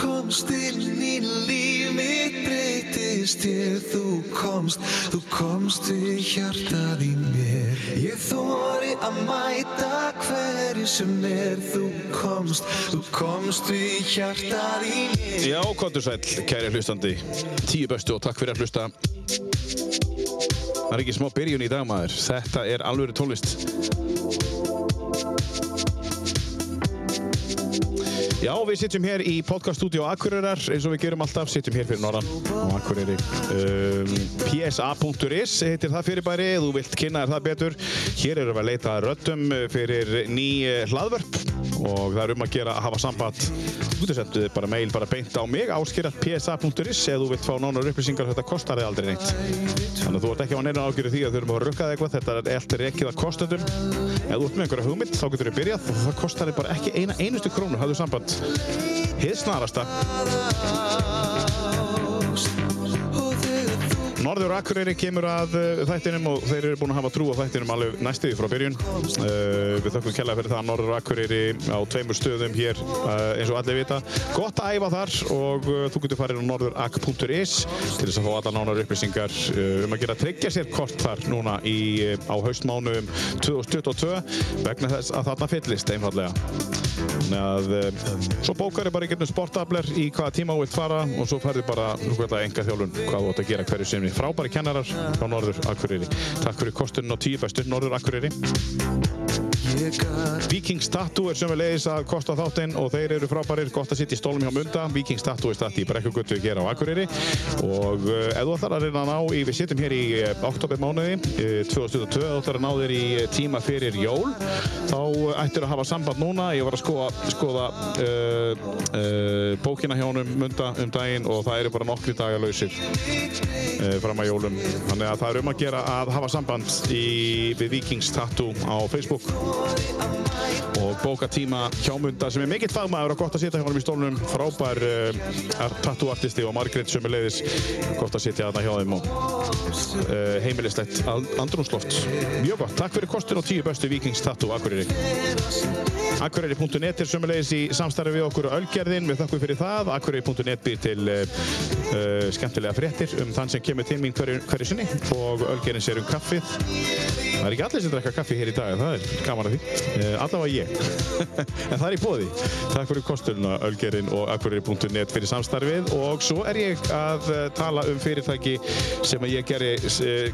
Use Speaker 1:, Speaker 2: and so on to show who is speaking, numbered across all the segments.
Speaker 1: komst inn í líf mitt breytist Þegar þú komst, þú komst við hjartað í mér Ég þóri að mæta hverju sem er Þú komst, þú komst við hjartað í mér
Speaker 2: Já, kontur sæll, kæri hlustandi Tíu bestu og takk fyrir að hlusta Það er ekki smá byrjun í dag maður Þetta er alvöru tónlist Já, við sittum hér í podcaststudio Akureyrar eins og við gerum alltaf, sittum hér fyrir norðan og Akureyri um, PSA.is heitir það fyrirbæri ef þú vilt kynna þér það betur Hér erum við að leita að röddum fyrir ný eh, hlaðvörp og það er um að gera að hafa samband Þú getur sendt bara mail bara beint á mig áskirat psa.is ef þú vilt fá nánar upplýsingar þetta kostar þig aldrei neitt Þannig að þú ert ekki á neina ágjöru því að þau eru að rukka þig eitthvað, þetta er eftir ekki það kostendum. Ef þú ert með einhverja hugmynd þá getur þau byrjað og það kostar þig bara ekki eina einustu krónu, hafðu samband. Hið snarasta. Norður Akureyri kemur að uh, þættinum og þeir eru búin að hafa trú á þættinum alveg næstuði frá byrjun. Uh, við þökkum kella fyrir það Norður Akureyri á tveimur stöðum hér uh, eins og allir vita. Gott að æfa þar og uh, þú getur farið á norðurak.is til þess að fá alla nánar upplýsingar uh, um að gera að tryggja sér kort þar núna í, uh, á haustmánuðum 2022 vegna þess að þarna fyllist einfallega. Þannig að um, svo bókar bara í gegnum sportabler í hvaða tíma þú vilt fara og svo færðu bara enga þjálun hvað þú átt að gera hverju sinni. Frábæri kennarar frá Norður Akureyri. Takk fyrir kostunum á tíu bestu Norður Akureyri. Vikings Tattoo er sömulegis að kosta þáttinn og þeir eru frábærir, gott að sitja í stólum hjá Munda Vikings Tattoo er stætt í Brekkugötu hér á Akureyri og uh, ef þú ætlar að reyna að ná í, við sittum hér í oktober mánuði uh, 2022, ef þú ætlar að ná þér í eh, tíma fyrir jól þá uh, ættir að hafa samband núna ég var að skoða, skoða uh, uh, bókina hjá honum Munda um daginn og það eru bara nokkri dagar lausir eh, fram að jólum þannig að það er um að gera að hafa samband í, við Vikings Tattoo á Facebook og bóka tíma hjá Munda sem er mikill fagmaður og gott að sitja hjá honum í stólnum frábær uh, tattoo artisti og Margrét sömuleiðis gott að sitja þarna hjá þeim og uh, heimilislegt and- andrúmsloft mjög gott, takk fyrir kostin og tíu bestu Vikings Tattoo Akureyri Akureyri.net er sömulegis í samstarfi við okkur á Ölgerðin, við þakkum fyrir það Akureyri.net býr til uh, uh, skemmtilega fréttir um þann sem kemur til mín hverju, hverju sinni og Ölgerðin sér um kaffið það er ekki allir sem drekka kaffi hér í dag það er gaman að því, uh, allavega ég en það er í bóði takk fyrir kosturna Ölgerðin og Akureyri.net fyrir samstarfið og svo er ég að uh, tala um fyrirtæki sem að ég gerði uh,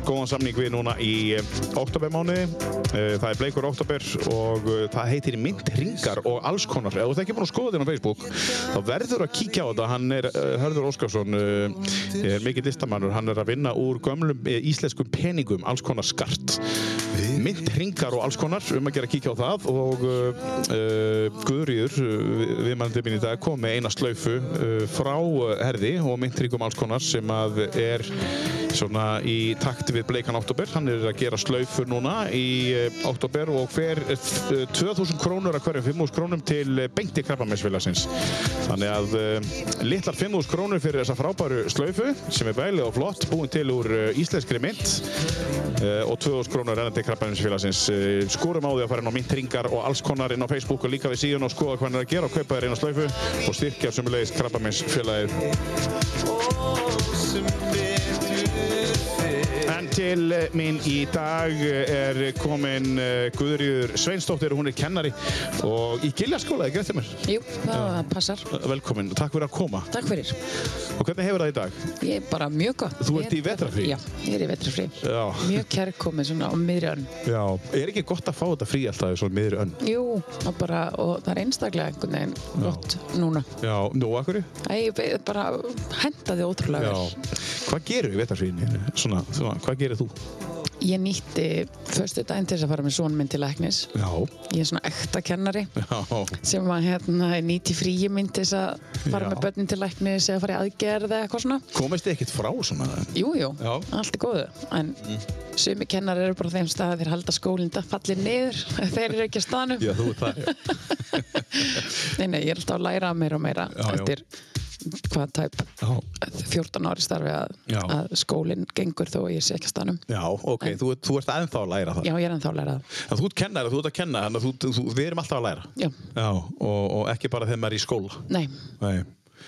Speaker 2: góðan samning við núna í oktobermánuði það er bleikur oktober og uh, það heitir myndringar og alls konar ef þú ert ekki búin að skoða þér á Facebook þá verður að kíkja á þetta hann er uh, Hörður Óskarsson uh, er mikið listamannur hann er að vinna úr gömlum uh, íslenskum peningum alls konar skart myndringar og alls konar um að gera að kíkja á það og uh, uh, Guðrýður uh, viðmælandi mín í dag kom með eina slaufu uh, frá uh, herði og myndringum alls konar sem að er svona í takt við bleikan oktober hann er að gera slaufu núna í uh, oktober og fer uh, 2000 krónur að hverjum 5.000 krónum til eh, beinti krabbamessfélagsins þannig að uh, litlar 5.000 krónur fyrir þessa frábæru slaufu sem er bælið og flott búin til úr uh, íslenskri mynd Eh, og 2000 krónur renna til krabbaninsfélagsins skorum á því að fara inn á myndringar og alls konar inn á Facebook og líka við síðan og skoða hvað hann er að gera og kaupa þér inn á slaufu og styrkja sumulegis krabbaninsfélagið En til eh, mín í dag eh, er komin eh, Guðríður Sveinsdóttir og hún er kennari og í Giljaskóla, ekki rétt hjá mér?
Speaker 3: Jú, það passar.
Speaker 2: Velkomin, takk fyrir að koma
Speaker 3: Takk fyrir.
Speaker 2: og hvernig hefur það í dag?
Speaker 3: Ég er bara mjög gott.
Speaker 2: Þú
Speaker 3: Ég
Speaker 2: ert í vetrarfrí?
Speaker 3: Já, ég er í vetrafrí.
Speaker 2: Já.
Speaker 3: Mjög kærkomið svona á miðrjörn.
Speaker 2: Já, er ekki gott að fá þetta frí alltaf í svona miðri önn?
Speaker 3: Jú, og, bara, og það er einstaklega einhvern veginn gott núna.
Speaker 2: Já, nú, akkur er?
Speaker 3: Æ, ég be- bara hendaði ótrúlega
Speaker 2: Já.
Speaker 3: vel.
Speaker 2: Hvað gerur við vetarfríðinni? Svona, svona, hvað gerir þú?
Speaker 3: Ég nýtti förstu daginn til þess að fara með són minn til læknis.
Speaker 2: Já.
Speaker 3: Ég er svona ekta kennari
Speaker 2: Já.
Speaker 3: sem að hérna er nýti fríi minn til þess að fara
Speaker 2: Já.
Speaker 3: með börnin til læknis eða fara í aðgerð eða eitthvað svona.
Speaker 2: Komist þið ekkert frá svona?
Speaker 3: Jú, jú,
Speaker 2: Já. Mhm.
Speaker 3: allt er góðu en sumi kennar eru bara á þeim stað að þeir halda skólinda fallir niður ef þeir eru ekki að staðnum
Speaker 2: þú ert það.
Speaker 3: nei, nei, ég er alltaf að læra meira og meira
Speaker 2: Já, já.
Speaker 3: eftir hvað tæp
Speaker 2: Já.
Speaker 3: 14 ári starfi að,
Speaker 2: Já.
Speaker 3: að skólinn gengur þó að ég sé ekki að staðnum
Speaker 2: Já, ok, þú, ert- þú ert ennþá að læra það.
Speaker 3: já, ég er ennþá að læra það
Speaker 2: En þú ert kennari, þú ert að kenna, þannig að þú, þú, við erum alltaf að læra.
Speaker 3: já,
Speaker 2: Já, og, og ekki bara þegar maður er í skóla.
Speaker 3: nei,
Speaker 2: Nei.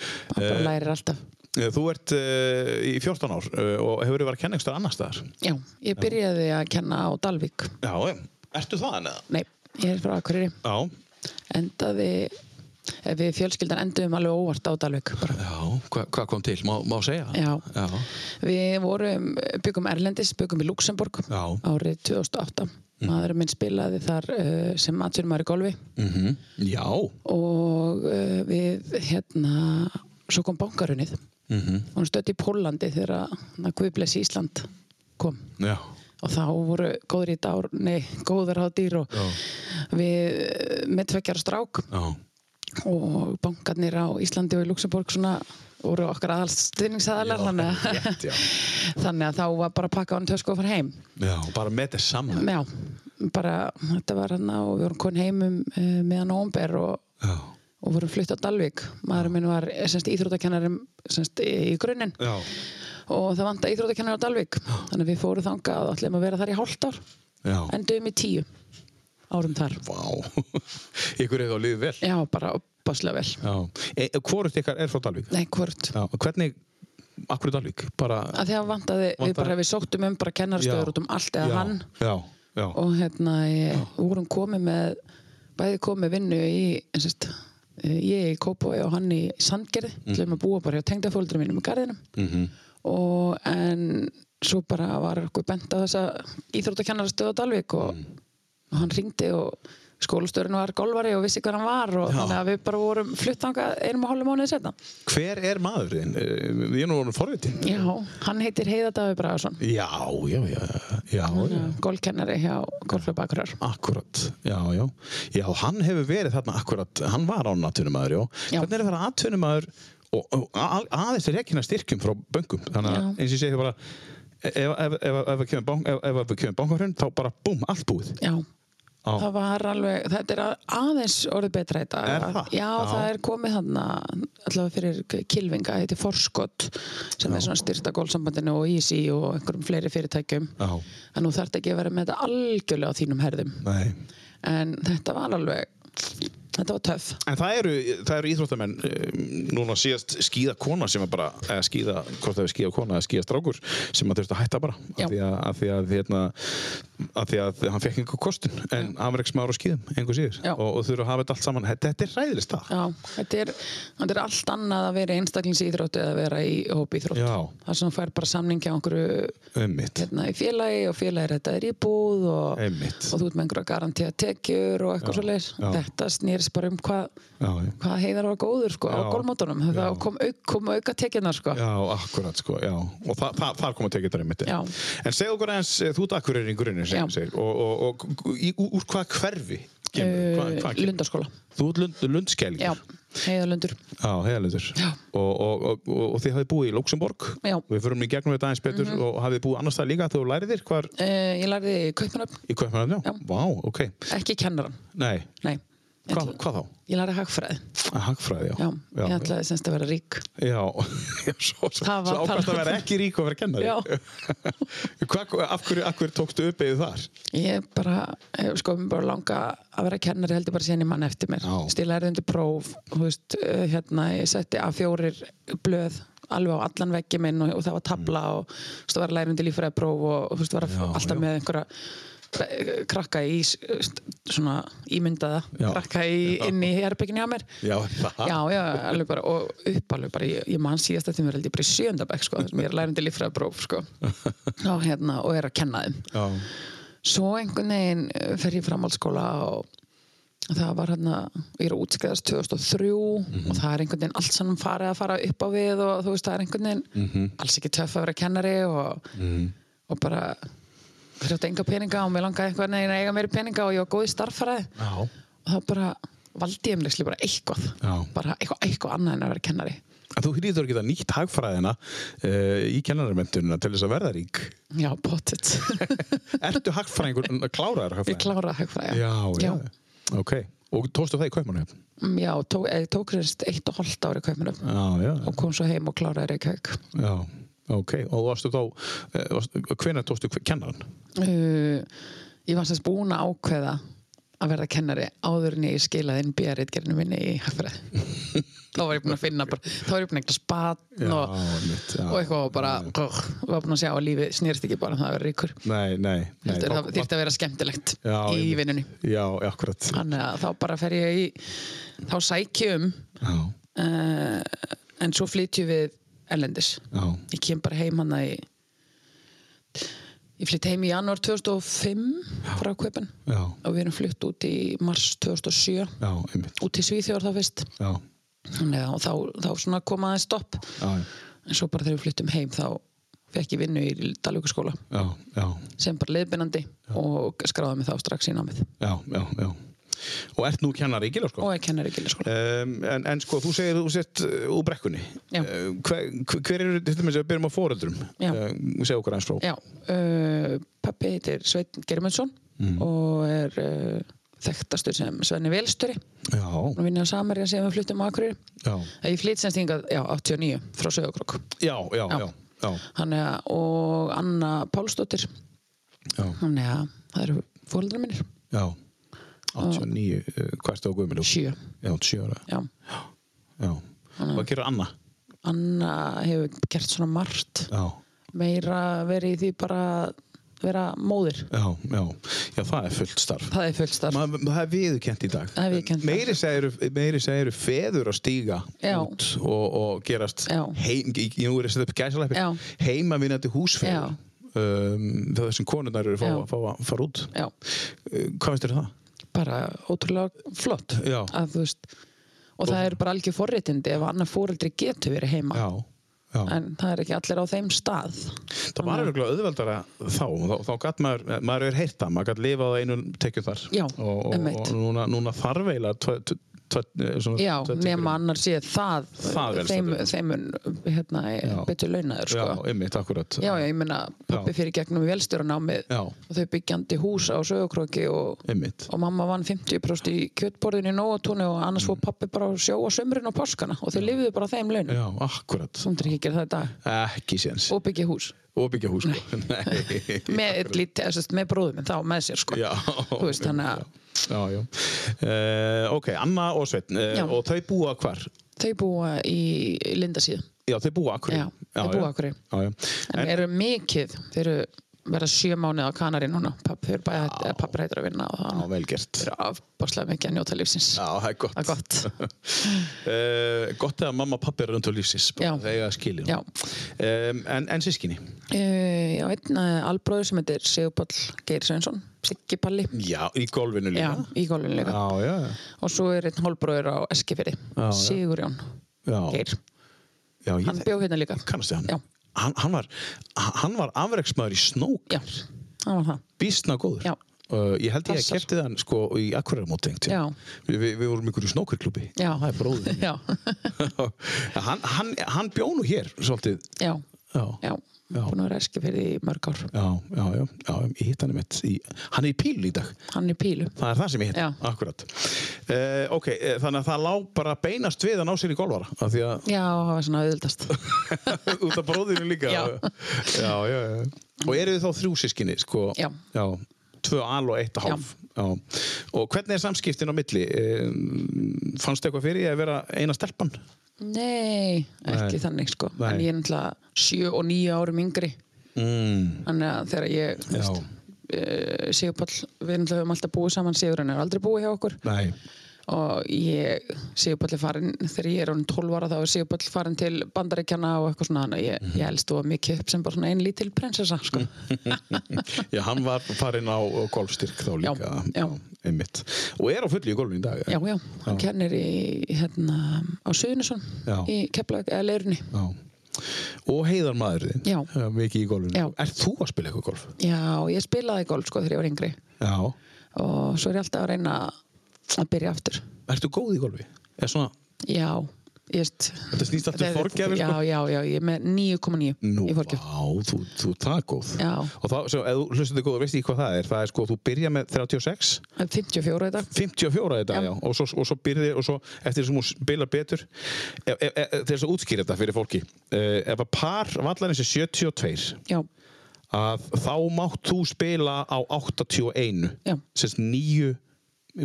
Speaker 3: hann bara lærir alltaf.
Speaker 2: Eh, Þú ert uh, í 14 ár uh, og hefur verið að kenna einhverstað annars staðar.
Speaker 3: Já, ég byrjaði að kenna á Dalvík.
Speaker 2: Já, em. ertu það en eða?
Speaker 3: Nei, ég er frá Akureyri.
Speaker 2: Já.
Speaker 3: Endaði, eh, við fjölskyldan enduðum alveg óvart á Dalvík bara.
Speaker 4: Já, hva, hvað kom til? Má, má segja?
Speaker 3: Já.
Speaker 4: Já.
Speaker 3: Við vorum, byggum Erlendis, byggum í Luxemburg
Speaker 4: Já. Mm.
Speaker 3: árið 2008. Maðurinn minn spilaði þar uh, sem matfyrmaður í golfi
Speaker 4: Mhm. Já.
Speaker 3: og uh, við, hérna, svo kom bankarunnið.
Speaker 4: Mhm.
Speaker 3: Hún stötti í Pólandi þegar að Guðbless Ísland kom
Speaker 4: Já.
Speaker 3: og þá voru góður í dár, nei, góður á dýr og við eh, með tveggjar strák
Speaker 4: Já.
Speaker 3: og bankarnir á Íslandi og í Luxemburg svona voru okkar aðalstuðningsaðalar þannig, að-
Speaker 2: rétt, já.
Speaker 3: þannig að þá var bara að pakka hann tösku og fara heim
Speaker 4: Já.
Speaker 2: Bara með þess saman.
Speaker 3: já, bara þetta var hann og við vorum kon heim um uh, meðan ómbær og,
Speaker 4: Já.
Speaker 3: og vorum flutt á Dalvík maðurinn minn var eh, semst, íþróttakennarum semst, í í grunninn
Speaker 2: Já.
Speaker 3: og það vanta íþróttakennar á Dalvík þannig að við fórum þangað og ætlum að vera þar í hálft ár
Speaker 4: Já.
Speaker 3: endum í tíu árum þar
Speaker 4: Vá. Ykkur hefur þá liðið vel.
Speaker 3: já, bara opaslega vel
Speaker 2: Já. E, Hvorugt ykkar er frá Dalvík?
Speaker 3: nei, hvort
Speaker 2: Já. Hvernig, akkur í Dalvík? Bara...
Speaker 3: að því að vantaði, við
Speaker 2: Vantaði-
Speaker 3: bara við sóttum um bara
Speaker 2: Já.
Speaker 3: kennarastöður út um allt eða
Speaker 2: já.
Speaker 3: hann
Speaker 2: Já, já.
Speaker 3: og hérna ég, vorum komið með bæði komið með vinnu í eins og þetta, ég í Kópói og hann í Sandgerði, mm. ætlum að búa bara hjá tengdafóldri mínum í garðinum
Speaker 2: Mhm.
Speaker 3: -hmm. og en svo bara var okkur bent á þessa íþróttakennarastöðu á Dalvík og, og hann ringdi og skólastöðurinn var golfari og vissi hver hann var og þannig að við bara vorum fluttangað einum og hálfum mánuðið setna
Speaker 2: Hver er maðurinn? Eh, Ég er nú voru forvitin.
Speaker 3: Já, hann heitir Heiðadafi Bragason
Speaker 2: Já, já, já, já, já.
Speaker 3: gólkennari hjá gólflöfbakrar
Speaker 2: Akkurat, já, já. Já, hann hefur verið þarna akkurat, hann var án atvinnumæður, já.
Speaker 3: Já.
Speaker 2: Hvernig er að vera atvinnumæður og, og að, aðeins er ekki styrkjum frá böngum? Þannig að
Speaker 3: Já.
Speaker 2: eins og ég segi bara, e, ef, ef, ef, ef, við kemur bank- ef, ef við kemur bankarhund, þá bara búm, allt búið.
Speaker 3: Já,
Speaker 2: Á.
Speaker 3: það var alveg þetta er að- aðeins orðið betra í dag
Speaker 2: Er það?
Speaker 3: Já,
Speaker 2: Já.
Speaker 3: það er komið þarna allavega fyrir kilvinga, þetta er Forskott sem er svona styrta gólsambandinu og Easy og einhverjum fleiri fyrirtækjum
Speaker 2: Já.
Speaker 3: en nú þarf ekki að vera með þetta algjörlega á þínum herðum
Speaker 2: Nei.
Speaker 3: en þetta var alveg þetta var töff
Speaker 2: En það eru, það eru íþróttamenn eh, núna síðast skíða kona sem er bara eða skíða, hvort það er skíða kona eða skíða strákur sem að þurfti að hætta bara
Speaker 3: Já.
Speaker 2: að því að, að, því að, hérna, að því að hann fekk einhver kostun en hann var ekki smáður á skíðum einhver síður
Speaker 3: Já.
Speaker 2: og, og þurfa að hafa þetta allt saman þetta, þetta er ræðilist það
Speaker 3: Já, þetta er, þetta er allt annað að vera einstaklingsíþrótt eða að vera í hópíþrótt
Speaker 2: Já.
Speaker 3: það sem fær bara samningi á einhverju
Speaker 2: Einmitt.
Speaker 3: hérna, í félagi og félagi er þetta er íbúð og,
Speaker 2: Einmitt.
Speaker 3: og þú ert með einhverja garantíða tekjur og eitthvað svo leir
Speaker 2: já.
Speaker 3: þetta snýrist bara um hvað
Speaker 2: Já, já.
Speaker 3: hvað heiðar var góður sko, á
Speaker 2: Já,
Speaker 3: gólmótunum það
Speaker 2: já.
Speaker 3: kom, auk, kom auka tekjurnar sko.
Speaker 2: Já, akkurat sko, já. Og þa þa þar kom að tekja þetta einmitt.
Speaker 3: Já.
Speaker 2: En segðu okkur eins, þú ert akkur er í grunni,
Speaker 3: Já.
Speaker 2: segir, segir, og, og, og, og í, úr, úr hvað hverfi kemur?
Speaker 3: Eh,
Speaker 2: hvað, hvað kemur?
Speaker 3: Lundarskóla
Speaker 2: Þú ert lund, lundskelgur.
Speaker 3: já, heiðalundur
Speaker 2: Já, heiðalöndur.
Speaker 3: Já.
Speaker 2: Og, og, og, og, og þið hafið búið í Luxemborg.
Speaker 3: Já. Mhm.
Speaker 2: Við förum í gegnum þetta aðeins betur og hafið búið annars það líka þegar þú læriðir hvar
Speaker 3: uh, ég lærði í Kaupmannöfn,
Speaker 2: í Kaupmannöfn, já.
Speaker 3: Já.
Speaker 2: Vá, ok.
Speaker 3: ekki kennaran
Speaker 2: Nei,
Speaker 3: nei, Ég
Speaker 2: Hva,
Speaker 3: ætla-
Speaker 2: hvað þá?
Speaker 3: ég lærði hagfræði
Speaker 2: Að Hagfræði, já.
Speaker 3: já,
Speaker 2: já.
Speaker 3: ég ætlaði semst að vera rík
Speaker 2: Já, svo, svo,
Speaker 3: Það var
Speaker 2: svo ákvæmst að
Speaker 3: bara-
Speaker 2: vera ekki rík og vera kennari.
Speaker 3: Já.
Speaker 2: Hva, af, hverju, af hverju tókstu uppeyðu þar?
Speaker 3: ég bara, eh, sko, mér bara langa að vera kennari heldur bara síðan ég mann eftir mér
Speaker 2: Já.
Speaker 3: stilaði undir próf, þú veist eh, hérna, ég setti að fjórir blöð alveg á allan veggi minn og, og það var tabla og þú veist, það var lærið undir lífræði próf og þú veist, var
Speaker 2: Mm. Já,
Speaker 3: alltaf
Speaker 2: já.
Speaker 3: með einhverja eh, krakka í s- st- svona ímyndaða
Speaker 2: Já.
Speaker 3: krakka í, inn í herbygginu hjá mér
Speaker 2: Já, það.
Speaker 3: já, já, alveg bara og upp alveg bara, ég, ég man síðast eftir mér held ég bara í sjöndabæk sko, þar sem ég er lærandi líffræðapróf sko. og hérna, og er að kenna þeim
Speaker 2: Já.
Speaker 3: svo einhvern veginn eh, fer ég í framhaldsskóla og það var hérna, ég er að útskriðast 2003
Speaker 2: Mhm.
Speaker 3: og það er einhvern veginn allt saman farið að fara upp á við og þú veist, það er einhvern veginn
Speaker 2: Mhm.
Speaker 3: alls ekki töff að vera kennari og, og bara fyrir átti enga peninga og mér langaði einhvern veginn að eiga meiri peninga og ég var góð í starffræði
Speaker 2: Já.
Speaker 3: og þá bara valdi ég umlegsli bara eitthvað
Speaker 2: Já.
Speaker 3: bara eitthvað, eitthvað annað en að vera kennari
Speaker 2: En þú hlýtur ekki að geta nýtt hagfræðina uh, í kennarmyndununa til þess að verða rík.
Speaker 3: já, pottet
Speaker 2: Ertu hagfræðingur, kláraður hagfræðingur?
Speaker 3: ég kláraði hagfræði
Speaker 2: já, já.
Speaker 3: já.
Speaker 2: ok, og tókstu það í kaupmannhjöfn
Speaker 3: Mm, já tók, eh, tók reynst eitt og hálft ári kaupinu
Speaker 2: já, já,
Speaker 3: og kom svo heim og kláraði Reykjavík
Speaker 2: já, ok og þú varstu þá, eh,
Speaker 3: Eh,
Speaker 2: varstu- hvenær tókstu kv- kennarann?
Speaker 3: uh, ég var semst búin að ákveða að verða kennari áður en ég skilaði inn bíaritgerinu minni í hagfræði þá var ég búin að finna bara, þá var ég búin að eitthvað spatn og,
Speaker 5: einmitt, já.
Speaker 3: og eitthvað og bara, og var búin að sjá að lífið snýrst ekki bara um það að vera ríkur
Speaker 5: Nei, nei, nei
Speaker 3: heldur
Speaker 5: þá-
Speaker 3: það þýrt að vera skemmtilegt
Speaker 5: Já,
Speaker 3: í
Speaker 5: einmitt.
Speaker 3: vinnunni
Speaker 5: Já, akkurat
Speaker 3: þannig að þá bara fer ég í þá sæk ég um
Speaker 5: Já,
Speaker 3: uh, en svo flytjum við erlendis
Speaker 5: já,
Speaker 3: ég kem bara heim hann að ég, ég flytt heim í janúar 2005 frá Kaupan
Speaker 5: já,
Speaker 3: og við erum flytt út í mars 2007
Speaker 5: já, einmitt
Speaker 3: út í Svíþjóður þá fyrst
Speaker 5: Já,
Speaker 3: Þannig að- og þá, þá svona kom aðeins stopp
Speaker 5: já,
Speaker 3: en svo bara þegar við flyttum heim þá fekk ég vinnu í Dalvíkurskóla
Speaker 5: já, já,
Speaker 3: sem bara leiðbennandi og skráði mig þá strax í námið
Speaker 5: já, já, já.
Speaker 2: Og ert nú kennari í Gilarskóla?
Speaker 3: og ég kennar í gildeskóla
Speaker 2: Um, en, en sko, þú segir þú sett uh, úr brekkunni
Speaker 3: Já.
Speaker 2: uh, hver, hver eru, til dæmis, ef við byrjum á foreldrum
Speaker 3: Já.
Speaker 2: uh, segja okkur aðeins frá
Speaker 3: Já, uh, pappi heitir Sveinn Germundsson og er uh, þekktastur sem Svenni Velstöri
Speaker 5: Já,
Speaker 3: og vinna á Samarja sem við fluttum á Akureyri
Speaker 5: já,
Speaker 3: Ég flytt semst hingað, já, 89 frá Söðugrokk
Speaker 5: já, já,
Speaker 3: Já.
Speaker 5: já, já,
Speaker 3: og Anna Pálsdóttir
Speaker 5: já,
Speaker 3: þannig að það eru fóreldrar mínir
Speaker 5: já 89, uh, hvað ertu á Guðmilu?
Speaker 3: Sjö,
Speaker 5: Já, 7 ára,
Speaker 3: já
Speaker 5: já,
Speaker 2: Hvað gerir Anna?
Speaker 3: Anna hefur gert svona margt
Speaker 5: já
Speaker 3: meira verið í því bara að vera móðir
Speaker 5: Já, já, já, það er fullt starf
Speaker 3: Það er fullt starf
Speaker 5: Maður- Það er viðurkent í dag
Speaker 3: Það er viðurkennt.
Speaker 5: Meiri segir, meiri segir feður að stíga
Speaker 3: Já.
Speaker 5: út og, og gerast
Speaker 3: Já.
Speaker 5: heim, ég, ég nú er að setja upp gæsalæpi
Speaker 3: Já.
Speaker 5: heimavinnandi
Speaker 3: Já.
Speaker 5: húsfeður um, það sem konurnar eru að fá,
Speaker 3: Já.
Speaker 5: að fá að fara út
Speaker 3: Já,
Speaker 5: Uh, Hvað finnst þér um það?
Speaker 3: bara ótrúlega flott
Speaker 5: Já.
Speaker 3: að þú veist og það er bara algjör forréttindi ef annað fóreldri getur verið heima
Speaker 5: Já, já.
Speaker 3: en Ah. það er ekki allir á þeim stað
Speaker 2: Það var örgulega auðveldara þá þá, þá gæt maður, maður er heyrt það maður gæt lifað á einu tekjum þar
Speaker 3: Já,
Speaker 2: og, og,
Speaker 3: einmitt.
Speaker 2: og núna, núna þarf eiginlega tve- tve- tve- eh, svona
Speaker 3: Já,
Speaker 2: tve-
Speaker 3: nema annar sé það,
Speaker 2: Það er
Speaker 3: þeim,
Speaker 2: velstæður.
Speaker 3: þeim mun, hérna, betur launaður
Speaker 2: Já,
Speaker 3: sko.
Speaker 2: einmitt, akkurat
Speaker 3: Já, já, ég meina pappi
Speaker 2: Já.
Speaker 3: fyrir gegnum velstjóranámið
Speaker 2: Já.
Speaker 3: og þau byggjandi hús á sögurkróki og,
Speaker 2: einmitt
Speaker 3: og mamma vann 50% í kjötborðinu í Nóatúni og annars
Speaker 2: Mm.
Speaker 3: fór pappi bara að sjóa sömurinn og páskana og þau lifiðu bara á þeim launum.
Speaker 5: já, akkurat
Speaker 3: Þú myndir ekki gera það í dag
Speaker 5: Ekki séns
Speaker 3: og byggja hús
Speaker 5: Og byggja hús sko. Nei
Speaker 3: með, lítið, eða sem sagt, með bróðum en þá með sér sko.
Speaker 5: Já,
Speaker 3: Þú veist, þannig að
Speaker 5: já, já.
Speaker 2: uh, Ok, Anna og Sveinn
Speaker 3: Já.
Speaker 2: uh, og þau búa hvar?
Speaker 3: þau búa í Lindasíð
Speaker 2: Já, þau búa akkur
Speaker 3: Já, þau búa akkur en,
Speaker 5: Já, já.
Speaker 3: eru mikið, þau eru verða sjö mánuð á Kanari núna pappi er bæði, eða pappi er hættur að vinna og
Speaker 5: já,
Speaker 3: það
Speaker 5: vel gert
Speaker 3: er afbáslega mikið að njóta lífsins
Speaker 5: Já, það er gott
Speaker 3: það er gott
Speaker 2: uh, Gott að mamma og pappi er raun til lífsins bara
Speaker 3: Já.
Speaker 2: það eiga að skilja
Speaker 3: Já.
Speaker 2: um, en, en sískinni?
Speaker 3: Eh, Já, einn eh, albróður sem heitir Sigurpall Geir Sveinsson, Siggi Palli
Speaker 2: Já, í golfinu
Speaker 3: Já,
Speaker 2: líka
Speaker 3: í golfinu líka
Speaker 5: Já, já, já.
Speaker 3: og svo er einn holbróður á Eskifirði Sigurjón
Speaker 5: Já.
Speaker 3: Geir,
Speaker 5: já ég
Speaker 3: hann bjóð hérna líka
Speaker 2: Kannastu hann?
Speaker 3: Já,
Speaker 2: Hann, hann var, hann var afreksmaður í snók
Speaker 3: já, það var það
Speaker 2: býstna góður
Speaker 3: Já.
Speaker 2: Uh, ég held ég að
Speaker 3: Passar.
Speaker 2: kæfti þann sko í Akureyramóti
Speaker 3: Já.
Speaker 2: við vi, vi vorum ykkur í snókurklúbi
Speaker 3: Já.
Speaker 2: það er bróðin
Speaker 3: Já,
Speaker 2: hann, hann, hann bjó nú hér svolítið
Speaker 3: já,
Speaker 2: já, já,
Speaker 3: já, búin að vera Eskifirði í mörg ár
Speaker 2: já, já, já ég hitt hann mitt í, hann er í pílu í dag
Speaker 3: Hann er í pílu
Speaker 2: það er það sem ég hitt,
Speaker 3: Já.
Speaker 2: akkurat uh, ok, eh, þannig að það lá bara beinast við að ná sér í golfara af því að
Speaker 3: Já, það var svona auðvildast
Speaker 2: út af bróðinu líka
Speaker 3: Já.
Speaker 2: já, já, já. og eru þið þá þrjú sískinni sko,
Speaker 3: Já.
Speaker 2: tvö al og eitt hálf já. og hvernig er samskiptin á milli Ehm, fannst eitthvað fyrir ég að vera eina stelpan
Speaker 3: Nei, ekki þannig sko
Speaker 5: Nei.
Speaker 3: En ég er náttúrulega sjö og níu árum yngri
Speaker 5: mm,
Speaker 3: Þannig að þegar ég, þú
Speaker 5: Já.
Speaker 3: veist eh, Sigurpall, við náttúrulega höfum alltaf búið saman Sigurinn er aldrei búið hjá okkur
Speaker 5: Nei,
Speaker 3: og ég, Sigurpall er farin þegar ég er hann 12 ára þá er Sigurpall farin til bandaríkjana og eitthvað svona þannig að ég, ég elst og mikið upp sem bara svona ein lítil prinsessa sko.
Speaker 2: já, hann var farin á á golfstyrk þá líka
Speaker 3: já.
Speaker 2: einmitt og er á fullu í golfinu í dag
Speaker 3: Já, já, hann kennir í hérna, á Suðunisson
Speaker 5: Já.
Speaker 3: í Keflag, eða Leirunni
Speaker 5: já
Speaker 2: og heiðar maður þinn
Speaker 3: Já.
Speaker 2: Eh, mikið í golfinu
Speaker 3: Já.
Speaker 2: er þú að spila eitthvað golf?
Speaker 3: Já, ég spilaði golf sko þegar ég var yngri
Speaker 5: Já,
Speaker 3: og svo er ég alltaf að reyna að byrja aftur
Speaker 2: Ertu góð í golfi? Er svona,
Speaker 3: Já, ég veist
Speaker 2: þetta snýst alltaf um forgjafir
Speaker 3: Já,
Speaker 2: sko?
Speaker 3: já, já, ég er með 9,9
Speaker 2: Nú,
Speaker 3: í forgjaf
Speaker 2: á, þú, þú er það góð
Speaker 3: Já.
Speaker 2: Og þá, svo, ef þú hlustum þig góð, veist ég hvað það er Það er sko, þú byrja með 36
Speaker 3: 54 í dag
Speaker 2: 54 þetta,
Speaker 3: Já.
Speaker 2: já, og svo, og svo byrði og svo eftir þessum hún spilar betur e, e, e, til þess að útskýra þetta fyrir fólki e, ef að par vallarins er 72
Speaker 3: Já,
Speaker 2: að þá mátt þú spila á 81
Speaker 3: Já.
Speaker 2: sérst 9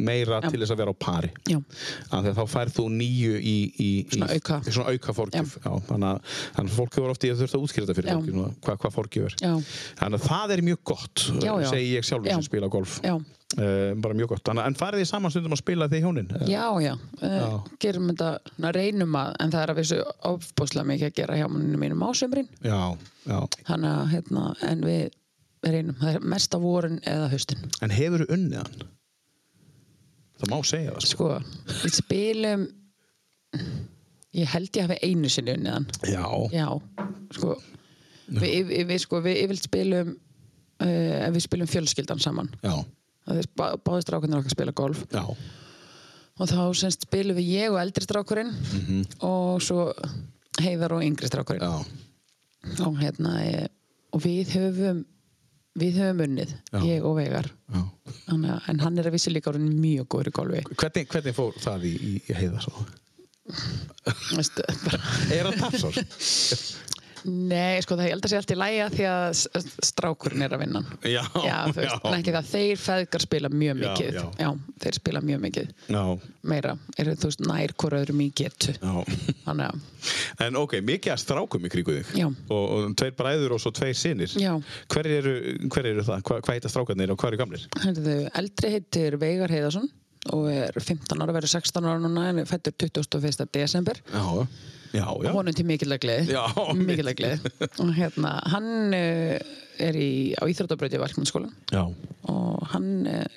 Speaker 2: meira
Speaker 3: Já.
Speaker 2: til þess að vera á pari
Speaker 3: Já.
Speaker 2: af því að þá færð þú nýju í, í,
Speaker 3: Svona
Speaker 2: í,
Speaker 3: auka.
Speaker 2: í svona auka forgjöf já. þannig að, þannig að fólk hefur oft í að þurft að útskýra þetta fyrir
Speaker 3: Já.
Speaker 2: fólki svona, hvað, hvað forgjöf er
Speaker 3: Já.
Speaker 2: þannig að það er mjög gott
Speaker 3: Já, já.
Speaker 2: segi ég sjálfur
Speaker 3: Já.
Speaker 2: sem spila golf
Speaker 3: Já.
Speaker 2: Eh, bara mjög gott, þannig að en farið þið saman stundum að spila þið hjónin Eh,
Speaker 3: Já, já, já. gerum þetta, na, reynum að, en það er að vissu ofbúslega mikið að gera hjá manninu mínum á sömurinn,
Speaker 2: já, já.
Speaker 3: þannig að, hérna, en við reynum, það er mest á vorin eða haustin.
Speaker 2: en hefur þið unnið hann? það má segja það sko.
Speaker 3: Sko, við spilum, ég held ég hafi einu sinni unnið hann.
Speaker 2: já,
Speaker 3: Já, sko, við, við, við, sko, við yfirlt spilum, uh, við spilum fjölskyldan saman.
Speaker 2: já,
Speaker 3: Það er bá, báðist rákunnir okkar spila golf.
Speaker 2: já,
Speaker 3: og þá semst spilum við ég og eldri strákurinn
Speaker 2: Mhm.
Speaker 3: og svo heiðar og yngri strákurinn
Speaker 2: já.
Speaker 3: og hérna eh, og við höfum við höfum unnið,
Speaker 2: Já.
Speaker 3: ég og Veigar
Speaker 2: já.
Speaker 3: Þannig, að- en hann er að vissi líka orðin mjög góður í golfi
Speaker 2: Hvernig, hvernig fór það í, í, í heiða svo?
Speaker 3: Veist, bara,
Speaker 2: er það tapsar?
Speaker 3: nei, sko það ég held að sé allt í lægja því að s- strákurinn er að vinna hann.
Speaker 2: Já,
Speaker 3: já, þú veist,
Speaker 2: já.
Speaker 3: en ekki það, þeir feðgar spila mjög
Speaker 2: Já,
Speaker 3: mikið
Speaker 2: já.
Speaker 3: þeir spila mjög mikið
Speaker 2: já,
Speaker 3: meira, eru þú veist nær hvort öðrum í getu
Speaker 2: já
Speaker 3: þannig að
Speaker 2: En ok, mikið að strákum í kringu þig
Speaker 3: Já.
Speaker 2: og, og tveir bræður og svo tveir sinir
Speaker 3: Já.
Speaker 2: hver, eru, hver eru það? Hva, hvað heita strákarnir og hvað eru gamlir?
Speaker 3: Herðu, eldri heitir Veigar Heiðarsson og er 15 ára, verður 16 ára núna en er fættur 21. desember
Speaker 2: Já, já, já
Speaker 3: honum til mikillega
Speaker 2: Já,
Speaker 3: gleði mikillega gleði og hérna, hann eh, er í, á Íþróttabröti Valkmannskólan
Speaker 2: Já,
Speaker 3: og hann eh,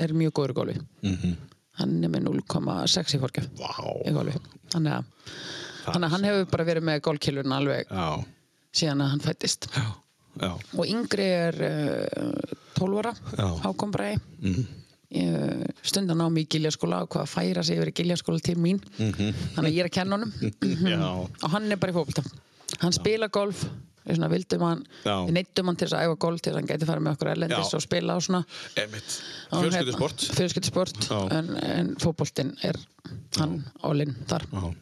Speaker 3: er mjög góður í golfi -hmm. hann er með 0,6 í fórgjöf í
Speaker 2: Mhm. Vá.
Speaker 3: golfi þannig að, þannig að hann hefur bara verið með golfkilurinn alveg
Speaker 2: já,
Speaker 3: síðan að hann fættist
Speaker 2: já,
Speaker 3: og yngri er uh, 12 ára
Speaker 2: Já.
Speaker 3: Hákon Bræði
Speaker 2: Mhm.
Speaker 3: mm. stundan á mig í giljaskóla og hvað að færa sig yfir í giljaskóla til mín
Speaker 2: Mhm.
Speaker 3: þannig að ég er að kenna honum
Speaker 2: já.
Speaker 3: og hann er bara í fókbalta hann spila golf við svona vildum hann,
Speaker 2: Já.
Speaker 3: við neittum hann til þess að æfa golf til þess að hann gæti farið með okkur erlendis
Speaker 2: Já.
Speaker 3: og spila og svona hérna,
Speaker 2: Emitt, fjölskyldusport
Speaker 3: fjölskyldusport
Speaker 2: Já.
Speaker 3: en, en fókbaltin er hann allin þar
Speaker 2: Já.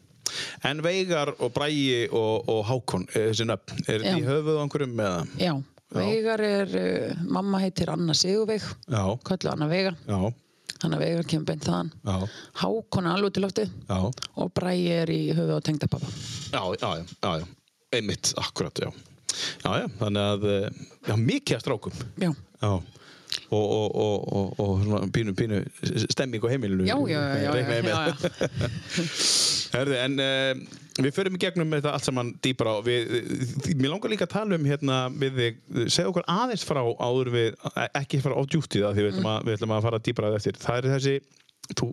Speaker 2: En Veigar og Brægi og, og Hákon, eh, þessi nöfn er
Speaker 3: Já.
Speaker 2: þetta í höfuð á einhverjum með
Speaker 3: já, Veigar er uh, mamma heitir Anna Sigurveig
Speaker 2: Já,
Speaker 3: kallu Anna Veigar
Speaker 2: já,
Speaker 3: Þannig að Veigar kemur beint þaðan.
Speaker 2: Já.
Speaker 3: Hákon er alveg til lofti
Speaker 2: já
Speaker 3: og Bræi er í höfuð á tengdapappa.
Speaker 2: Já, já, já, já, já. Einmitt, akkurat, já Já, já, þannig að eh, já, mikið að strákum
Speaker 3: Já.
Speaker 2: Já Og, og, og, og, og svona pínu, pínu stemming á heimilinu
Speaker 3: Já, já, já, já,
Speaker 2: Reikna ég með.
Speaker 3: já, já.
Speaker 2: Herðu, en uh, við förum í gegnum þetta allt saman dýpra og við, eh, mér langar líka að tala um hérna við þig, segja okkur aðeins frá áður við, e- ekki fara á djúpt í það því við
Speaker 3: Mm.
Speaker 2: ætlum, að, við ætlum að fara dýpra að eftir það er þessi þú,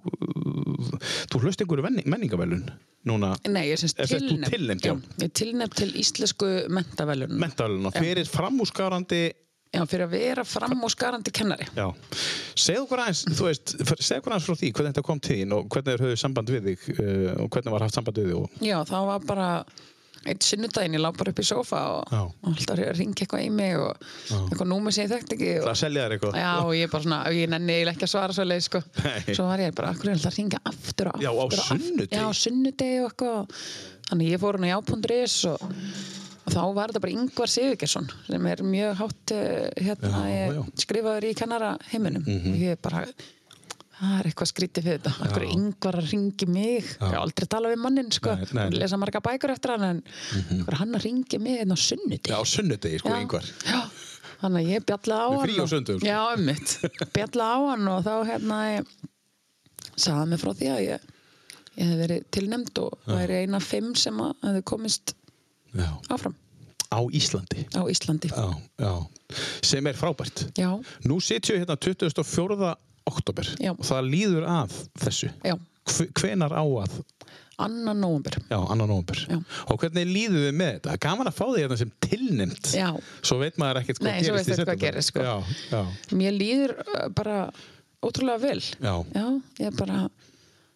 Speaker 2: þú hlust einhverju venni- menningavelun núna,
Speaker 3: Nei, ég syns
Speaker 2: Eða sem sagt, þú
Speaker 3: tilnefnd.
Speaker 2: tilnefnd, já.
Speaker 3: Ég er tilnefnd til íslensku mentavelunum.
Speaker 2: mentaveluna fyrir framúskarandi
Speaker 3: Já, fyrir að vera fram og skarandi kennari.
Speaker 2: Já, segð okkur aðeins, þú veist, f- segð okkur aðeins frá því hvernig þetta kom til þín og hvernig þeir höfðu samband við þig uh, og hvernig var haft samband við þig og...
Speaker 3: Já, það var bara einn sunnudaginn, ég lá bara upp í sófa og
Speaker 2: Já.
Speaker 3: og alltaf að ringa eitthvað í mig og eitthvað númer sem ég þekkti ekki.
Speaker 2: Það
Speaker 3: Og,
Speaker 2: að selja þér eitthvað?
Speaker 3: já, og ég bara svona, ég nenni eiginlega ekki að svara svo sko.
Speaker 2: sko. Nei.
Speaker 3: Svo var ég bara, akkur er alltaf að ringa aftur og aftur
Speaker 2: Já, á
Speaker 3: og aftur.
Speaker 2: sunnudegi.
Speaker 3: Já, á sunnudegi og eitthvað. Þannig ég fór hann á já.is og, og þá var þetta bara Ingvar Sigurgesson sem er mjög hátt eh, hérna,
Speaker 2: Já,
Speaker 3: já,
Speaker 2: já. Mhm.
Speaker 3: skrifaður í kennara heiminum. og ég bara, það er eitthvað skrítið fyrir þetta. Akkur er Ingvar að ringi mig. Já. Ég hef aldrei talað við mannin, sko.
Speaker 2: Nei, nei. Mhm.
Speaker 3: Búin að Lesa marga bækur eftir hann, en mm er hann að ringi mig hérna á sunnudegi.
Speaker 2: Já, á sunnudegi, sko,
Speaker 3: Já.
Speaker 2: yngvar.
Speaker 3: Já, þannig að ég bjalla á
Speaker 2: Með
Speaker 3: hann
Speaker 2: frí á
Speaker 3: og-
Speaker 2: sunnudögum, sko.
Speaker 3: Já, ummitt, bjalla á hann og þá hérna ég sagði mig frá því að ég, ég hef verið tilnefnd og væri eina fimm sem að hefði komist
Speaker 2: Já.
Speaker 3: áfram
Speaker 2: Á Íslandi.
Speaker 3: á Íslandi
Speaker 2: Já, já. Sem er frábært.
Speaker 3: Já,
Speaker 2: Nú sitjum við hérna 24. oktober
Speaker 3: Já.
Speaker 2: og það líður að þessu.
Speaker 3: já,
Speaker 2: Hve- Hvenar á að?
Speaker 3: annan nóumbur
Speaker 2: Já, annan nóvember.
Speaker 3: Já.
Speaker 2: Og hvernig líður við með þetta? Gaman að fá þig hérna sem tilnæmt.
Speaker 3: Já.
Speaker 2: Svo veit maður ekkert hvað
Speaker 3: Nei, svo
Speaker 2: gerist
Speaker 3: veist
Speaker 2: í
Speaker 3: þetta hvað
Speaker 2: september.
Speaker 3: gerist, sko.
Speaker 2: Já, já.
Speaker 3: Mér líður uh, bara ótrúlega vel
Speaker 2: Já.
Speaker 3: ég er bara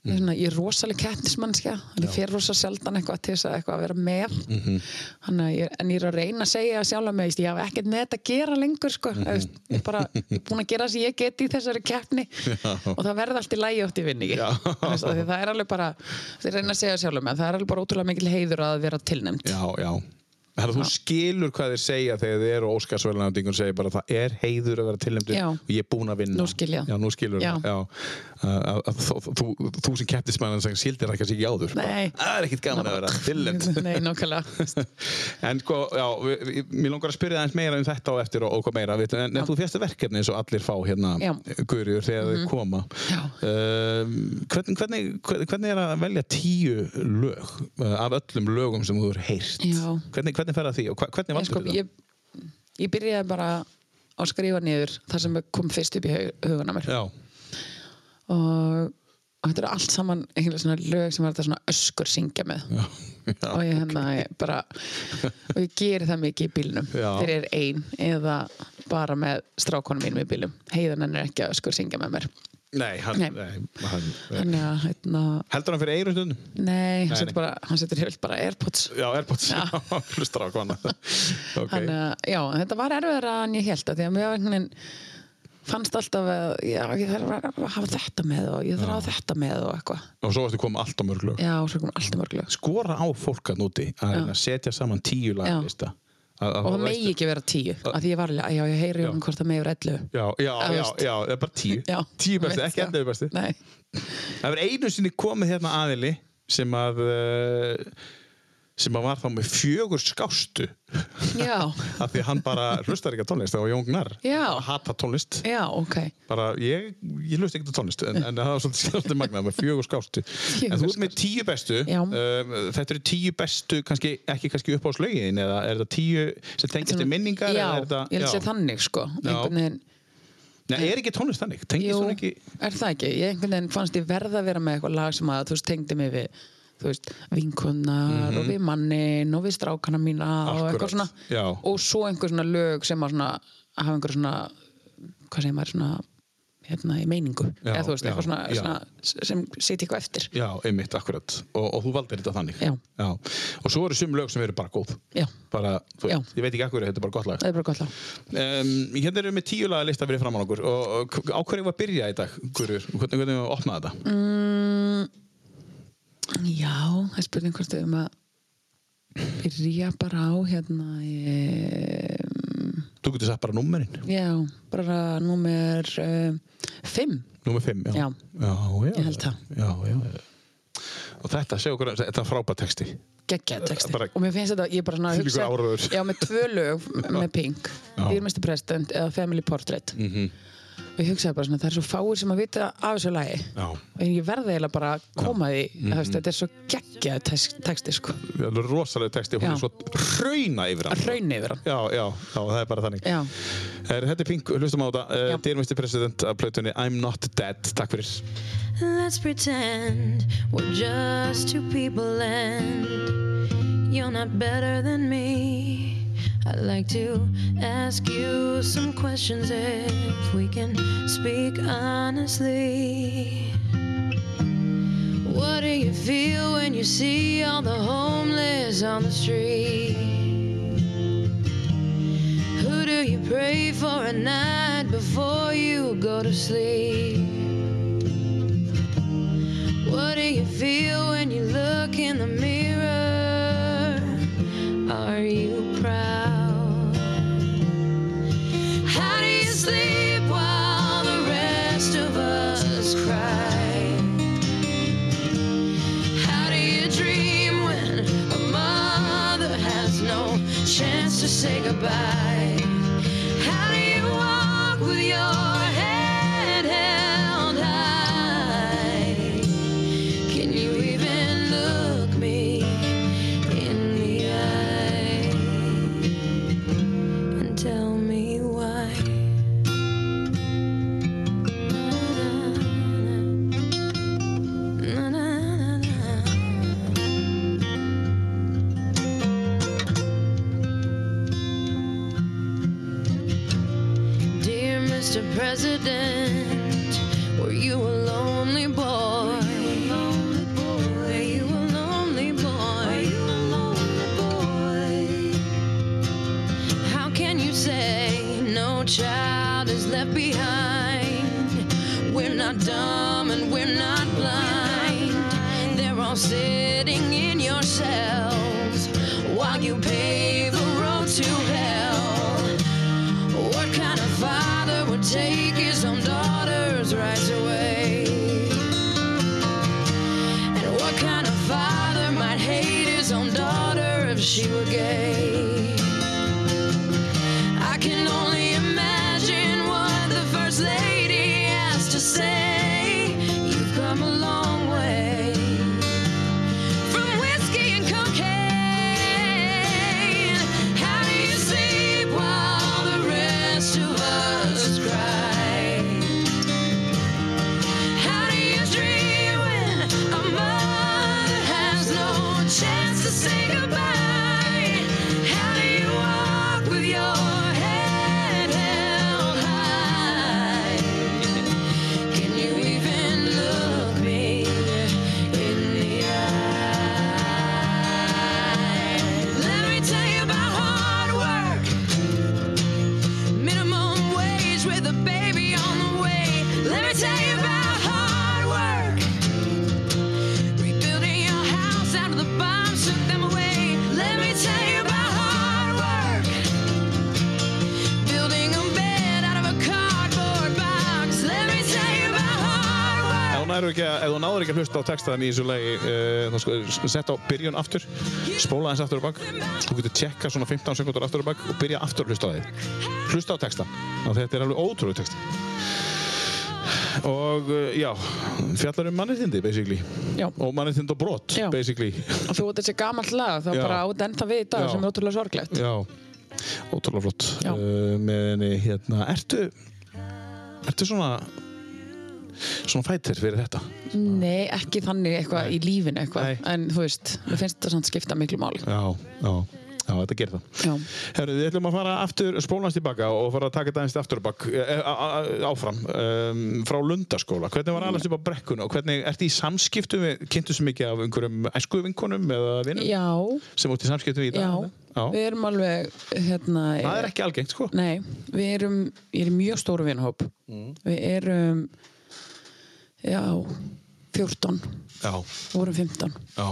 Speaker 3: Ég er, svona, ég er rosaleg kettnismannskja en ég fer rosa sjaldan eitthvað til þess að, eitthvað að vera með mm
Speaker 2: Mhm.
Speaker 3: -hmm. ég, en ég er að reyna að segja sjálf með ég haf ekkert með þetta að gera lengur sko. mm -hmm.
Speaker 2: Mhm.
Speaker 3: ég er bara ég er búin að gera það sem ég get í þessari keppni og það verði allt í lægi átt í vinni það er alveg bara, ég reyna að segja sjálf með það er alveg bara ótrúlega mikil heiður að vera tilnæmt
Speaker 2: Já, já, Þannig að þú skilur hvað þeir segja þegar þeir eru Óskarsverðlandingun segir bara það er heiður að vera tilnæmdur
Speaker 3: Já.
Speaker 2: og ég er búinn að vinna.
Speaker 3: Nú skil ég.
Speaker 2: Já, nú skilur
Speaker 3: Já.
Speaker 2: það. Já. Að- að- að Þú, þú, þú sem keptismæðan sem sildir það kannski ekki áður.
Speaker 3: Nei.
Speaker 2: Það er ekkit gaman að vera tilnæmd.
Speaker 3: Nei, nákvæmlega.
Speaker 2: En sko, já, við- við- mér langar að spyrja aðeins meira um þetta og eftir og, og hvað meira, veit, en, en þú férstu verkefni eins og allir fá hérna,
Speaker 3: Já. Mhm.
Speaker 2: gurjur, þegar þeir koma.
Speaker 3: Já.
Speaker 2: Um, hvernig, hvernig, hvernig er að velja tíu lög uh, af öllum lögum sem þú hefur heyrt?
Speaker 3: Já.
Speaker 2: Hvernig, hvernig fer það því og hva- hvernig
Speaker 3: Ég,
Speaker 2: valdur
Speaker 3: sko,
Speaker 2: þetta?
Speaker 3: ég, ég byrjaði bara að skrifa niður það sem kom fyrst upp í huguna mér
Speaker 2: Já,
Speaker 3: og, og þetta eru allt saman einhverjum svona lög sem var þetta svona öskur syngja með
Speaker 2: já, já.
Speaker 3: og ég hérna ég bara og ég geri það mikið í bílnum
Speaker 2: Já.
Speaker 3: þegar ég er ein eða bara með strákonum mínum í bílum heiðan henn er ekki að öskur syngja með mér
Speaker 2: Nei, hann,
Speaker 3: Nei.
Speaker 2: nei. hann,
Speaker 3: þannig að hérna
Speaker 2: heldur hann fyrir eyrun stundum?
Speaker 3: nei, hann
Speaker 2: Nei,
Speaker 3: setur
Speaker 2: nei.
Speaker 3: bara hann setur hefult bara Airpods
Speaker 2: Já, Airpods,
Speaker 3: Já.
Speaker 2: hlustar á hana okay.
Speaker 3: Þannig að, já, þetta var erfiðara en ég held að því að mér var einhvern veginn fannst alltaf að já, ég þarf að hafa þetta með og ég þarf að hafa þetta með og eitthvað.
Speaker 2: Og svo ertu komið allt á mörg lög
Speaker 3: Já, sko. og svo kom alltaf mörgleg.
Speaker 2: Skora á fólk að núti að reyna að setja saman tíu laglista
Speaker 3: Og það megi ekki vera tíu, að því ég var alveg, að já, ég heyri um hvort það megi vera ellu.
Speaker 2: Já, já,
Speaker 3: Að
Speaker 2: já,
Speaker 3: veist.
Speaker 2: já, það er bara tíu
Speaker 3: Já,
Speaker 2: Tíu
Speaker 3: veist
Speaker 2: besti, ekki
Speaker 3: það.
Speaker 2: endur besti
Speaker 3: Nei,
Speaker 2: Það var einu sinni komið hérna aðili sem að uh, sem að var þá með fjögur skástu
Speaker 3: já,
Speaker 2: af því að hann bara hlustar ekki að tónlist það var Jón Gnarr,
Speaker 3: Já.
Speaker 2: Hann hata tónlist
Speaker 3: já, ok.
Speaker 2: bara ég, ég hlust ekki til tónlist en, en það var svolítið skjáttu magnað með fjögur skástu en þú ert með tíu bestu
Speaker 3: Já.
Speaker 2: um, þetta eru tíu bestu kannski, ekki kannski upp á slögin eða er þetta tíu sem tengist til minningar
Speaker 3: Já,
Speaker 2: eða er þetta,
Speaker 3: ég held að sé þannig, sko. Einhvern veginn,
Speaker 2: Nei, er ekki tónlist þannig tengist
Speaker 3: jú,
Speaker 2: hún ekki
Speaker 3: er það ekki? Ég einhvern veginn fannst ég verða að vera með eitthvað lag sem að, þú veist, tengdi mig við, þú veist, vinkunnar og við mannin og við strákana mína og
Speaker 2: Akkúrat,
Speaker 3: eitthvað svona.
Speaker 2: Mhm. já.
Speaker 3: og svo einhver svona lög sem að svona, hafa einhver svona hvað segir maður svona hérna í meiningu
Speaker 2: Já,
Speaker 3: eða þú
Speaker 2: já,
Speaker 3: veist, eitthvað svona,
Speaker 2: já.
Speaker 3: svona sem sitja eitthvað eftir
Speaker 2: já, einmitt, akkurat og, og þú valdir þetta þannig
Speaker 3: Já.
Speaker 2: og svo eru sum lög sem eru bara góð
Speaker 3: já,
Speaker 2: bara, þú,
Speaker 3: Já.
Speaker 2: veist, ég veit ekki akkur þetta er bara gott lag
Speaker 3: það er bara gott lag
Speaker 2: um, hérna erum við með tíu laga lista fyrir framann okkur og, og á hverju var að byrja í dag hverjur, hvernig, hvernig við opnaði þetta
Speaker 3: Mm. já, það er spurning hvort við um að byrja bara á hérna um,
Speaker 2: Þú getur sagt bara nummerinn,
Speaker 3: já, bara númer um, fimm
Speaker 2: nummer 5 já.
Speaker 3: Já.
Speaker 2: Já, já,
Speaker 3: Ég held það.
Speaker 2: já, já, já. Og þetta, segja okkur, þetta er frábært texti
Speaker 3: geggjað texti
Speaker 2: Eh, Bara-
Speaker 3: og mér finnst þetta, ég er bara svona að
Speaker 2: Þvílíkur áróður.
Speaker 3: já, með tvö lög með Pink Dýrmesti President eða Family Portrait
Speaker 2: Mm.
Speaker 3: og ég hugsaði bara svona, það er svo fáir sem að vita af þessu lagi
Speaker 2: Já. Mm-hmm.
Speaker 3: og ég verði eiginlega bara að koma því mm -hmm. þetta er svo geggjað tex- texti sko,
Speaker 2: Það er rosalega texti, hún
Speaker 3: Já.
Speaker 2: er svo hrauna yfir
Speaker 3: að
Speaker 2: hann
Speaker 3: raun yfir hann
Speaker 2: Já, já, já, það er bara þannig
Speaker 3: já,
Speaker 2: er, Þetta er Pink, hlustum á þetta uh,
Speaker 3: Já.
Speaker 2: Dýrmesti president af plötunni I'm not dead, takk fyrir
Speaker 6: Let's pretend we're just two people and you're not better than me. I'd like to ask you some questions if we can speak honestly. What do you feel when you see all the homeless on the street? Who do you pray for at night before you go to sleep? What do you feel when you look in the mirror? Are you proud? How do you sleep while the rest of us cry? How do you dream when a mother has no chance to say goodbye? How do you walk with your head held high? Can you even look me in the eye and tell me why? Na, na, na, na, na, na. Dear Mr. President, were you a lonely boy? Were you a lonely boy? How can you say no child is left behind? We're not dumb and we're not blind. They're all sitting in your cells while you pave the his own daughter if she were gay. I can only imagine what the first lady has to say. You've come a long way from whiskey and cocaine. How do you sleep while the rest of us cry? How do you dream when a mother has no chance to say goodbye? How do you walk with your head held high? Can you even look me in the eye? Let me tell you about hard work minimum wage with a baby on the way. Let me tell you about hard work. Rebuilding your house out of the bombs took them away. Let me tell you about hard work. Building a bed out of a cardboard box. Let me tell you about hard
Speaker 2: Ef þú náður
Speaker 6: work.
Speaker 2: ekki, að- ef þú náður ekki að hlusta á textaðan í þessu lagi, uh, þá sko, s- sett á byrjun aftur, spóla eins aftur á bak, þú getur tjekka svona 15 sekundar aftur á bak og byrja aftur að hlusta á þig. Hlusta á texta, Ná, þetta er alveg ótrúið texti. Og uh, já, fjallar um mannréttindi, basically.
Speaker 3: Já.
Speaker 2: Og mannréttind og brot,
Speaker 3: Já.
Speaker 2: basically.
Speaker 3: og þú veit þessi gamalt lag þá
Speaker 2: Já.
Speaker 3: bara á þetta ennþá við í dag
Speaker 2: Já.
Speaker 3: sem er ótrúlega sorglegt
Speaker 2: Já, ótrúlega flott.
Speaker 3: Já.
Speaker 2: Uh, með henni, hérna, ertu, ertu svona, svona fætir fyrir þetta?
Speaker 3: nei, ekki þannig eitthvað í lífinu eitthvað
Speaker 2: Nei.
Speaker 3: en þú veist, mér finnst þetta samt skipta miklu máli
Speaker 2: Já, já, já, þetta gerir það.
Speaker 3: já,
Speaker 2: Herru, við ætlum að fara aftur, spólast tilbaka og fara að taka þetta aðeins til aftur á bak, eh, eh, a- a- áfram, um, frá Lundaskóla. Hvernig var allast upp á brekkuna og hvernig ertu í samskiptum, við, kynntustu mikið af einhverjum æsku vinkonum eða vinnum
Speaker 3: já,
Speaker 2: sem út í samskiptum í dag?
Speaker 3: já.
Speaker 2: já.
Speaker 3: við erum alveg hérna,
Speaker 2: Það er ekki Mm. algengt, sko.
Speaker 3: Nei, við erum, ég er í mjög stóru vinahóp. Við erum, já, 14,
Speaker 2: Já,
Speaker 3: vorum 15.
Speaker 2: já.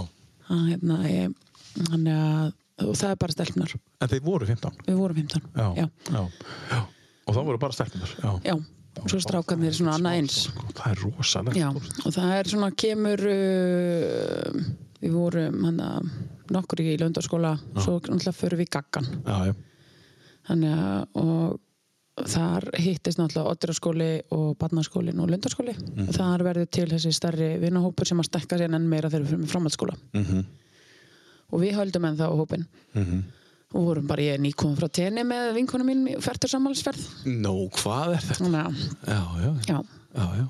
Speaker 3: Það, hérna, ég, þannig að, og það er bara stelpnar.
Speaker 2: En þeir voru 15?
Speaker 3: Við vorum 15,
Speaker 2: Já,
Speaker 3: já.
Speaker 2: já. já. Og þá voru bara stelpunar?
Speaker 3: Já, svo strákarnir svona annað eins.
Speaker 2: Það er rosalega.
Speaker 3: Já, og það er svona, kemur, uh, við vorum, hann að, nokkur í löndarskóla, svo náttúrulega förum við í gaggan.
Speaker 2: Já, já.
Speaker 3: Þannig að, og þar hittist náttúrulega Odduraskóli og Barnaskólin og Lundarskóli.
Speaker 2: Mhm.
Speaker 3: Þar verður til þessi stærri vinahópur sem að stekka sér enn meira þegar við fyrir með framhaldsskóla.
Speaker 2: Mhm.
Speaker 3: Og við höldum enn það á hópin. Og vorum bara ég nýkomum frá tenni með vinkonum mín í ferðarsamhalsferð.
Speaker 7: Nó, hvað er þetta?
Speaker 3: Þannig að,
Speaker 7: Já, já, já.
Speaker 3: já,
Speaker 7: Já, já.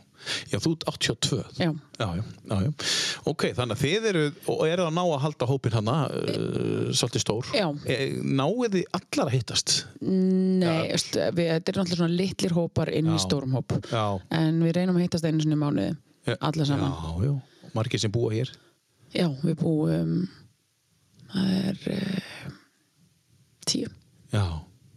Speaker 7: Já, þú ert 82.
Speaker 3: já.
Speaker 7: Já, já, já, já.
Speaker 2: Ok, þannig að þið eru, og eru að ná að halda hópin hana, uh, svolítið stór.
Speaker 3: E- Já.
Speaker 2: E, náið þið allar að hittast?
Speaker 3: Nei, veist, við, þetta er náttúrulega svona litlir hópar inn í
Speaker 2: Já.
Speaker 3: stórum hóp.
Speaker 2: Já.
Speaker 3: En við reynum að hittast einu sinni í mánuði, alla saman.
Speaker 2: E- Já, já. Og Margir sem búa hér.
Speaker 3: Já, við búum það er uh, tíu
Speaker 2: Já.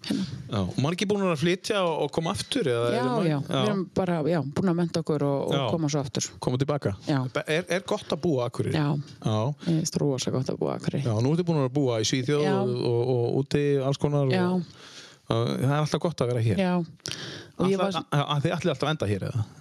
Speaker 3: hérna.
Speaker 2: já. Og Margir búin að flytja og, og koma aftur? Eða,
Speaker 3: Já,
Speaker 2: eða,
Speaker 3: já, við erum bara já, búin að mennta okkur og,
Speaker 2: Já.
Speaker 3: og koma svo aftur
Speaker 2: Koma tilbaka?
Speaker 3: Já.
Speaker 2: Er, er gott að búa akkurir?
Speaker 3: Já,
Speaker 2: Já.
Speaker 3: ég veist rosa gott að búa akkur
Speaker 2: Já, nú ertu búin að búa í Svíþjóð
Speaker 3: Já.
Speaker 2: og, og, og úti alls konar
Speaker 3: Já.
Speaker 2: og Uh, það er alltaf gott að vera hér.
Speaker 3: Já, og ég
Speaker 2: Ætla,
Speaker 3: var
Speaker 2: að, að þið ætli alltaf að enda hér eða?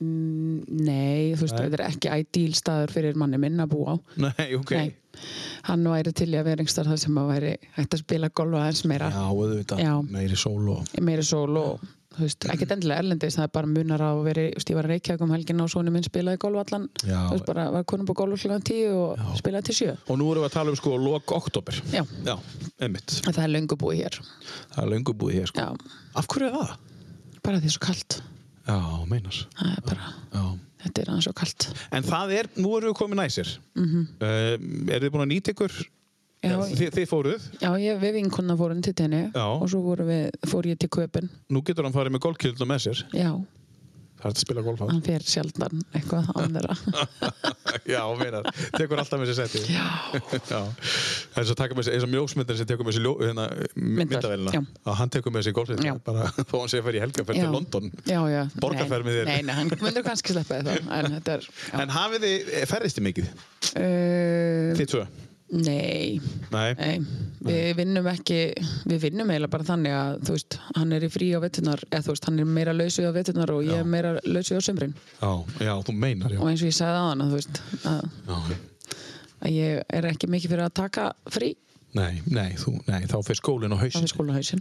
Speaker 3: Mm, Nei, þú veist, þetta er ekki ideal staður fyrir manni minn að búa á
Speaker 2: Nei, ok.
Speaker 3: Nei, hann væri til í að vera einhverstaðar þar sem að væri hægt að spila golf aðeins meira
Speaker 2: Já, auðvitað.
Speaker 3: Já.
Speaker 2: Meiri sól og...
Speaker 3: meiri sól og þú veist, ekkert endilega erlendis, það er bara munar á að vera, þú veist, ég var að reykja um helgin og sonu minn spilaði golf allan,
Speaker 2: Já.
Speaker 3: þú veist, bara var konum på golf klukkan tíu og spilaði til sjö.
Speaker 2: Og nú erum við að tala um sko lok oktober.
Speaker 3: Já,
Speaker 2: Já, einmitt.
Speaker 3: en það er löngu
Speaker 2: Sko.
Speaker 3: búið hér.
Speaker 2: Það er löngu búið hér sko.
Speaker 3: Já,
Speaker 2: Af hverju er það?
Speaker 3: bara því er svo kalt.
Speaker 2: Já, meinar.
Speaker 3: Það er bara,
Speaker 2: Já.
Speaker 3: þetta er aðeins svo kalt.
Speaker 2: En það er, nú erum við komið næsir. Mm er þið búin að nýta ykkur?
Speaker 3: Mhm. Já,
Speaker 2: Þið, þið fóruð.
Speaker 3: já ég, við vinkunna fórum til tenni
Speaker 2: Já.
Speaker 3: og svo vorum við, fór ég til köpinn.
Speaker 2: Nú getur hann farið með golfkjöldum með sér.
Speaker 3: Já,
Speaker 2: Það er hægt að spila golf á.
Speaker 3: hann fer sjaldan eitthvað án þeirra.
Speaker 2: Já, meinar. Tekur alltaf með sér setið. Já. Já. Það er svo að taka með sér, eins og mjósmyndar sem tekur með sér ljó, hérna,
Speaker 3: Myndavél, já.
Speaker 2: myndavælina. Að hann tekur með sér golfið.
Speaker 3: Já.
Speaker 2: Bara þó hann sé að fara í helgaferð
Speaker 3: Já.
Speaker 2: til London.
Speaker 3: Já, já.
Speaker 2: Borgarferð með
Speaker 3: Nei,
Speaker 2: þér.
Speaker 3: Nei, nei, hann myndur kannski sleppa þér þá, en þetta er... Já.
Speaker 2: En hafið þið, eh, ferðist þið mikið?
Speaker 3: Uh,
Speaker 2: Þið tvö?
Speaker 3: Nei,
Speaker 2: Nei.
Speaker 3: Nei, við vinnum ekki við vinnum eiginlega bara þannig að þú veist, hann er í frí á veturnar eða þú veist, hann er meira lausið á veturnar og ég er meira lausið á sömrin
Speaker 2: Já, já, þú meinar, já.
Speaker 3: og eins og ég sagði á hann að þú veist að
Speaker 2: já.
Speaker 3: að ég er ekki mikið fyrir að taka frí
Speaker 2: Nei, nei, þú, nei, þá fyrir skólinn á
Speaker 3: á
Speaker 2: hausinn. sko.
Speaker 3: skólahausinn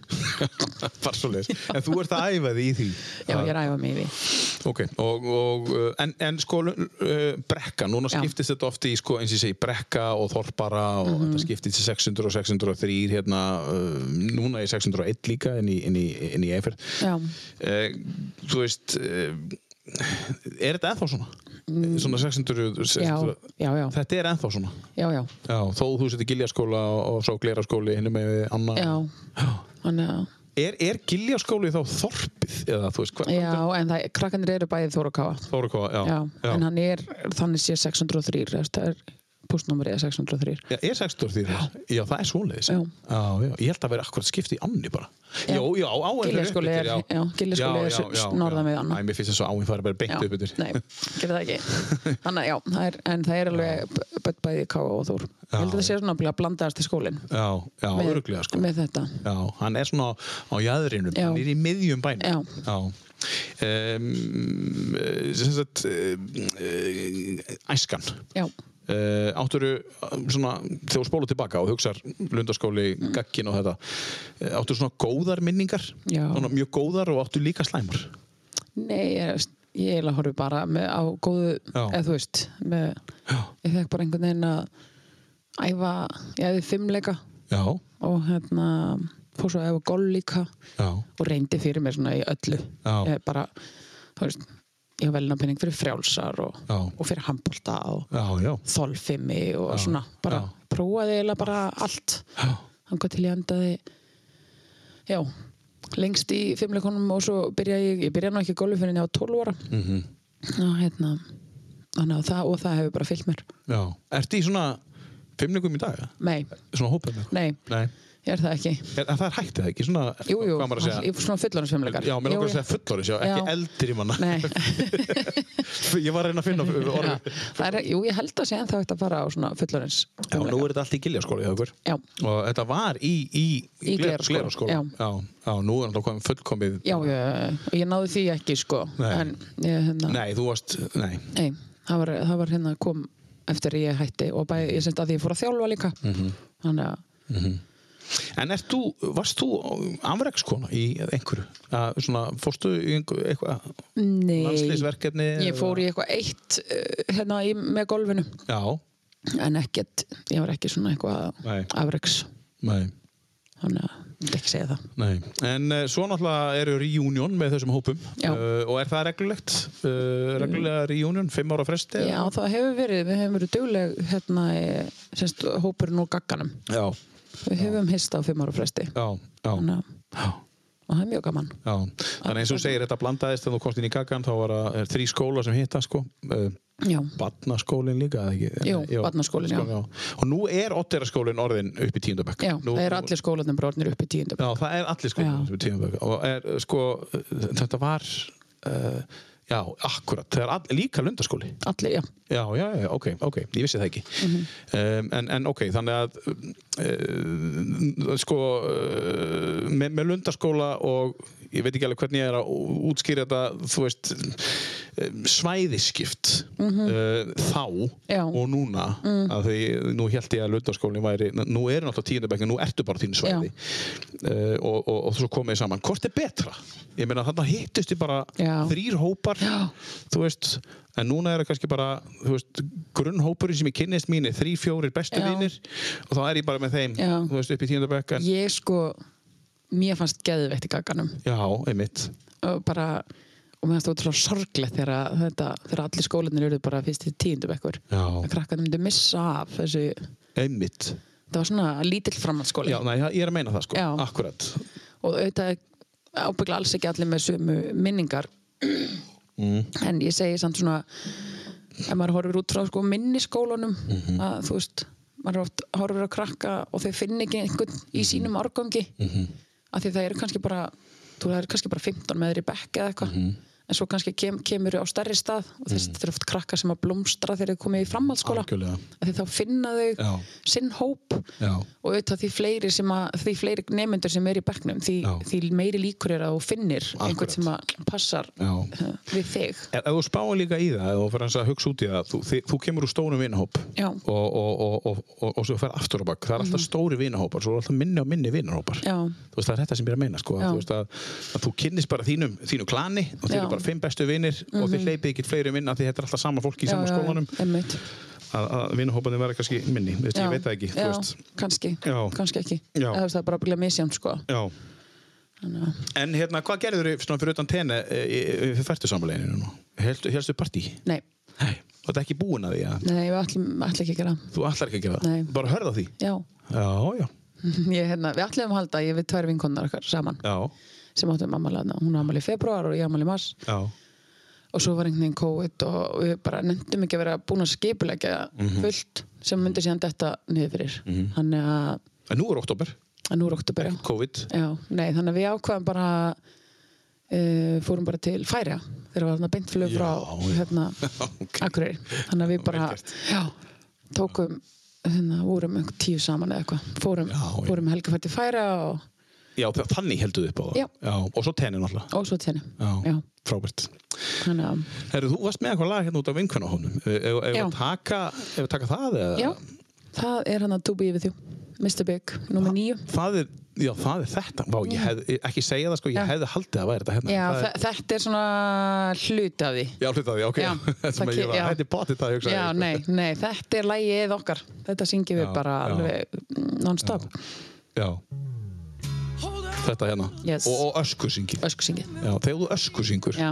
Speaker 8: Farsóleis. En þú ert að æfa því í því.
Speaker 3: Já, ég er að æfa mig í því
Speaker 2: Ok, og, og uh, en, en sko uh, brekka, núna
Speaker 3: Já.
Speaker 2: skiptist þetta oft í sko, eins og ég segi brekka og þorpara og
Speaker 3: Mhm.
Speaker 2: þetta skiptist í 600 og 603 hérna, uh, núna í 601 líka inn í, inn í, inn í Eifert
Speaker 3: Já.
Speaker 2: Þú veist uh, er þetta ennþá svona? Svona 600, 600
Speaker 3: Mm. Já, já, já.
Speaker 2: Þetta er ennþá svona
Speaker 3: Já, já,
Speaker 2: Já, þó þú setur giljaskóla og, og svo gleraskóli hinnum með annað
Speaker 3: já Þannig að
Speaker 2: Er, er giljaskóli þá þorpið? Eða þú veist hvað?
Speaker 3: Já, en það, krakkanir eru bæðið Þóra Káa
Speaker 2: Þórukofa, já.
Speaker 3: já, en hann er, þannig sé 603 þú veist, það er postnúmerið er 603
Speaker 2: Já, er 60 því þess? Já, það er svoleiðis.
Speaker 3: Já.
Speaker 2: Já, já. Ég held að vera akkurat skipt í annir bara. Já,
Speaker 3: Já.
Speaker 2: já, já áinn fer
Speaker 3: Giljaskóli
Speaker 2: upp
Speaker 3: er-
Speaker 2: yfir,
Speaker 3: já, Giljaskóli er
Speaker 2: Já,
Speaker 3: s-
Speaker 2: já, já,
Speaker 3: norðan
Speaker 2: já.
Speaker 3: við ána.
Speaker 2: Æ, mér finnst þess að áinn fara bara beint upp yfir.
Speaker 3: nei, gerir það ekki Þannig, að já, það er, en það er alveg b- b- bæði Káa og Þór Ég held að það sé svona að blandaðast í skólinn
Speaker 2: Já, já, öruglega sko.
Speaker 3: með þetta
Speaker 2: Já, hann er svona á, á jæðrinum,
Speaker 3: Já.
Speaker 2: hann er í miðjum bænum.
Speaker 3: Já.
Speaker 2: Um, sem sagt, uh, æskan.
Speaker 3: Já,
Speaker 2: Uh, átturu svona, þegar þú spólar tilbaka og hugsar lundaskóli,
Speaker 3: Mm.
Speaker 2: gagkin og þetta uh, átturu svona góðar minningar
Speaker 3: Já.
Speaker 2: svona mjög góðar og áttu líka slæmar
Speaker 3: nei, ég, ég eiginlega horfi bara með, á góðu,
Speaker 2: Já.
Speaker 3: eða þú veist með, ég fekk bara einhvern veginn að æfa, ég æfði fimmleika
Speaker 2: Já,
Speaker 3: og hérna fór svo að æfa golf líka
Speaker 2: já,
Speaker 3: og reyndi fyrir mér svona í öllu
Speaker 2: Já.
Speaker 3: ég bara, þú veist ég var velna penning fyrir frjálsar og,
Speaker 2: Já.
Speaker 3: og fyrir handbolta og
Speaker 2: já, já,
Speaker 3: þolfimi og svona bara
Speaker 2: Já.
Speaker 3: prófaði eiginlega bara allt
Speaker 2: já.
Speaker 3: þangar til ég endaði já, lengst í fimmleikunum og svo byrjaði ég, ég byrjaði nú ekki í golfi fyrir en ég á 12 ára mm -hmm. og hérna þannig að það og það hefur bara fyllt mér
Speaker 2: já. Ertu í svona fimmningum í dag? eða?
Speaker 3: nei,
Speaker 2: Svona hópum? eða?
Speaker 3: nei,
Speaker 2: Nei.
Speaker 3: ég er það ekki
Speaker 2: Er, en það er hægt eða ekki? Svona,
Speaker 3: jú, jú,
Speaker 2: hvað maður að segja?
Speaker 3: ég fór svona fullorins fimmleikar
Speaker 2: Já, mér langar að segja fullorðis, já, ekki
Speaker 3: Já.
Speaker 2: eldri manna.
Speaker 3: nei
Speaker 2: Ég var að reyna að finna
Speaker 3: Já,
Speaker 2: orðið.
Speaker 3: það er, jú, ég held að sé ennþá hægt að fara á svona fullorins
Speaker 2: Já, nú er þetta allt í giljaskóla hjá okkur.
Speaker 3: Já.
Speaker 2: Og þetta var í, í,
Speaker 3: Í Glerárskóla,
Speaker 2: Glerárskóla.
Speaker 3: já.
Speaker 2: Já, já, nú er þetta komið fullkomið.
Speaker 3: já, já, já, og ég náði því ekki sko
Speaker 2: Nei.
Speaker 3: en ég, hérna,
Speaker 2: Nei, þú varst, nei.
Speaker 3: nei, það, var, það var hérna kom eftir að ég hætti og bæ, ég semst að því ég fór að þjálfa líka
Speaker 2: Mhm.
Speaker 3: þannig að
Speaker 2: En ert þú, varst þú afrekskona í einhverju? Að, svona, fórstu í einhverju, eitthvað,
Speaker 3: Nei,
Speaker 2: landslýsverkefni?
Speaker 3: ég fór í eitthvað eitt eh, hérna í, með golfinu
Speaker 2: Já,
Speaker 3: en ekkert, ég var ekki svona eitthvað
Speaker 2: Nei.
Speaker 3: afreks
Speaker 2: nei.
Speaker 3: þannig að ég myndi ekki segja það
Speaker 2: Nei, en uh, svo náttúrulega eru reunion með þessum hópum
Speaker 3: Já.
Speaker 2: Eh, og er það reglulegt? Uh, reglulega reunion, fimm ára fresti?
Speaker 3: Já, það hefur verið, við hefum verið dugleg hérna, eh, semst, hópurinn úr gagganum
Speaker 2: Já,
Speaker 3: við hefum hist á fimm ára fresti
Speaker 2: já, já,
Speaker 3: Þannig að-
Speaker 2: já.
Speaker 3: og það er mjög gaman
Speaker 2: já. Þannig eins og þú segir þetta blandaðist þegar þú komst inn í gaggan þá var það er þrý skóla sem hitta sko uh,
Speaker 3: Já,
Speaker 2: Barnaskólin líka, eða ekki? Eh,
Speaker 3: Jú, barnaskólinn, já.
Speaker 2: Og nú er Otteraskólin orðin upp í tíundabökk
Speaker 3: já það er allir skólanum brotnir upp í tíundum
Speaker 2: Já, það er allir
Speaker 3: Já.
Speaker 2: skólinn upp í tíundabökk og er, eh, sko, eh, þetta var uh, já, akkurat, það er all, líka lundaskóli
Speaker 3: Allir, já,
Speaker 2: Já, já, já, ok, ok, ég vissi það ekki
Speaker 3: Mhm.
Speaker 2: um, en, en ok, þannig að uh, sko uh, með, með lundaskóla og ég veit ekki alveg hvernig ég er að ú- útskýra þetta, þú veist um, svæðiskipt uh, þá
Speaker 3: Mhm. Já. Mm.
Speaker 2: og núna að því nú held ég að lundaskólinn væri, nú eru náttúrulega tíundabækja nú ertu bara á þínu svæði uh, og, og, og svo komið þið saman, hvort er betra? Ég meina þarna hittust þið bara
Speaker 3: Já.
Speaker 2: þrý þrýr hópar
Speaker 3: Já.
Speaker 2: þú veist, en núna er það kannski bara þú veist, grunnhópurinn sem ég kynnist mín er þrý, fjórir bestu
Speaker 3: Já.
Speaker 2: vinnir og þá er ég bara með þeim,
Speaker 3: Já.
Speaker 2: þú veist, upp í tíundabökk en...
Speaker 3: ég sko mér fannst geðveikt í gagganum
Speaker 2: já, einmitt
Speaker 3: og bara, og mér fannst ótrúlega sorglegt þegar, að þetta, þegar allir skólanir eru bara fyrst í tíundum ekkur
Speaker 2: Já.
Speaker 3: að krakkanum myndi missa af þessu
Speaker 2: einmitt,
Speaker 3: það var svona lítill framhaldsskóli
Speaker 2: já, næ, ég er að meina það sko,
Speaker 3: Já.
Speaker 2: akkurat
Speaker 3: og auðvitað ábyggla alls ekki allir með sömu minningar
Speaker 2: Mm.
Speaker 3: en ég segi samt svona ef maður horfir út frá sko minniskólunum
Speaker 2: Mhm.
Speaker 3: að þú veist maður oft horfir að krakka og þau finna ekki einhvern
Speaker 2: Mhm.
Speaker 3: í sínum
Speaker 2: Mhm.
Speaker 3: árgangi af því það eru kannski bara þú það eru kannski bara 15 með þeir í bekk eða eitthvað en svo kannski kem, kemur á stærri stað og þess þetta eru oft krakkar sem að blómstra þegar þau komið í framhaldsskóla
Speaker 2: Algjörlega.
Speaker 3: Af því þá finna þau
Speaker 2: Já.
Speaker 3: sinn hóp
Speaker 2: Já.
Speaker 3: og auðvitað því fleiri, sem að, því fleiri nemyndur sem er í bekknum því,
Speaker 2: Já.
Speaker 3: því meiri líkur er að þú finnir
Speaker 2: Akkurat.
Speaker 3: einhvern sem að passar
Speaker 2: Já.
Speaker 3: eh, við þig
Speaker 2: Ef ef þú spáir líka í það, ef þú fyrir að hugsa út í það, þú, þið, þú kemur úr stórum vinahóp
Speaker 3: Já. Mhm.
Speaker 2: og, og, og, og, og, og svo fer aftur á bakk. Það er alltaf stóri vinahópar, svo er alltaf minni og minni vinahópar.
Speaker 3: Já.
Speaker 2: Þú veist, það er þetta sem ég er að meina, sko. að
Speaker 3: Já.
Speaker 2: Þú veist, að, að þú kynnist bara þínum, þínu klani og þið
Speaker 3: Já. Mhm.
Speaker 2: eru bara fimm bestu vinir og þið hleypið ekkert fleiri vinna því þetta er alltaf sama fólki í
Speaker 3: Já,
Speaker 2: sama
Speaker 3: já,
Speaker 2: skólanum.
Speaker 3: einmitt.
Speaker 2: Að, að vinahóparnir verða kannski minni, Þú veist,
Speaker 3: Já.
Speaker 2: ég veit það ekki, þú
Speaker 3: já,
Speaker 2: veist.
Speaker 3: kannski,
Speaker 2: Já.
Speaker 3: kannski ekki
Speaker 2: Já.
Speaker 3: Eða, þú veist, það er bara bygglega misjant sko.
Speaker 2: Já.
Speaker 3: Þannig að-
Speaker 2: En hérna, hvað gerður þau fyrir utan tenni eh, fyrir færtusamleginu nú? Helstu partí?
Speaker 3: nei,
Speaker 2: Nei. Þú ert ekki búin að því að
Speaker 3: nei, ég ætlum, ætlum ekki að gera það.
Speaker 2: þú ætlar ekki að gera það?
Speaker 3: Nei.
Speaker 2: Bara hörða því?
Speaker 3: já,
Speaker 2: Já, já.
Speaker 3: ég, hérna, við ætlum að halda ég við tvær vinkonnar okkar saman
Speaker 2: Já,
Speaker 3: sem áttum ammali, hún á ammali í februar og ég ammali í mars
Speaker 2: já.
Speaker 3: og svo var einhvern veginn COVID og við bara nefndum ekki að vera búin að skipulegja
Speaker 2: Mhm.
Speaker 3: fullt sem myndi síðan detta niður fyrir þannig að,
Speaker 2: En nú er oktober,
Speaker 3: að nú er oktober já.
Speaker 2: COVID.
Speaker 3: já, nei, þannig að við ákvaðum bara uh, fórum bara til Færa þegar var þarna beint flug frá
Speaker 2: Já, já.
Speaker 3: hérna,
Speaker 2: ok.
Speaker 3: Akureyri þannig að við bara
Speaker 2: Vel gert.
Speaker 3: já, tókum hérna, vorum einhver tíu saman eða eitthvað fórum,
Speaker 2: Já, já.
Speaker 3: fórum helgafært í Færa og
Speaker 2: Já, þa- þannig heldur þið upp á það.
Speaker 3: Já.
Speaker 2: Og svo tennin alltaf.
Speaker 3: og svo tenni
Speaker 2: Já. Frábært.
Speaker 3: þannig að
Speaker 2: Herru, þú varst með eitthvað lag hérna út af vinkvönahónum. Ef við
Speaker 3: Já.
Speaker 2: taka, ef við taka það eða?
Speaker 3: já, það er hann að To Be With You Mr. Big, nummer nýju
Speaker 2: Það er, já, það er þetta. Vá, ég hefði, ekki segja það sko, ég
Speaker 3: Mm. Já.
Speaker 2: hefði haldið að væri þetta hérna.
Speaker 3: já,
Speaker 2: það er,
Speaker 3: þe- þetta er svona hlut af því
Speaker 2: já hlutið það, já, ok.
Speaker 3: Já,
Speaker 2: það sem
Speaker 3: það
Speaker 2: að ég
Speaker 3: ke-
Speaker 2: var,
Speaker 3: já.
Speaker 2: þetta er bótið það, ég hugsaði.
Speaker 3: já,
Speaker 2: sko.
Speaker 3: nei, nei, þetta er lægið okkar þetta syngjum
Speaker 2: Já,
Speaker 3: við bara
Speaker 2: já.
Speaker 3: alveg mm, non-stop
Speaker 2: Já. Þetta hérna.
Speaker 3: Yes.
Speaker 2: Og, og öskusyngið.
Speaker 3: ösku syngið
Speaker 2: Já, þegar þú öskusyngur
Speaker 3: Já.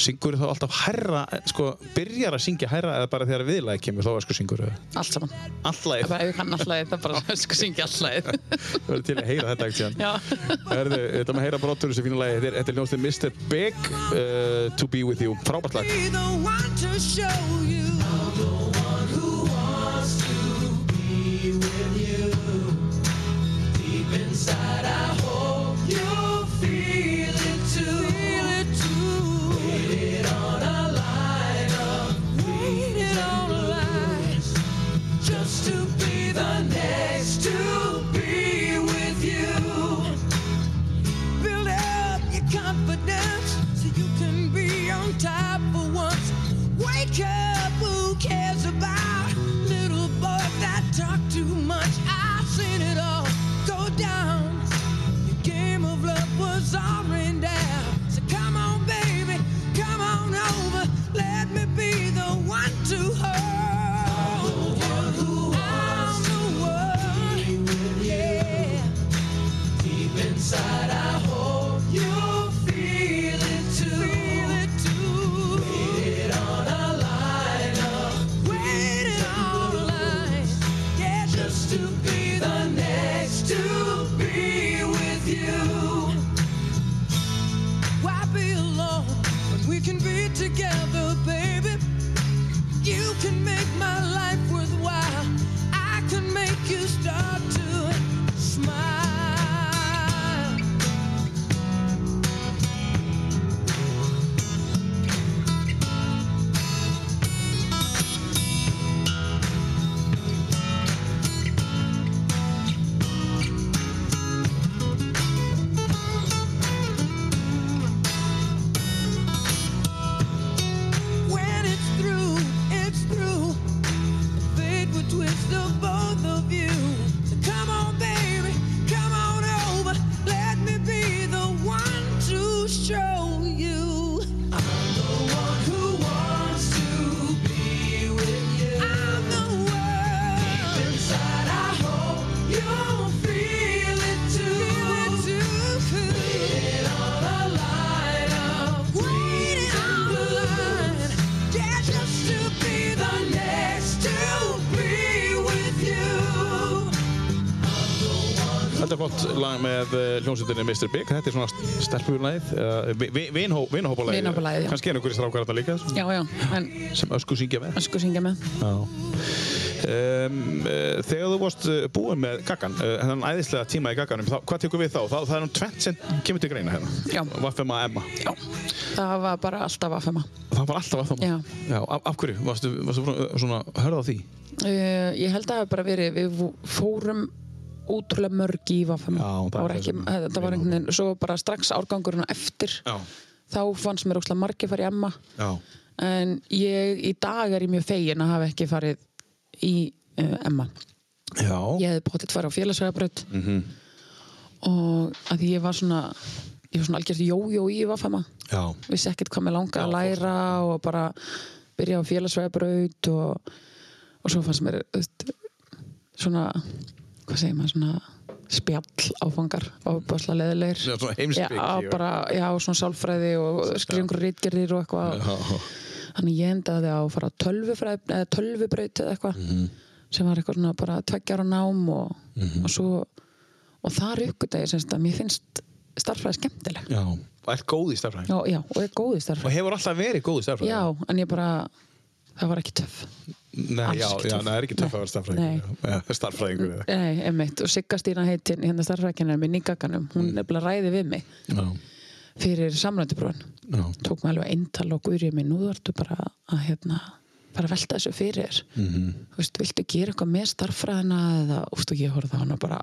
Speaker 2: syngur þá alltaf hærra sko, byrjar að syngja hærra eða bara þegar viðlagi kemur þá öskusyngur
Speaker 3: allt saman, það er
Speaker 2: alltaf
Speaker 3: bara ef ég kann allagið það er bara ösku syngið allagið
Speaker 2: það verður til að heyra þetta ekki síðan
Speaker 3: já,
Speaker 2: Herðu, þetta maður heyra brotur þessu fínu lagi þetta er, þetta er hljómsið Mr. Big uh, To Be With You frábært lag
Speaker 6: Be the one to show you. Just to be the next to be with you build up your confidence so you can be on top for once. Wake up, who cares about little boys that talk too much? I've seen it all go down. Your game of love was all ran down. So come on, baby, come on over. Let me be the one to hold. you. I'm the one. Yeah. You'll feel it too. Feel it too. Waited on a lineup. Waited on a line. Yeah, just to be the next to be with you. Why be alone when we can be together, baby? You can make my life worthwhile. I can make you start to smile. When it's through, it's through. Fate would twist the both of you. So come on, baby, come on over. Let me be the one to show you. I'm the one who wants to be with you. I'm the one. Deep inside, I hope you'll feel it too. Feel it too. on a light up. Waiting on the line. Yeah, just to be the next to be with you.
Speaker 2: Þetta er flott lag með eh, hljómsveitinni Mr. Big þetta er svona stelpulagið uh, vinhópalagið
Speaker 3: Vinhópalagið, já.
Speaker 2: kannski er einhverjir strákar þarna líka sem,
Speaker 3: já, já, en
Speaker 2: sem öskusingja með
Speaker 3: ösku syngja með
Speaker 2: Já. um, uh, Þegar þú varst uh, búin með gaggan uh, Þannig æðislega tíma í gagganum þá, Hvað tekur við þá? þá það er um tvent sem kemur til greina
Speaker 3: Já.
Speaker 2: hérna Vaffema Emma
Speaker 3: Já, það var bara alltaf affema.
Speaker 2: Það var alltaf Vaffema
Speaker 3: Já.
Speaker 2: Já, af, af hverju? Varstu, varstu búin að svona, hörða á því?
Speaker 3: Uh, ég held að það hafi bara verið, við vú- fórum útrúlega mörg í vaffema.
Speaker 2: Já, það
Speaker 3: það var
Speaker 2: er
Speaker 3: ekki,
Speaker 2: þess vegna.
Speaker 3: það var einhvern veginn, svo bara strax árgangurinn á eftir,
Speaker 2: Já,
Speaker 3: þá fannst mér óslega margir farið emma.
Speaker 2: já,
Speaker 3: En ég, í dag er ég mjög fegin að hafa ekki farið í uh, emma.
Speaker 2: já.
Speaker 3: Ég hefði potið farið á félagsræðabraut
Speaker 2: Mhm.
Speaker 3: og að því ég var svona, ég var svona algjörst jójó í vaffema.
Speaker 2: já.
Speaker 3: vissi ekkert hvað mér langaði að læra og bara byrja á félagsvegabraut og, og svo fannst mér þú veist, svona hvað segir maður, svona spjall áfangar, ofbásla leðilegir
Speaker 2: Já, svona heimspeki
Speaker 3: já,
Speaker 2: og-
Speaker 3: bara, já, svona sálfræði og skrifungur rítgerðir og eitthvað þannig ég endaði á að fara á tölvufræði, eða tölvubraut eða eitthvað
Speaker 2: Mhm.
Speaker 3: sem var eitthvað svona bara tveggjára nám og, og svo og þar uppgötaði semst að mér finnst starffræði skemmtileg
Speaker 2: Já, og ert góð í starfræðin
Speaker 3: já, já, og er góð í starffræði
Speaker 2: Og hefur alltaf verið góð í starfræðin
Speaker 3: Já, en ég bara, það var ekki töff.
Speaker 2: Nei,
Speaker 3: alls
Speaker 2: já,
Speaker 3: ekki
Speaker 2: já,
Speaker 3: töff.
Speaker 2: það er ekki töff að vera
Speaker 3: Nei.
Speaker 2: starfræðingur Já, Starfræðingur eða
Speaker 3: Nei, einmitt, og Sigga Stína heitin hérna starfrækjanar minn í gagganum, hún
Speaker 2: Mm.
Speaker 3: nefnilega ræði við mig
Speaker 2: Já,
Speaker 3: fyrir samrændubróin.
Speaker 2: já,
Speaker 3: Tók mig alveg eintal og guðrið minn, nú þartu bara að hérna, bara velta þessu fyrir þér. -hmm.
Speaker 2: Mhm.
Speaker 3: Þú veist, viltu gera eitthvað með starffræðina eða, úst, og ég horfði á hana bara,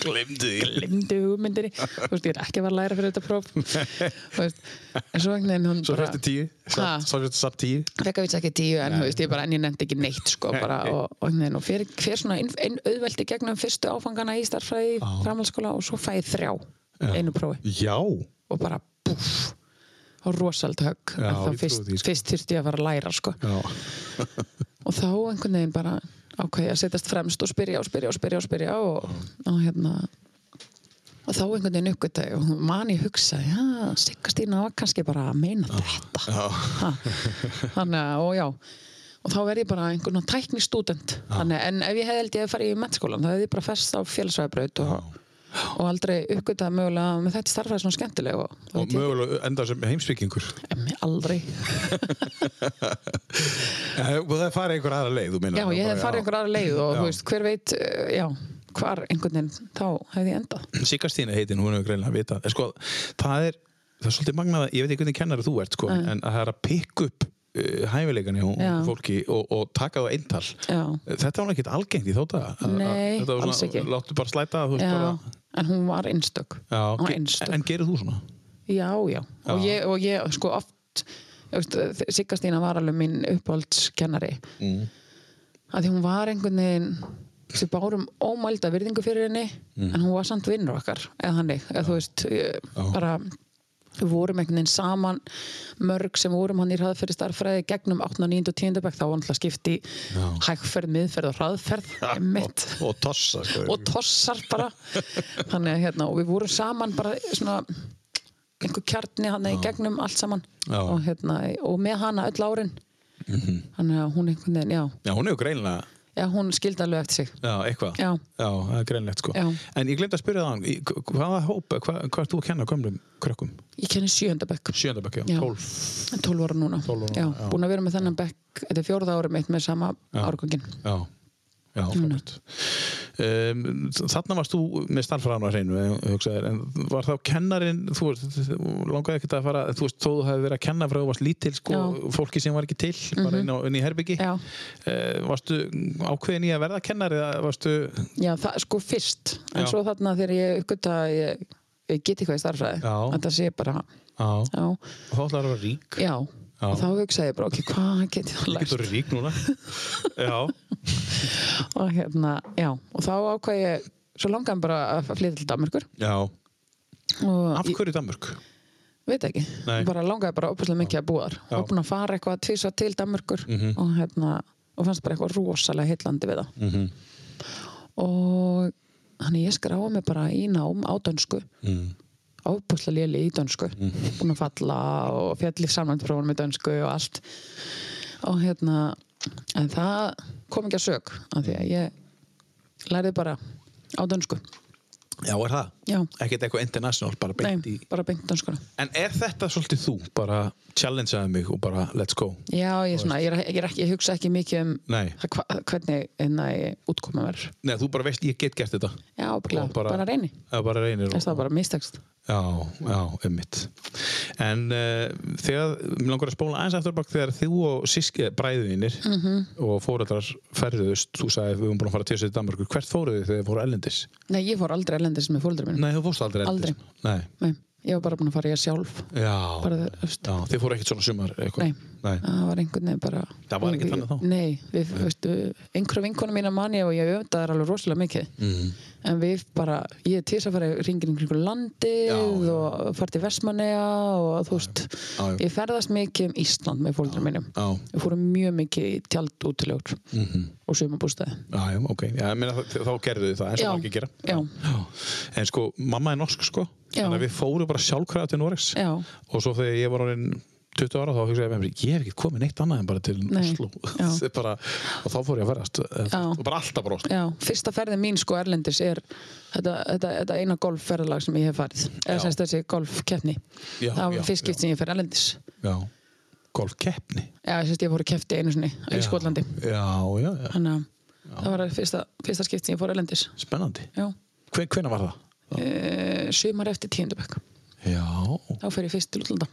Speaker 2: glemdi því
Speaker 3: glimdu hugmyndinni, þú veist, ég er ekki að vera að læra fyrir þetta próf. Þú veist, en svo einhvern veginn hún
Speaker 2: Svo fyrstu tíu,
Speaker 3: Ha?
Speaker 2: samt- svo fyrstu samt tíu
Speaker 3: fekk að við ekki tíu en, þú veist, ég bara, en ég nefndi ekki neitt sko, bara, og, og, og, og fyrir, fyrir svona inn, inn, auðveldi gegnum fyrstu áfangana í starffræði í framhaldsskóla og svo fæ ég þrjá einu prófi
Speaker 2: Já,
Speaker 3: og bara búff og rosald högg
Speaker 2: Já,
Speaker 3: En
Speaker 2: ég
Speaker 3: þá
Speaker 2: trúi
Speaker 3: fyrst,
Speaker 2: því, sko.
Speaker 3: fyrst þyrfti ég að fara að læra sko.
Speaker 2: já,
Speaker 3: og þá einhvern veginn bara ákveði að setjast fremst og spyrja og spyrja og spyrja og spyrja og, og hérna og þá einhvern veginn uppgötaði og man ég hugsa, já, Sigga Stína var kannski bara að meina þetta Ha. þannig að, og já og þá verð ég bara einhvern veginn tækni stúdent þannig, en ef ég hefði held ég að fara í mettskólan þá hefði ég bara fest á félagsvæðabraut og, og aldrei uppgötaði mögulega að með þetta starfaði svona skemmtileg og, þá
Speaker 2: og
Speaker 3: veit ég-
Speaker 2: mögulega enda sem heimsbyggingur
Speaker 3: Em, aldrei
Speaker 2: Eh, Og það farið einhver aðra leið, þú minna
Speaker 3: Já, ég hef farið einhver aðra leið og þú veist, hver veit, eh, já, hvar einhvern veginn, þá hefði ég endað.
Speaker 2: Siggastína heitin, hún hefur greinlega vitað En sko, það er, það er svolítið magnað að- Ég veit ekki hvernig kennari þú ert, sko En að það er að pikka upp uh, hæfileikana hjá
Speaker 3: Já.
Speaker 2: ungu fólki og, og taka það eintal
Speaker 3: Já.
Speaker 2: Þetta var ekkert algengt í þóta
Speaker 3: Nei,
Speaker 2: Þetta var
Speaker 3: alls ekki.
Speaker 2: svona, láttu bara slæta þú veist,
Speaker 3: Já,
Speaker 2: bara,
Speaker 3: en hún var einstök.
Speaker 2: Já,
Speaker 3: hún var
Speaker 2: ge-
Speaker 3: einstök.
Speaker 2: en gerir þú svona?
Speaker 3: já, já. Og ég, og ég sko, oft, þú veist, Sigga Stína var alveg minn uppáhaldskennari. Mm. Að því hún var einhvern veginn, þessi bárum ómælda virðingu fyrir henni, en hún var samt vinnur okkar, eða hannig, eða þú veist, ég, bara við vorum einhvern veginn saman mörg sem vorum hann í hraðferði starffræði gegnum 8. 9. og 10. bekk þá var hann alltaf skipti hægferð, miðferð og hraðferð mitt
Speaker 2: Og tossa, sko
Speaker 3: og tossar bara þannig að hérna og við vorum saman bara svona einhver kjarni hann í gegnum allt saman
Speaker 2: Já. Mhm.
Speaker 3: og hérna og með hana öll árin þannig að hún einhvern veginn, já,
Speaker 2: Já, hún hefur greinlega
Speaker 3: já hún skildi alveg eftir sig
Speaker 2: Já, eitthvað.
Speaker 3: Já.
Speaker 2: það er greinlegt sko.
Speaker 3: Já.
Speaker 2: En ég glemt að spyrja það, í- hvaða hópa, hvað, hvað ert þú að kenna gömlum krökkum?
Speaker 3: ég kenni sjöunda bekk,
Speaker 2: Sjöndabækja,
Speaker 3: Já.
Speaker 2: 12.
Speaker 3: 12 ára núna,
Speaker 2: 12 ára,
Speaker 3: já,
Speaker 2: já.
Speaker 3: búin að vera með þennan bekk þetta er fjórða ára mitt með sama árgangin
Speaker 2: Já, já, frábært. Um, þarna varst þú með starfræðan á hreinu, ef þú hugsaðir, en var þá kennarin, þú veist, þú langaði ekkert að fara, þú veist, þó þú hefði verið að kenna frá þú varst lítil, sko,
Speaker 3: Já. Mhm.
Speaker 2: fólki sem var ekki til, bara inn, á, inn í herbyggi.
Speaker 3: Já.
Speaker 2: Eh, varstu ákveðin í að verða kennari eða varstu,
Speaker 3: já, það sko fyrst en
Speaker 2: Já.
Speaker 3: svo þarna þegar ég uppgötta að ég, ég get eitthvað í starfræði
Speaker 2: Já.
Speaker 3: þetta sé bara,
Speaker 2: já,
Speaker 3: já,
Speaker 2: þá ætlaði að vera rík.
Speaker 3: já
Speaker 2: Já.
Speaker 3: og þá hugsaði ég bara, ok, hvað get ég að lært
Speaker 2: Getur rík núna? já,
Speaker 3: og hérna, já, og þá ákvað ég svo langaði mig bara að flytja til Danmörkur
Speaker 2: já.
Speaker 3: og
Speaker 2: Af
Speaker 3: ég
Speaker 2: hverju Danmörk?
Speaker 3: veit ekki,
Speaker 2: Nei.
Speaker 3: bara langaði bara opuslega mikið að búa þar og búin að fara eitthvað tvisvar til Danmörkur
Speaker 2: Mhm.
Speaker 3: og hérna, og fannst bara eitthvað rosalega heitlandi við það
Speaker 2: Mhm.
Speaker 3: og þannig ég skráði mig bara í nám á dönsku
Speaker 2: Mhm.
Speaker 3: mm. opuslega léli í dönsku búin að falla og fjalli samlandprófunum í dönsku og allt og hérna, en
Speaker 2: Mhm.
Speaker 3: það kom ekki að sög af því að ég lærði bara á dönsku
Speaker 2: Já, er það?
Speaker 3: Já.
Speaker 2: Ekkert eitthvað international, bara beint
Speaker 3: Nei,
Speaker 2: í...
Speaker 3: bara beint danskona.
Speaker 2: En er þetta svolítið þú? Bara challengeaði mig og bara let's go?
Speaker 3: Já, ég, er svona, ég, er, ég, er ekki, ég hugsa ekki mikið um
Speaker 2: Nei.
Speaker 3: það hva, hvernig hérna, útkoma verður.
Speaker 2: Nei, þú bara veist, ég get gert þetta.
Speaker 3: Já, bara,
Speaker 2: Og bara-
Speaker 3: bara reyni.
Speaker 2: Eða bara reynir og...
Speaker 3: Þess það var bara mistakst.
Speaker 2: Já, já, ummitt. En uh, þegar, mér langar að spóla aðeins aftur bak þegar þú og síski, bræðinir
Speaker 3: Mhm.
Speaker 2: og fóreldrar ferðuðust, þú sagði við höfum búin að fara til þessu í Danmarku, hvert fóruðu þið þegar þið fóru ellendis?
Speaker 3: Nei, ég fór aldrei elendis með fóldur minn.
Speaker 2: Nei, þú fórst aldrei ellendis.
Speaker 3: Mm. Aldrei.
Speaker 2: Nei,
Speaker 3: Nei, ég var bara búin að fara ég sjálf.
Speaker 2: já,
Speaker 3: Bara, þú veist.
Speaker 2: já, þið fóru ekkert svona sumar eitthvað.
Speaker 3: Nei.
Speaker 2: Sko, Nei.
Speaker 3: það var einhvern veginn bara...
Speaker 2: Það var ekkert þannig þá?
Speaker 3: Nei, við, veistu, einhverjum vinkonum mína manni og ég öfnda þær alveg rosalega mikið. Mm. En við bara, ég er til þess að fara ringin einhverjum landið og fara til Vestmanneja og þú veist,
Speaker 2: Já, já.
Speaker 3: ég ferðast mikið um Ísland með fóldur mínum.
Speaker 2: Já. Mhm.
Speaker 3: Við fórum mjög mikið í tjald útilegur mm -hmm. og sumabústæði.
Speaker 2: Já, já, ok, já, ég meina, þá, þá gerðu þið það eins og margir gera
Speaker 3: Já.
Speaker 2: En sko, mamma er norsk sko
Speaker 3: Já.
Speaker 2: Þannig að við fórum bara sjálfkrafa til Noregs
Speaker 3: Já.
Speaker 2: Og svo þegar ég var orðin 20 ára þá hugsaði ég með mér Ég hef ekki komið neitt annað en bara til
Speaker 3: Nei.
Speaker 2: Oslo
Speaker 3: Já.
Speaker 2: Þetta er bara, Og þá fór ég að ferast
Speaker 3: Já.
Speaker 2: Og bara alltaf bara Oslo
Speaker 3: Já, fyrsta ferðin mín sko Erlendis er þetta, þetta, þetta eina golfferðalag sem ég hef farið eða
Speaker 2: Já.
Speaker 3: sem sagt þessi golfkeppni
Speaker 2: Já,
Speaker 3: það
Speaker 2: já,
Speaker 3: var fyrst skipt sem ég fer Erlendis
Speaker 2: Já, golfkeppni
Speaker 3: Já, ég sést ég fór að keppti einu sinni í Skotlandi
Speaker 2: Já, já, já,
Speaker 3: þannig að það var fyrsta, fyrsta skipt sem ég fór Erlendis
Speaker 2: spennandi
Speaker 3: Já,
Speaker 2: Hven, Hvenær var það?
Speaker 3: e, sumar eftir tíundabökk
Speaker 2: Já,
Speaker 3: þá fer ég fyrst til útlanda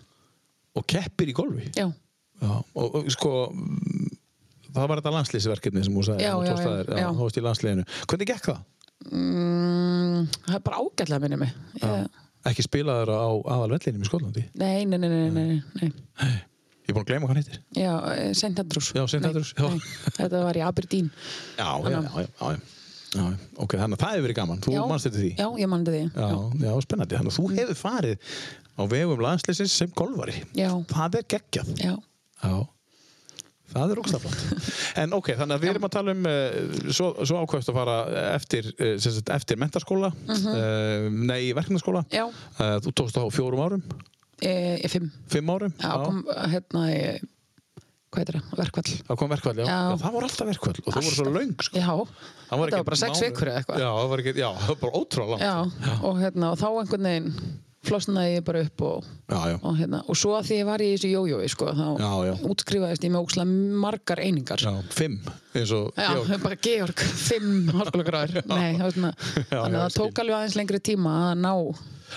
Speaker 2: og keppir í golfi
Speaker 3: Já,
Speaker 2: Já, og, og sko mm, Það var þetta landslýsverkefni sem hún sagði
Speaker 3: Já,
Speaker 2: þú
Speaker 3: já,
Speaker 2: tókst
Speaker 3: já,
Speaker 2: að þér,
Speaker 3: já.
Speaker 2: Þú varst í landsliðinu Hvernig gekk það?
Speaker 3: mm, það er bara ágætlega minni mig ég,
Speaker 2: ekki spilaður á aðalvellinum í Skotlandi
Speaker 3: Nei, nei, nei, nei, nei, nei.
Speaker 2: ég er búin að gleyma hvað hann heitir
Speaker 3: Já, eh, St. Andrews
Speaker 2: Já, St.
Speaker 3: Nei,
Speaker 2: Andrews, já.
Speaker 3: nei, Þetta var í Aberdeen
Speaker 2: já, já, já, já, já, já. ok, þannig að það hefur verið gaman þú
Speaker 3: Já.
Speaker 2: manst þetta því
Speaker 3: Já, Mm. ég mann þetta því
Speaker 2: Já, já, spennandi, þannig að þú hefur farið á vegum landslýsins sem golfari
Speaker 3: Já.
Speaker 2: það er geggjað
Speaker 3: Já,
Speaker 2: já. það er ógstaflant en ok, þannig að við erum að tala um uh, svo, svo ákvæmst að fara eftir uh, sem sagt, eftir mentaskóla uh nei, verkefnaskóla
Speaker 3: Mhm. Já.
Speaker 2: uh, þú tókst það á fjórum árum,
Speaker 3: e, ég fimm
Speaker 2: fimm árum
Speaker 3: Já, kom hérna í, hvað heitir það, verkvall
Speaker 2: það kom verkvall, já.
Speaker 3: Já.
Speaker 2: Já, það voru alltaf verkvall og það voru svo löng sko.
Speaker 3: Já,
Speaker 2: Það
Speaker 3: E þetta var bara sex
Speaker 2: mánuð.
Speaker 3: vikur eða eitthvað
Speaker 2: Já, það var ekki, já, það var bara ótrúlega langt.
Speaker 3: Já, og hérna, og þá einhvern veginn flosnaði ég bara upp og,
Speaker 2: Já, já.
Speaker 3: og hérna, og svo að því ég var í þessu jójói sko, þá
Speaker 2: Já, já.
Speaker 3: útskrifaðist ég með ókslega margar einingar
Speaker 2: Já, fimm, eins og
Speaker 3: Já,
Speaker 2: Georg.
Speaker 3: bara Georg, fimm háskólagráður Nei, það var svona, þannig að
Speaker 2: já,
Speaker 3: það tók alveg aðeins lengri tíma að ná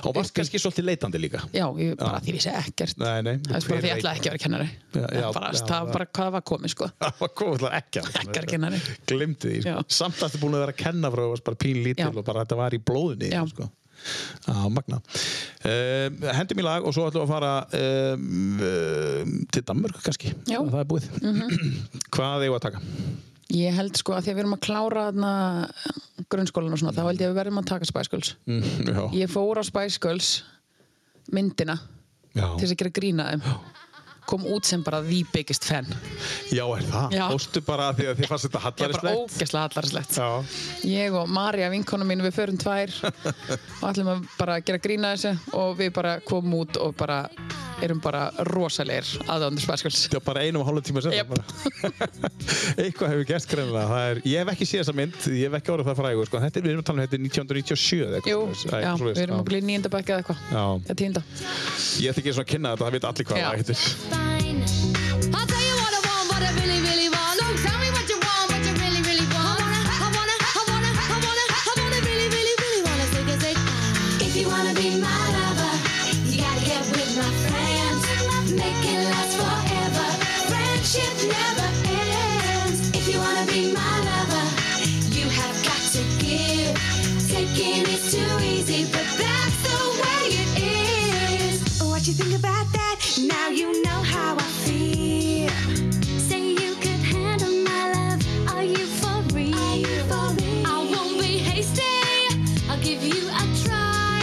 Speaker 2: Og varst kannski svolítið leitandi líka.
Speaker 3: Já, ég, bara því vissi ekkert
Speaker 2: Nei, nei.
Speaker 3: Það er bara því ég ætlaði ekki að vera kennari
Speaker 2: Já, já,
Speaker 3: bara,
Speaker 2: já,
Speaker 3: Það var bara hvað var komið sko
Speaker 2: Það var komið alltaf ekki.
Speaker 3: Ekki að kenna henni.
Speaker 2: Glimti því. sko.
Speaker 3: Já.
Speaker 2: Samt að þið búin að vera að kenna frá þú varst bara pín lítil
Speaker 3: Já.
Speaker 2: og bara þetta var í blóðinni.
Speaker 3: Já.
Speaker 2: Sko. Já, magna. Um, hendum í lag og svo ætlum við að fara um, um, til Danmörku kannski.
Speaker 3: Já. Mhm.
Speaker 2: Það er búið. Hvað eigum við að taka?
Speaker 3: Ég held sko að því að við erum að klára þarna grunnskólan og svona, þá held ég að við verðum að taka Spice Girls.
Speaker 2: Mm, Já.
Speaker 3: Ég fór á Spice Girls myndina
Speaker 2: Já.
Speaker 3: til þess að gera grína þeim. Kom út sem bara the biggest fan.
Speaker 2: Já, er það?
Speaker 3: Já.
Speaker 2: Fórstu bara af því að þið fannst þetta
Speaker 3: Ég er bara
Speaker 2: hallarslegt?
Speaker 3: ógeðslega hallarslegt.
Speaker 2: Já.
Speaker 3: Ég og Marja, vinkona mín, við förum tvær og ætlum að bara gera grína þessu og við bara komum út og bara erum bara rosalegir aðdóndur Spice Girls.
Speaker 2: Já, bara einum og hálfum tíma sem
Speaker 3: Jep.
Speaker 2: Eitthvað hefur gerst greinilega Það er, Ég hef ekki séð þessa mynd, ég hef ekki orðið það frægur sko. Þetta er, við erum að tala um þetta er 1997 eða eitthvað
Speaker 3: Jú,
Speaker 2: svoleiðis. Æ,
Speaker 3: já,
Speaker 2: svoleiðis,
Speaker 3: við erum okkur í nýjenda bekka eða eitthvað.
Speaker 2: Já.
Speaker 3: Það er tíunda.
Speaker 2: Ég ætti ekki svona að kynna þetta, það veit allir hvað
Speaker 3: Já.
Speaker 2: það heitir
Speaker 9: Fine. I'll tell you what I want, what I really, really want. So tell me what you want, what you really, really want. I wanna, I wanna, I wanna, I wanna really, really, really wanna take a take. If you wanna be my lover, you gotta get with my friends. Make it last forever. Friendship never ends. If you wanna be my lover, you have got to give. Taking is too easy, but that's the way it is. What you think about that? Now you know how I feel. Say you could handle my love. Are you for real? I won't be hasty. I'll give you a try.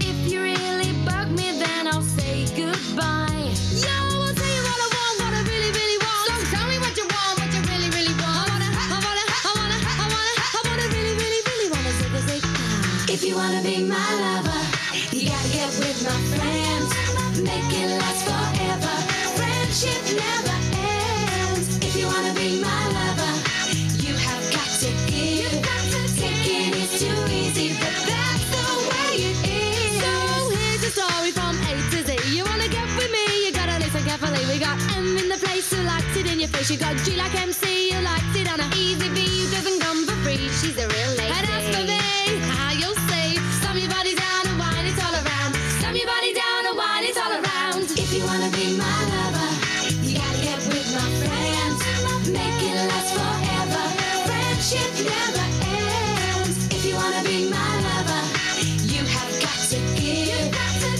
Speaker 9: If you really bug me, then I'll say goodbye. Yo, I'll tell you what I want, what I really, really want. So tell me what you want, what you really, really want. I wanna, I wanna, I wanna, I wanna, I wanna really, really, really wanna say this. If you wanna be my lover, you gotta get with my friends. Make it last forever. Friendship never ends. If you wanna be my lover, you have got to give. Taking is too easy, but that's the
Speaker 10: face who likes it in your face. You got G like MC who likes it on a easy V who doesn't come for free. She's a real lady. And as for me, how you'll see, slam your body down and wine it all around. Slam your body down and wine it all around. If you wanna be my lover, you gotta get with my friends. Make it last forever. Friendship never ends. If you wanna be my lover, you have got to give.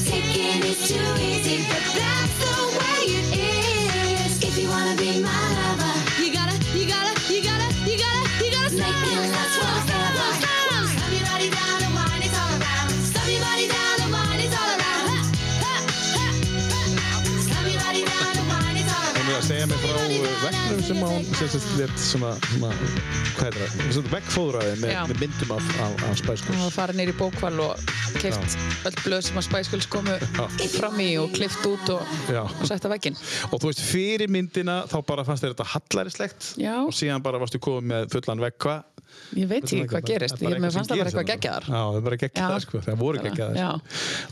Speaker 10: Taking is too easy, but that's the way it is. If you wanna be my lover, you gotta, you gotta, you gotta, you gotta, you gotta stop. Make it last forever. Slam your body down and wine it all around. Slam your body down and wine it all around. Ha, ha, ha, ha. Slam your body down and wine it all around.
Speaker 2: Hún er að segja mig frá uh, veggnum sem að hún sem sagt létt svona, svona, hvað er það, svona veggfóðraði með,
Speaker 3: Já.
Speaker 2: með myndum af, af, af Spice
Speaker 3: Hún var
Speaker 2: Girls.
Speaker 3: farin nýri bókval og klift öll blöð sem að Spice Girls komu fram í og klift út og,
Speaker 2: Já.
Speaker 3: og sett að vegginn.
Speaker 2: Og þú veist, fyrir myndina þá bara fannst þér þetta hallarislegt
Speaker 3: Já.
Speaker 2: og síðan bara varstu komið með fullan vegg, hvað?
Speaker 3: Ég veit ekki hvað gerist, hérna. ég með fannst það bara eitthvað
Speaker 2: geggjaðar.
Speaker 3: geggjaðar.
Speaker 2: Já, það er bara geggjaðar,
Speaker 3: Já.
Speaker 2: sko, það voru
Speaker 3: Bara, já.
Speaker 2: geggjaðar.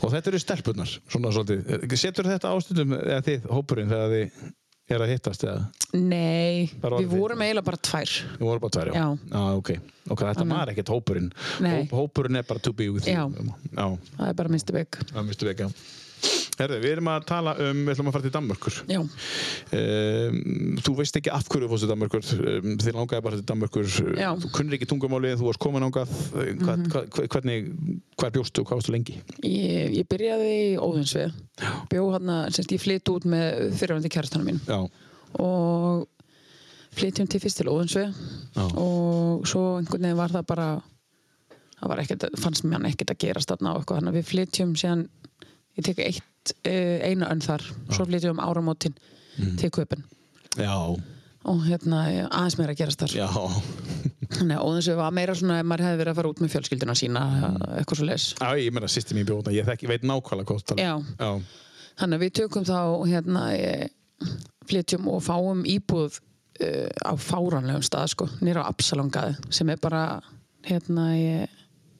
Speaker 2: Og þetta eru stelpunar, svona svolítið. Setur þetta ástundum eða þið, hópurinn, þegar þið er að hittast eða?
Speaker 3: Nei,
Speaker 2: Bara
Speaker 3: við
Speaker 2: orðið.
Speaker 3: vorum eiginlega bara tvær.
Speaker 2: Við vorum bara tvær, já.
Speaker 3: Já.
Speaker 2: ok. Ok, þetta var ekkert hópurinn.
Speaker 3: Nei.
Speaker 2: Hóp, hópurinn er bara to be with you.
Speaker 3: Já.
Speaker 2: Já,
Speaker 3: Það er bara minnstu bygg.
Speaker 2: það mistu við ekki. Herðu, við erum að tala um, við ætlum að fara til Danmörkur.
Speaker 3: Já,
Speaker 2: Um, þú veist ekki af hverju þú fórst til Danmörkur, um, þið langaði bara til Danmörkur,
Speaker 3: Já.
Speaker 2: þú kunnir ekki tungumálið, þú varst komin ángað, mm -hmm. hvernig, hvað bjóstu og hvað varstu lengi?
Speaker 3: ég, ég byrjaði í Óðinsvið. Bjó hérna, semst ég flytt út með fyrirvændi kærastanum mín.
Speaker 2: Já,
Speaker 3: og flytjum til fyrst til Óðinsvið
Speaker 2: Já.
Speaker 3: og svo einhvern veginn var það bara það var ekkert, fannst mér hann ekkert að gerast þarna og eitthvað, þannig að við flytjum síðan ég tek eitt, eh, eina önn þar svo flytjum um áramótin
Speaker 2: Mm.
Speaker 3: til Köpen
Speaker 2: já,
Speaker 3: og hérna eh, aðeins meira að gerast þar
Speaker 2: já.
Speaker 3: þannig að Óðinsvið var meira svona ef maður hefði verið að fara út með fjölskyldina sína
Speaker 2: Mm.
Speaker 3: eitthvað svo leis
Speaker 2: Æ, ég meina, sýsti mín bjóðna, ég þekki, veit nákvæmlega hvað þú talar.
Speaker 3: Já.
Speaker 2: um. Já,
Speaker 3: Þannig að við tökum þá hérna eh, flytjum og fáum íbúð uh, á fáranlegum stað sko, nýra á Absalongaði sem er bara hérna eh,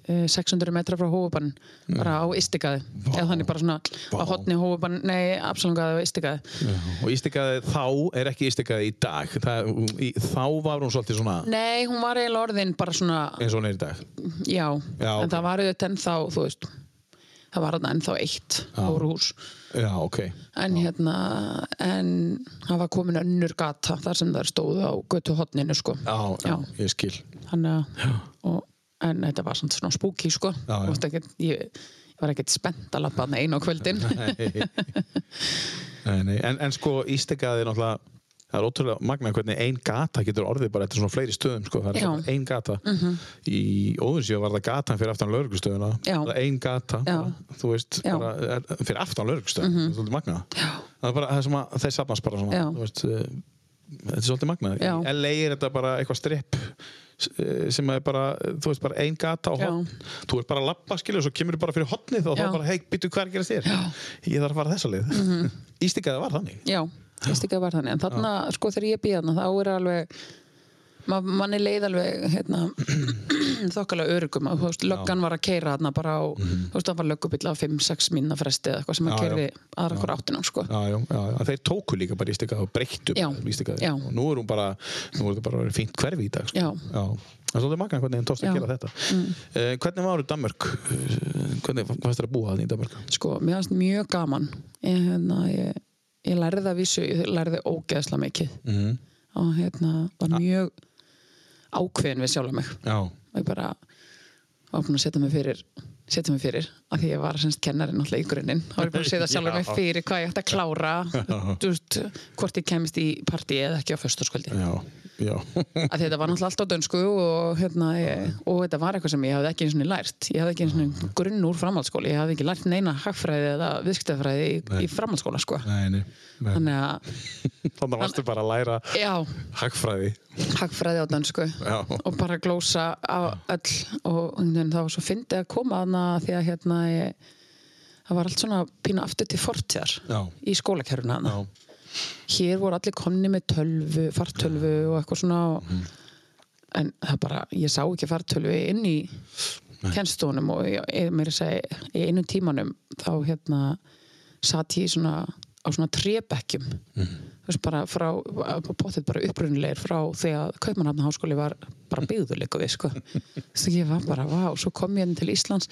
Speaker 3: eh, 600 metra frá hófubann
Speaker 2: Mm.
Speaker 3: bara á Istikaði eða þannig bara svona á hotni hófubann nei, Absalongaði og Istikaði
Speaker 2: og ístikaði þá er ekki ístikaði í dag, það, í, þá var hún svolítið svona...
Speaker 3: Nei, hún var eiginlega orðin bara svona já,
Speaker 2: eins og hún er í dag Já,
Speaker 3: en
Speaker 2: ok.
Speaker 3: það var auðvitað ennþá þú veist, það var þarna ennþá eitt hóruhús
Speaker 2: Já, ok
Speaker 3: en hérna en það var komin önnur gata þar sem það stóðu á götu hotninu sko
Speaker 2: Já, já,
Speaker 3: Já.
Speaker 2: ég skil
Speaker 3: þannig að og, en þetta var samt svona spooky sko
Speaker 2: Já, já.
Speaker 3: Þú veist Ekkert, ég, ég var ekkert spennt að labba þarna einu á kvöldin
Speaker 2: nei, nei. En, en sko, ístikaði er náttúrulega Það er ótrúlega magna hvernig ein gata getur orðið bara eftir svona fleiri stöðum sko. Það er
Speaker 3: Já. Mhm.
Speaker 2: bara ein gata Í óðursíu var það gatan fyrir aftan lauruglustöðuna
Speaker 3: Já.
Speaker 2: Það er ein gata
Speaker 3: Já.
Speaker 2: bara, Þú veist,
Speaker 3: Já. Mhm.
Speaker 2: bara, er- fyrir aftan lauruglustöðuna Það er svolítið magna Það er bara, það er sem að þeir safnast bara svona
Speaker 3: Já.
Speaker 2: þú veist, eh, Þetta er svolítið magna
Speaker 3: Já.
Speaker 2: Í LA er þetta bara eitthvað stripp eh, sem er bara, þú veist, bara ein gata og
Speaker 3: Já.
Speaker 2: hotn, þú ert bara að labba skilur og svo kemur bara fyrir hotnið og þá
Speaker 3: Já. Mhm.
Speaker 2: bara, hei, byttu hver gerast þér ég þarf að fara þessa leið Ístikaði var þannig
Speaker 3: já, ég stikkaði var þannig en þarna, sko þegar ég býð þarna, þá er alveg ma manni leið alveg hérna, þokkalega örugum að, þú veist, löggan var að keira þarna bara á, þú veist, það var löggubill á 5-6 mínna fresti eða eitthvað sem
Speaker 2: Mhm. Já, já.
Speaker 3: að keirði aðra hver áttina sko.
Speaker 2: Já, já, já, já. þeir tóku líka bara ístikaði og breyttu
Speaker 3: Já.
Speaker 2: bara ístikaði
Speaker 3: Já.
Speaker 2: og nú er hún bara, nú er þetta bara orðið fínt hverfi í dag sko.
Speaker 3: Já.
Speaker 2: Það er svolítið magna hvernig hann tókst að
Speaker 3: Já.
Speaker 2: gera þetta mm. Hvernig var þú Danmörk? Eh, Hvernig fannst þér að búa þannig í Danmörk?
Speaker 3: sko, mér finnst mjög gaman ég, hérna, ég, ég lærði að vísu ég lærði ógeðsla mikið
Speaker 2: Mm.
Speaker 3: -hmm. og hérna var mjög ákveðin við sjálf mig
Speaker 2: Já,
Speaker 3: og ég bara var búin að setja mig fyrir setja mig fyrir, af því ég var semst kennarinn alltaf í grunninn, þá var ég búin að setja sjálf mig
Speaker 2: Já.
Speaker 3: fyrir hvað ég ætti að klára þú veist, hvort ég kemist í partí eða ekki á föstaskvöldi
Speaker 2: já, já
Speaker 3: að þetta var náttúrulega alltaf dönsku og, hérna, ég, og þetta var eitthvað sem ég hafði ekki eins og lært ég hafði ekki eins og grunn úr framhaldsskóla ég hafði ekki lært neina hagfræði eða viðskiptafræði í, í framhaldsskóla sko.
Speaker 2: Nei, nei, nei.
Speaker 3: þannig að,
Speaker 2: Þannig varstu bara að læra
Speaker 3: já,
Speaker 2: hagfræði
Speaker 3: hagfræði á dönsku
Speaker 2: Já.
Speaker 3: og bara glósa á öll og einhvern veginn það var svo fyndið að koma þarna því að hérna ég, það var allt svona pína aftur til fortjar
Speaker 2: Já.
Speaker 3: í skólakerfuna þarna
Speaker 2: Já,
Speaker 3: hér voru allir komni með tölvu, fartölvu og eitthvað svona og,
Speaker 2: Mhm.
Speaker 3: en það bara, ég sá ekki fartölvu inn í kennstónum og ég, ég- mér að segja, í einu tímanum þá hérna satt ég í svona á svona trebekkjum þú veist bara frá potið bara upprunulegir frá því að Kaupmannhafna háskóli var bara byggður líka við sko þess að ég var bara, vá, svo kom ég inn til Íslands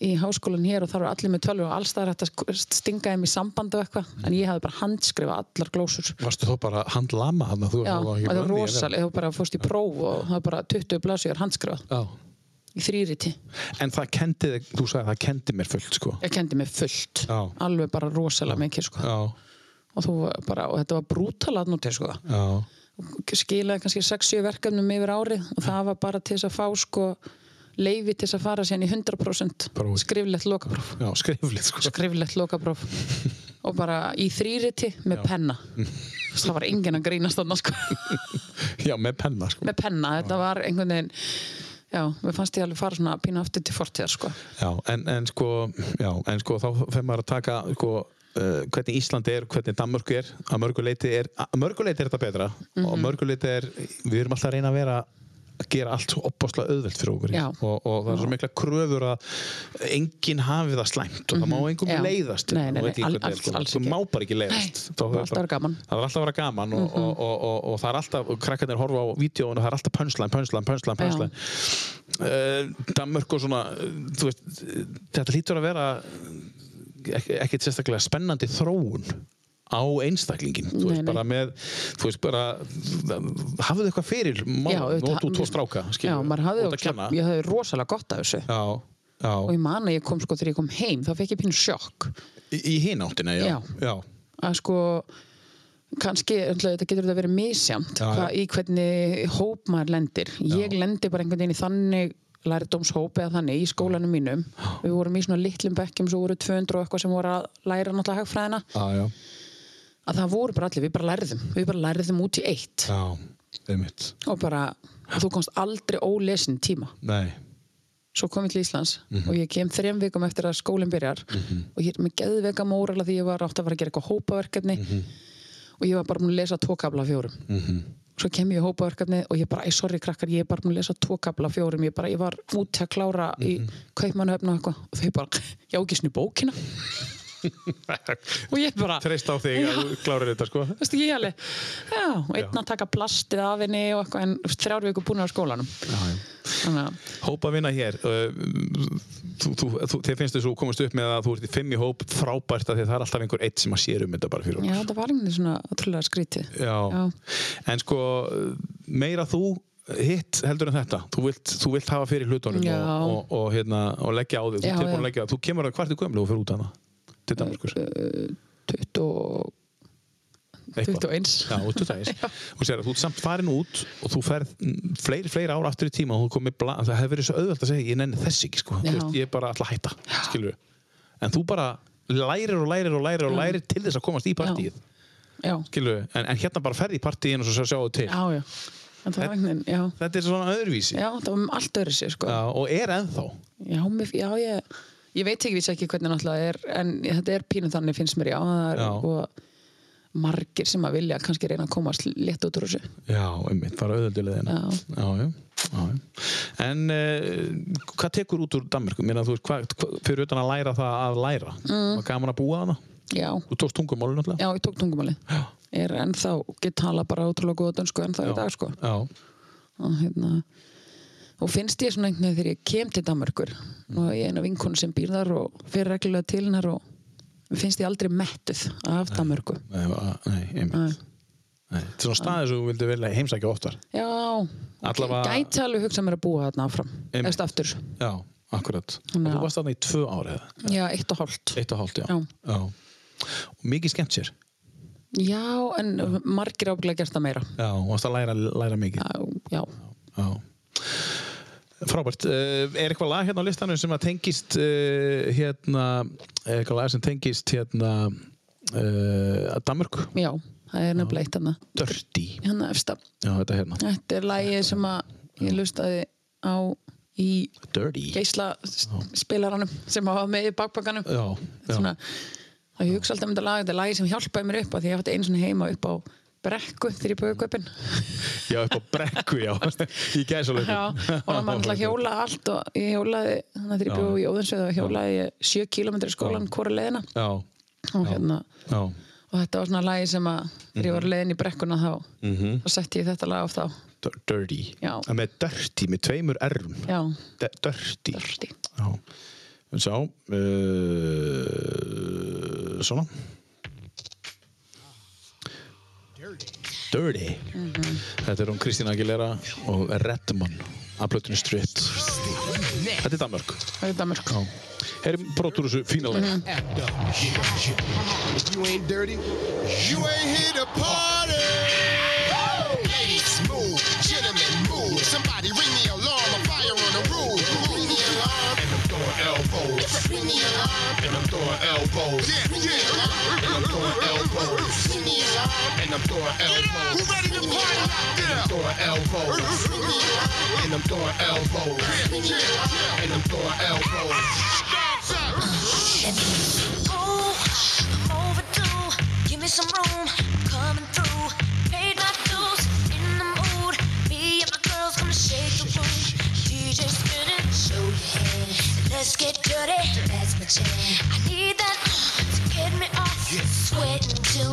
Speaker 3: í háskólan hér og þar var allir með tölvu og alls það er hægt að sk- stinga þeim í samband og eitthvað, en ég hafði bara handskrifa allar glósur
Speaker 2: Varstu þó bara handlama hann þú
Speaker 3: Já,
Speaker 2: þú var
Speaker 3: og
Speaker 2: ekki
Speaker 3: það
Speaker 2: vanur í
Speaker 3: var
Speaker 2: að vera-
Speaker 3: rosalega, þú bara fórst í próf og það var bara 20 blasjur handskrifað
Speaker 2: Já.
Speaker 3: í þrýriti.
Speaker 2: En það kendi, þig- þú sagði það kendi mér fullt sko
Speaker 3: Ég kendi mig fullt,
Speaker 2: Já.
Speaker 3: alveg bara rosalega mikið sko.
Speaker 2: Já,
Speaker 3: Og, þú var bara, og þetta var brútal að núti sko.
Speaker 2: já,
Speaker 3: Skilaði kannski 6-7 verkefnum yfir árið og það var bara til þess að fá sko leifi til þess að fara sérna í 100%
Speaker 2: Prófið.
Speaker 3: skriflegt lokapróf.
Speaker 2: já, skriflið sko
Speaker 3: skriflegt lokapróf og bara í þrýriti með penna Þú veist, það var enginn að grínast þarna sko
Speaker 2: Já, með penna sko
Speaker 3: með penna, þetta var einhvern veginn já, mér fannst ég alveg fara svona pínu aftur til fortíðar sko
Speaker 2: Já, en, en sko, já, en sko þá fer maður að taka sko Uh, hvernig Ísland er, hvernig Danmörk er að mörguleiti er, að mörguleiti er þetta betra
Speaker 3: Mhm.
Speaker 2: og að mörguleiti er, við erum alltaf að reyna að vera að gera allt svo opbáslega auðvelt fyrir okkur
Speaker 3: Já.
Speaker 2: og, og það er svo mikla kröfur að enginn hafi það slæmt og það má engum
Speaker 3: Mhm. Já.
Speaker 2: leiðast
Speaker 3: Nei, nei,
Speaker 2: Nú veit
Speaker 3: nei,
Speaker 2: ég
Speaker 3: al-
Speaker 2: hvernig er,
Speaker 3: alls-
Speaker 2: sko.
Speaker 3: alls
Speaker 2: Þú
Speaker 3: ekki.
Speaker 2: má bara ekki leiðast
Speaker 3: Nei,
Speaker 2: Þá
Speaker 3: það var alltaf að vera gaman.
Speaker 2: það var alltaf að vera gaman og,
Speaker 3: Mhm.
Speaker 2: og, og, og, og það er alltaf, og krakkarnir horfa á vídjóinu, það er alltaf pönslan, pönslan, pönslan, pönslan uh, Danmörk og svona eh, þú veist, eh, þetta hlýtur að vera ekki, ekkit sérstaklega spennandi þróun á einstaklingin þú
Speaker 3: Nei,
Speaker 2: veist,
Speaker 3: nei.
Speaker 2: bara með þú veist, bara, hafðu eitthvað fyrir
Speaker 3: Já,
Speaker 2: má-
Speaker 3: auðvitað-
Speaker 2: nót út tvo stráka
Speaker 3: já, maður hafði,
Speaker 2: út að kenna
Speaker 3: ég hafði rosalega gott af þessu
Speaker 2: já, já,
Speaker 3: og ég man að ég kom sko þegar ég kom heim þá fekk ég pínu sjokk
Speaker 2: í, í hinn áttina já,
Speaker 3: Já.
Speaker 2: já,
Speaker 3: að sko kannski, ætla, þetta getur þetta verið misjamt
Speaker 2: Já, já.
Speaker 3: hva, í hvernig hóp maður lendir ég lendi bara einhvern veginn í þannig lærdómshóp eða þannig í skólanum mínum við vorum í svona litlum bekkjum svo voru 200 og eitthvað sem voru að læra náttúrulega hagfræðina
Speaker 2: já, já,
Speaker 3: að það voru bara allir, við bara lærðum við bara lærðum út í eitt
Speaker 2: já einmitt,
Speaker 3: og bara, og þú komst aldrei ólesin tíma
Speaker 2: nei
Speaker 3: svo kom ég til Íslands og ég kem þrem vikum eftir að skólinn byrjar og ég er með geðveika mórala því ég var átt að fara að gera eitthvað hópaverkefni og ég var bara múin að lesa tókabla fjórum
Speaker 2: Mhm.
Speaker 3: svo kem ég í hópaverkefni og ég bara, æ, sorry krakkar, ég er bara múin að lesa tókabla fjórum ég, bara, ég var út að klára í kaupmannhöfn og eitthvað og þau bara, ég á ekki snu bókina og ég bara
Speaker 2: treyst á þig að þú klárir þetta sko
Speaker 3: Þú veist ekki ég alveg, já, og einn að taka plastið af henni og eitthvað, en þú veist, þrjár vikur búin á skólanum. Já, já. Þannig að,
Speaker 2: Hópa vinna hér uh, þú, þú, þú, Þið finnst þess að þú komast upp með að þú ert í fimm í hóp frábært að því að það er alltaf einhver eitt sem að sér um þetta bara fyrir okkur
Speaker 3: já, það var einhvern veginn svona ótrúlega skrítið.
Speaker 2: Já. En sko, meira þú hitt heldur en þetta þú vilt, þú vilt hafa fyrir hlutunum
Speaker 3: Já.
Speaker 2: og, og, og, hérna, og leggja á þig þú,
Speaker 3: Já,
Speaker 2: ert tilbúin
Speaker 3: já. Eh,
Speaker 2: að leggja, á- þú kemur að hvartu gömlu og fyrir út hana til Danmarkur,
Speaker 3: 20 og... 21.
Speaker 2: Já, og, 21. og sér að þú ert samt farin út og þú ferð mm, fleiri, fleiri ára aftur í tíma og þú komið bla, það hefur verið svo auðvelt að segja ég nenni þess ekki sko, Þú
Speaker 3: Já.
Speaker 2: veist, ég er bara alltaf hætta skilur. en þú bara lærir og lærir og
Speaker 3: Mm.
Speaker 2: lærir og lærir til þess að komast í partíið
Speaker 3: Já,
Speaker 2: skilur, en, en hérna bara ferði í partíin og svo sjáu til
Speaker 3: já, já. En það var einhvern veginn, já.
Speaker 2: þetta er svona öðruvísi
Speaker 3: Já, það var allt öðru sér, sko.
Speaker 2: Já, og er ennþá
Speaker 3: Já, mér, já ég, ég veit ekki, vissi ekki hvernig náttúrulega er, en þetta er pínu þannig finnst mér, já. Það er,
Speaker 2: Já.
Speaker 3: og margir sem að vilja kannski reyna að komast létt út úr þessu.
Speaker 2: Já, einmitt, bara auðvöldulegina
Speaker 3: Já.
Speaker 2: já, já, já, já. En uh, hvað tekur út úr Danmörku? Mér að þú veist, hvað, hvað, fyrir utan að læra það að læra mm. Var gaman að búa hana?
Speaker 3: Já,
Speaker 2: Þú tókst tungumáli náttúrulega?
Speaker 3: já, ég tók tungumálið. Er ennþá, get tala bara ótrúlega góða dönsku ennþá í dag, sko.
Speaker 2: Já,
Speaker 3: og hérna og finnst ég svona einhvern veginn þegar ég kem til Danmarkur
Speaker 2: Mm.
Speaker 3: og ég er eina vinkonu sem býr þar og fer reglulega til hennar og mér finnst ég aldrei mettuð af Danmarku
Speaker 2: nei, va- nei, einmitt Nei, Þetta er svona staðið sem þú vildi vilja heimsækja oftar
Speaker 3: já,
Speaker 2: Allavega-
Speaker 3: gæti alveg hugsa mér að búa þarna áfram
Speaker 2: Einmitt.
Speaker 3: eftir aftur,
Speaker 2: Já, akkurat Og
Speaker 3: Já.
Speaker 2: þú varst þarna í tvö ári eða?
Speaker 3: já, eitt og hálft
Speaker 2: Eitt og hálft, já,
Speaker 3: Já.
Speaker 2: Og mikið skemmt sér
Speaker 3: já, en margir ábygglega gert það meira
Speaker 2: Já, og varst að læra, læra mikið
Speaker 3: já, já.
Speaker 2: Já. Frábært, Eh, er eitthvað lag hérna á listanum sem að tengist eh, hérna, er eitthvað lag sem tengist hérna uh, Danmörk,
Speaker 3: já það er nefnilega eitt hann
Speaker 2: Dirty
Speaker 3: hérna efsta,
Speaker 2: Já, þetta hérna,
Speaker 3: þetta er lagið sem að ég lustaði á í
Speaker 2: Dirty
Speaker 3: geisla spilaranum sem hafa með í bakbakanum
Speaker 2: Já, já,
Speaker 3: svona, að ég hugsa alltaf um þetta lag þetta er lagi sem hjálpaði mér upp að því ég átti einu svona heima upp á brekku þegar ég bauði kaupin
Speaker 2: já, upp á brekku, já Í gæsalöku
Speaker 3: Já, og það var alltaf hjóla allt og ég hjólaði, þannig að þegar ég bjóði í Óðinsveið og hjólaði ég sjö kilometri skólan hvora leiðina
Speaker 2: Já,
Speaker 3: og hérna
Speaker 2: já,
Speaker 3: og þetta var svona lagi sem að þegar
Speaker 2: Mhm.
Speaker 3: ég var leiðin í brekkuna þá þá setti ég þetta lag á þá
Speaker 2: D- Dirty.
Speaker 3: Já.
Speaker 2: Það með dirty, með tveimur R-um.
Speaker 3: já,
Speaker 2: D- Dirty.
Speaker 3: dörfti
Speaker 2: Já. En Sjá, uh, svona. Dirty.
Speaker 3: Mhm.
Speaker 2: Þetta er hún Kristín Aguilera og Redman af plötunni Straight. Þetta er Danmark.
Speaker 3: það er Danmark
Speaker 2: Herum broturúsu fínalega.
Speaker 3: Mhm.
Speaker 2: Mm -hmm.
Speaker 1: If you ain't dirty, you ain't here to party. Ladies, move, gentlemen, move. Somebody ring the alarm, a fire on the roof. Ring the alarm, and I'm throwing elbows. Ring the alarm, and I'm throwing elbows. Yeah, yeah. And I'm throwing elbows. Ring the alarm, and I'm throwing elbows. Who ready to party? Yeah. I'm throwing elbows. Ring the alarm, and I'm throwing elbows. Ring the alarm, and I'm throwing elbows.
Speaker 9: Ooh, I'm overdue. Give me some room, coming through. Paid my dues, in the mood. Me and my girls gonna shake the room. DJ spinning, show your hand. Let's get dirty, that's my jam. I need that to get me off. Sweat until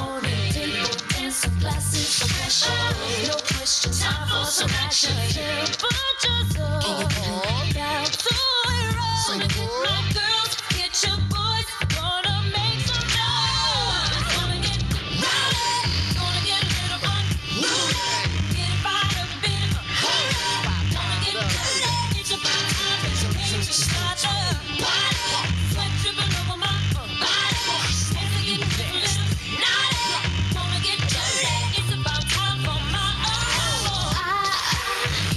Speaker 9: morning. Table dancing, glasses of pressure. No questions, time for some action. Yeah, but just go down to it wrong. My girls, get your boys, gonna make some noise. It's gonna get rowdy, gonna get a little unruly. Get right up in a hurry. Gonna get dirty, it's about time to change the start of party. Sweat dripping over my body. Hands are getting feeling naughty. Wanna get dirty, it's about time for my own.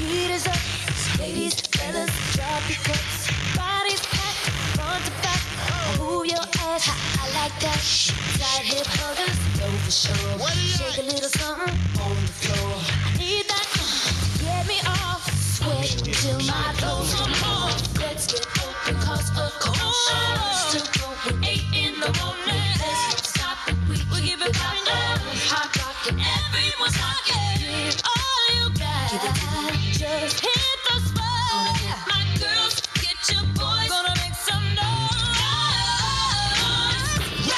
Speaker 9: Heat is up, ladies, fellas, drop your cups. Bodies packed, front to back. Move your ass, I, I like that. Tight hip huggers, no for sure. Shake a little something on the floor. I need that, get me off. Sweat till my clothes come off. Let's get open, cause a commotion. Still going eight in the morning. Let's not stop it, we will give it back. Hot rockin', everyone's rockin'. Give all you got. Just hit the spot. My girls, get your boys. Gonna make some noise. Rowdy.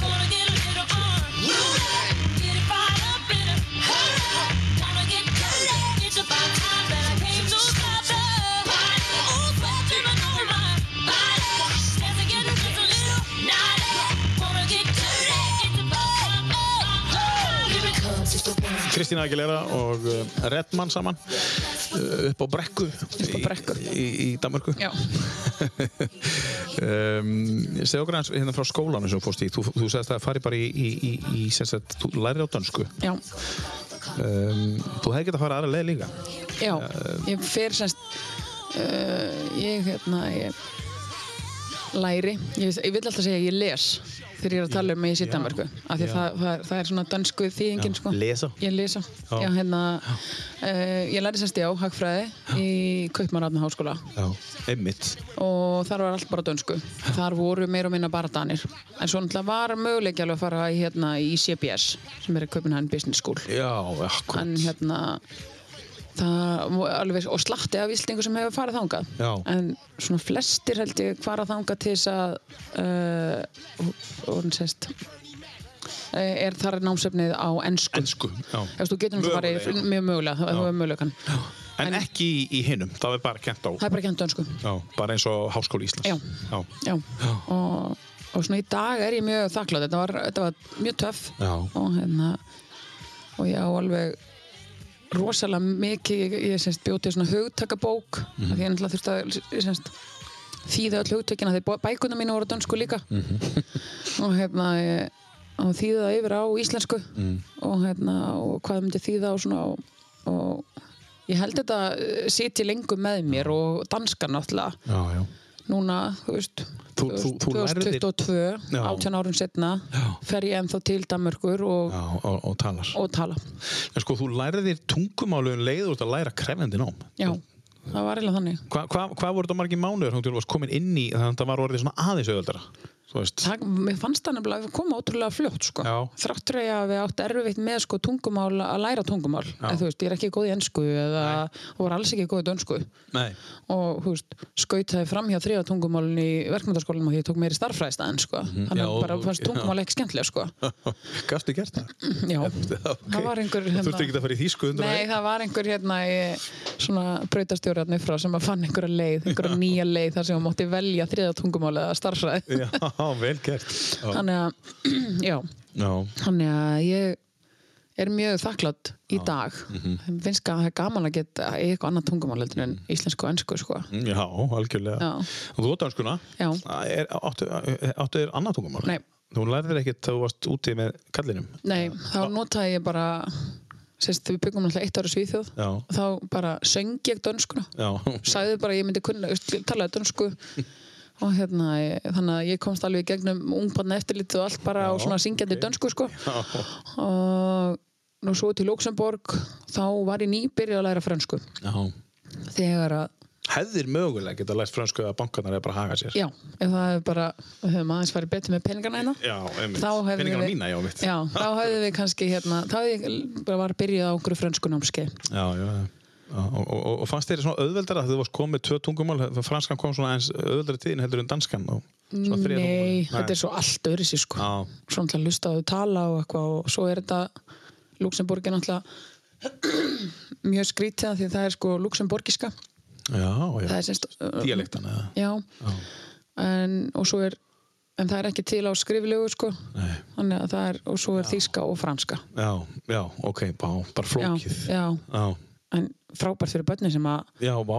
Speaker 9: Gonna get a little unruly. Get it right up in a hurry. Gonna get dirty. It's about time that I came to stop the party. Ooh, sweat dripping over my body. As I get just a little naughty. Wanna get dirty. It's about time. Oh, oh, here it comes. It's the one.
Speaker 2: Kristín Aguilera og uh, Redman saman. Uh, upp á brekku. Upp
Speaker 3: á brekku.
Speaker 2: Í, í, í Danmarku.
Speaker 3: já,
Speaker 2: um, segðu okkur aðeins hérna frá skólanum sem þú fórst í þú, þú segðist að fari bara í, í, í, í sem sagt, þú lærið á dönsku
Speaker 3: já,
Speaker 2: um, þú hefði getað að fara aðra leið líka
Speaker 3: já ég fer semst uh, ég hérna ég læri, ég, ég vil alltaf segja að ég les þegar ég er að tala um að ég sé Danmarku af því það, það, er, það er svona dansku þýðingin sko.
Speaker 2: lesa.
Speaker 3: ég lesa já, hérna, uh, ég læri semst já, hagfræði í Kaupmannafna háskóla
Speaker 2: já. einmitt
Speaker 3: og þar var allt bara dönsku þar voru meir og minna bara danir en svo náttúrulega var möguleik alveg að fara í, hérna, í CBS sem er Copenhagen Business School
Speaker 2: já, akkur
Speaker 3: en hérna það, vo- alveg, og slatti af íslendingu sem hefur farið þangað
Speaker 2: Já.
Speaker 3: en svona flestir held ég fara þangað til þess að uh, og, og sérst er þar er námsefnið á ensku
Speaker 2: Ensku, já.
Speaker 3: Ef þú getur náttúrulega
Speaker 2: Mögulega,
Speaker 3: farið mjög mögulega þá- ef þú hefur möguleikann
Speaker 2: en, ekki í, í hinum, það er bara kent á
Speaker 3: það er bara kjönd dönsku
Speaker 2: já, bara eins og Háskóli Íslands
Speaker 3: Já.
Speaker 2: já,
Speaker 3: Já, og, og svona í dag er ég mjög þakklátt, þetta var, þetta var mjög töff
Speaker 2: Já.
Speaker 3: og hérna og ég á alveg rosalega mikið, ég, ég semst bjóti svona hugtakabók, mm því ég náttúrulega þurfti að ég semst þýða öll hugtökina því bækuna mínu voru á dönsku líka og hérna ég, og þýða það yfir á íslensku og hérna og hvað það myndi þýða og svona og, og ég held þetta eh, sitji lengur með mér og danskar náttúrulega
Speaker 2: já, já.
Speaker 3: núna, þú veist
Speaker 2: Þú- þú- þú lærðir-
Speaker 3: 2022,
Speaker 2: Já.
Speaker 3: 18 árum setna fer ég ennþá til Danmörkur og,
Speaker 2: Já, og, og talar
Speaker 3: og tala
Speaker 2: en sko, þú læriðir tungumálun um leið þú ert að læra krefendi nám
Speaker 3: já, það var eiginlega þannig
Speaker 2: Hva- hva- hvað voru þetta margir mánuður þannig til þú varst komin inn í þannig að það var orðið svona aðeins auðveldara þú veist
Speaker 3: það, mér fannst það nefnilega að koma ótrúlega fljótt sko.
Speaker 2: Já.
Speaker 3: þrátt fyrir að við átt erfitt með sko, tungumál að læra tungumál en, þú veist, ég er ekki góð í ennsku eða og var alls ekki góð í dönsku
Speaker 2: Nei.
Speaker 3: og þú veist, skautaði fram hjá þriða tungumálun í verkmyndarskólanum og því ég tók meiri starffræðstæðin sko. þannig
Speaker 2: Mhm. Já,
Speaker 3: að bara
Speaker 2: og-
Speaker 3: fannst tungumál ekki skemmtilega sko.
Speaker 2: Gastu gert það?
Speaker 3: já,
Speaker 2: ok.
Speaker 3: það var einhver hérna-
Speaker 2: Þú þurfti ekki að fara í þýsku undan
Speaker 3: Nei, það var einhver hérna í svona breytastjóriðarni frá sem að fann einhverja leið, einhverja nýja leið þar sem hún mátti velja þriða tungumáli eða starfræði.
Speaker 2: Já, vel gert Já,
Speaker 3: Þannig að, já,
Speaker 2: já.
Speaker 3: Þannig að ég er mjög þakklátt í dag. Mm
Speaker 2: Mhm.
Speaker 3: -hmm. finnst að það er gaman að geta í eitthvað annað tungumál heldur en íslensku og ennsku, sko.
Speaker 2: já algjörlega
Speaker 3: Já.
Speaker 2: Og þú danskuna
Speaker 3: Já.
Speaker 2: er, áttu, áttu þér annað tungumál?
Speaker 3: Nei.
Speaker 2: Þú lærðir ekkert þegar þú varst úti með kallinum
Speaker 3: Nei, þá notaði ég bara, sérst, við byggum alltaf eitt ára svíþjóð,
Speaker 2: Já.
Speaker 3: þá bara söng ég dönskuna.
Speaker 2: Já,
Speaker 3: Sæði bara að ég myndi kunna, þú veist, talaði dönsku og hérna, ég, þannig að ég komst alveg í gegnum ungbarna eftirlítið og allt bara á svona syngjandi dönsku, sko. Og nú svo til Luxemborg, þá var ég nýbyrjuð að læra fransku.
Speaker 2: já.
Speaker 3: Þegar að
Speaker 2: Hefðir mögulega geta lært fransku að bankarnar er bara að haga sér
Speaker 3: Já, ef það hefur bara, við höfum aðeins farið betur með peningana hérna.
Speaker 2: Já, einmitt
Speaker 3: Þá hefðum
Speaker 2: Peningana
Speaker 3: við-
Speaker 2: mína, já, mitt
Speaker 3: Já, þá hefðum við kannski hérna, þá hefði ég bara var að byrja á okkur frönsku námski.
Speaker 2: já, já. Já, Og, og, og fannst þér svona auðveldara þegar þú varst komið tvö tungumál, franskan kom svona eins auðveldara tíðin heldur en danskan og svona þriðja
Speaker 3: Nei,
Speaker 2: tungumálið.
Speaker 3: þetta er svo allt öðru sér sko.
Speaker 2: Já.
Speaker 3: Svo náttúrulega hlusta á þau tala og eitthvað og svo er þetta, Luxemburg er náttúrulega mjög skrítið af því að það er sko luxemburgiska.
Speaker 2: Já,
Speaker 3: Það
Speaker 2: já,
Speaker 3: er semst...
Speaker 2: dialektan eða
Speaker 3: Já. En, og svo er, en það er ekki til á skriflegu sko. Nei. Þannig að það er, og svo er þýska og franska.
Speaker 2: Já, já, ok, bá, bara flókið
Speaker 3: Já, já.
Speaker 2: já,
Speaker 3: En frábært fyrir börnin sem að
Speaker 2: já vá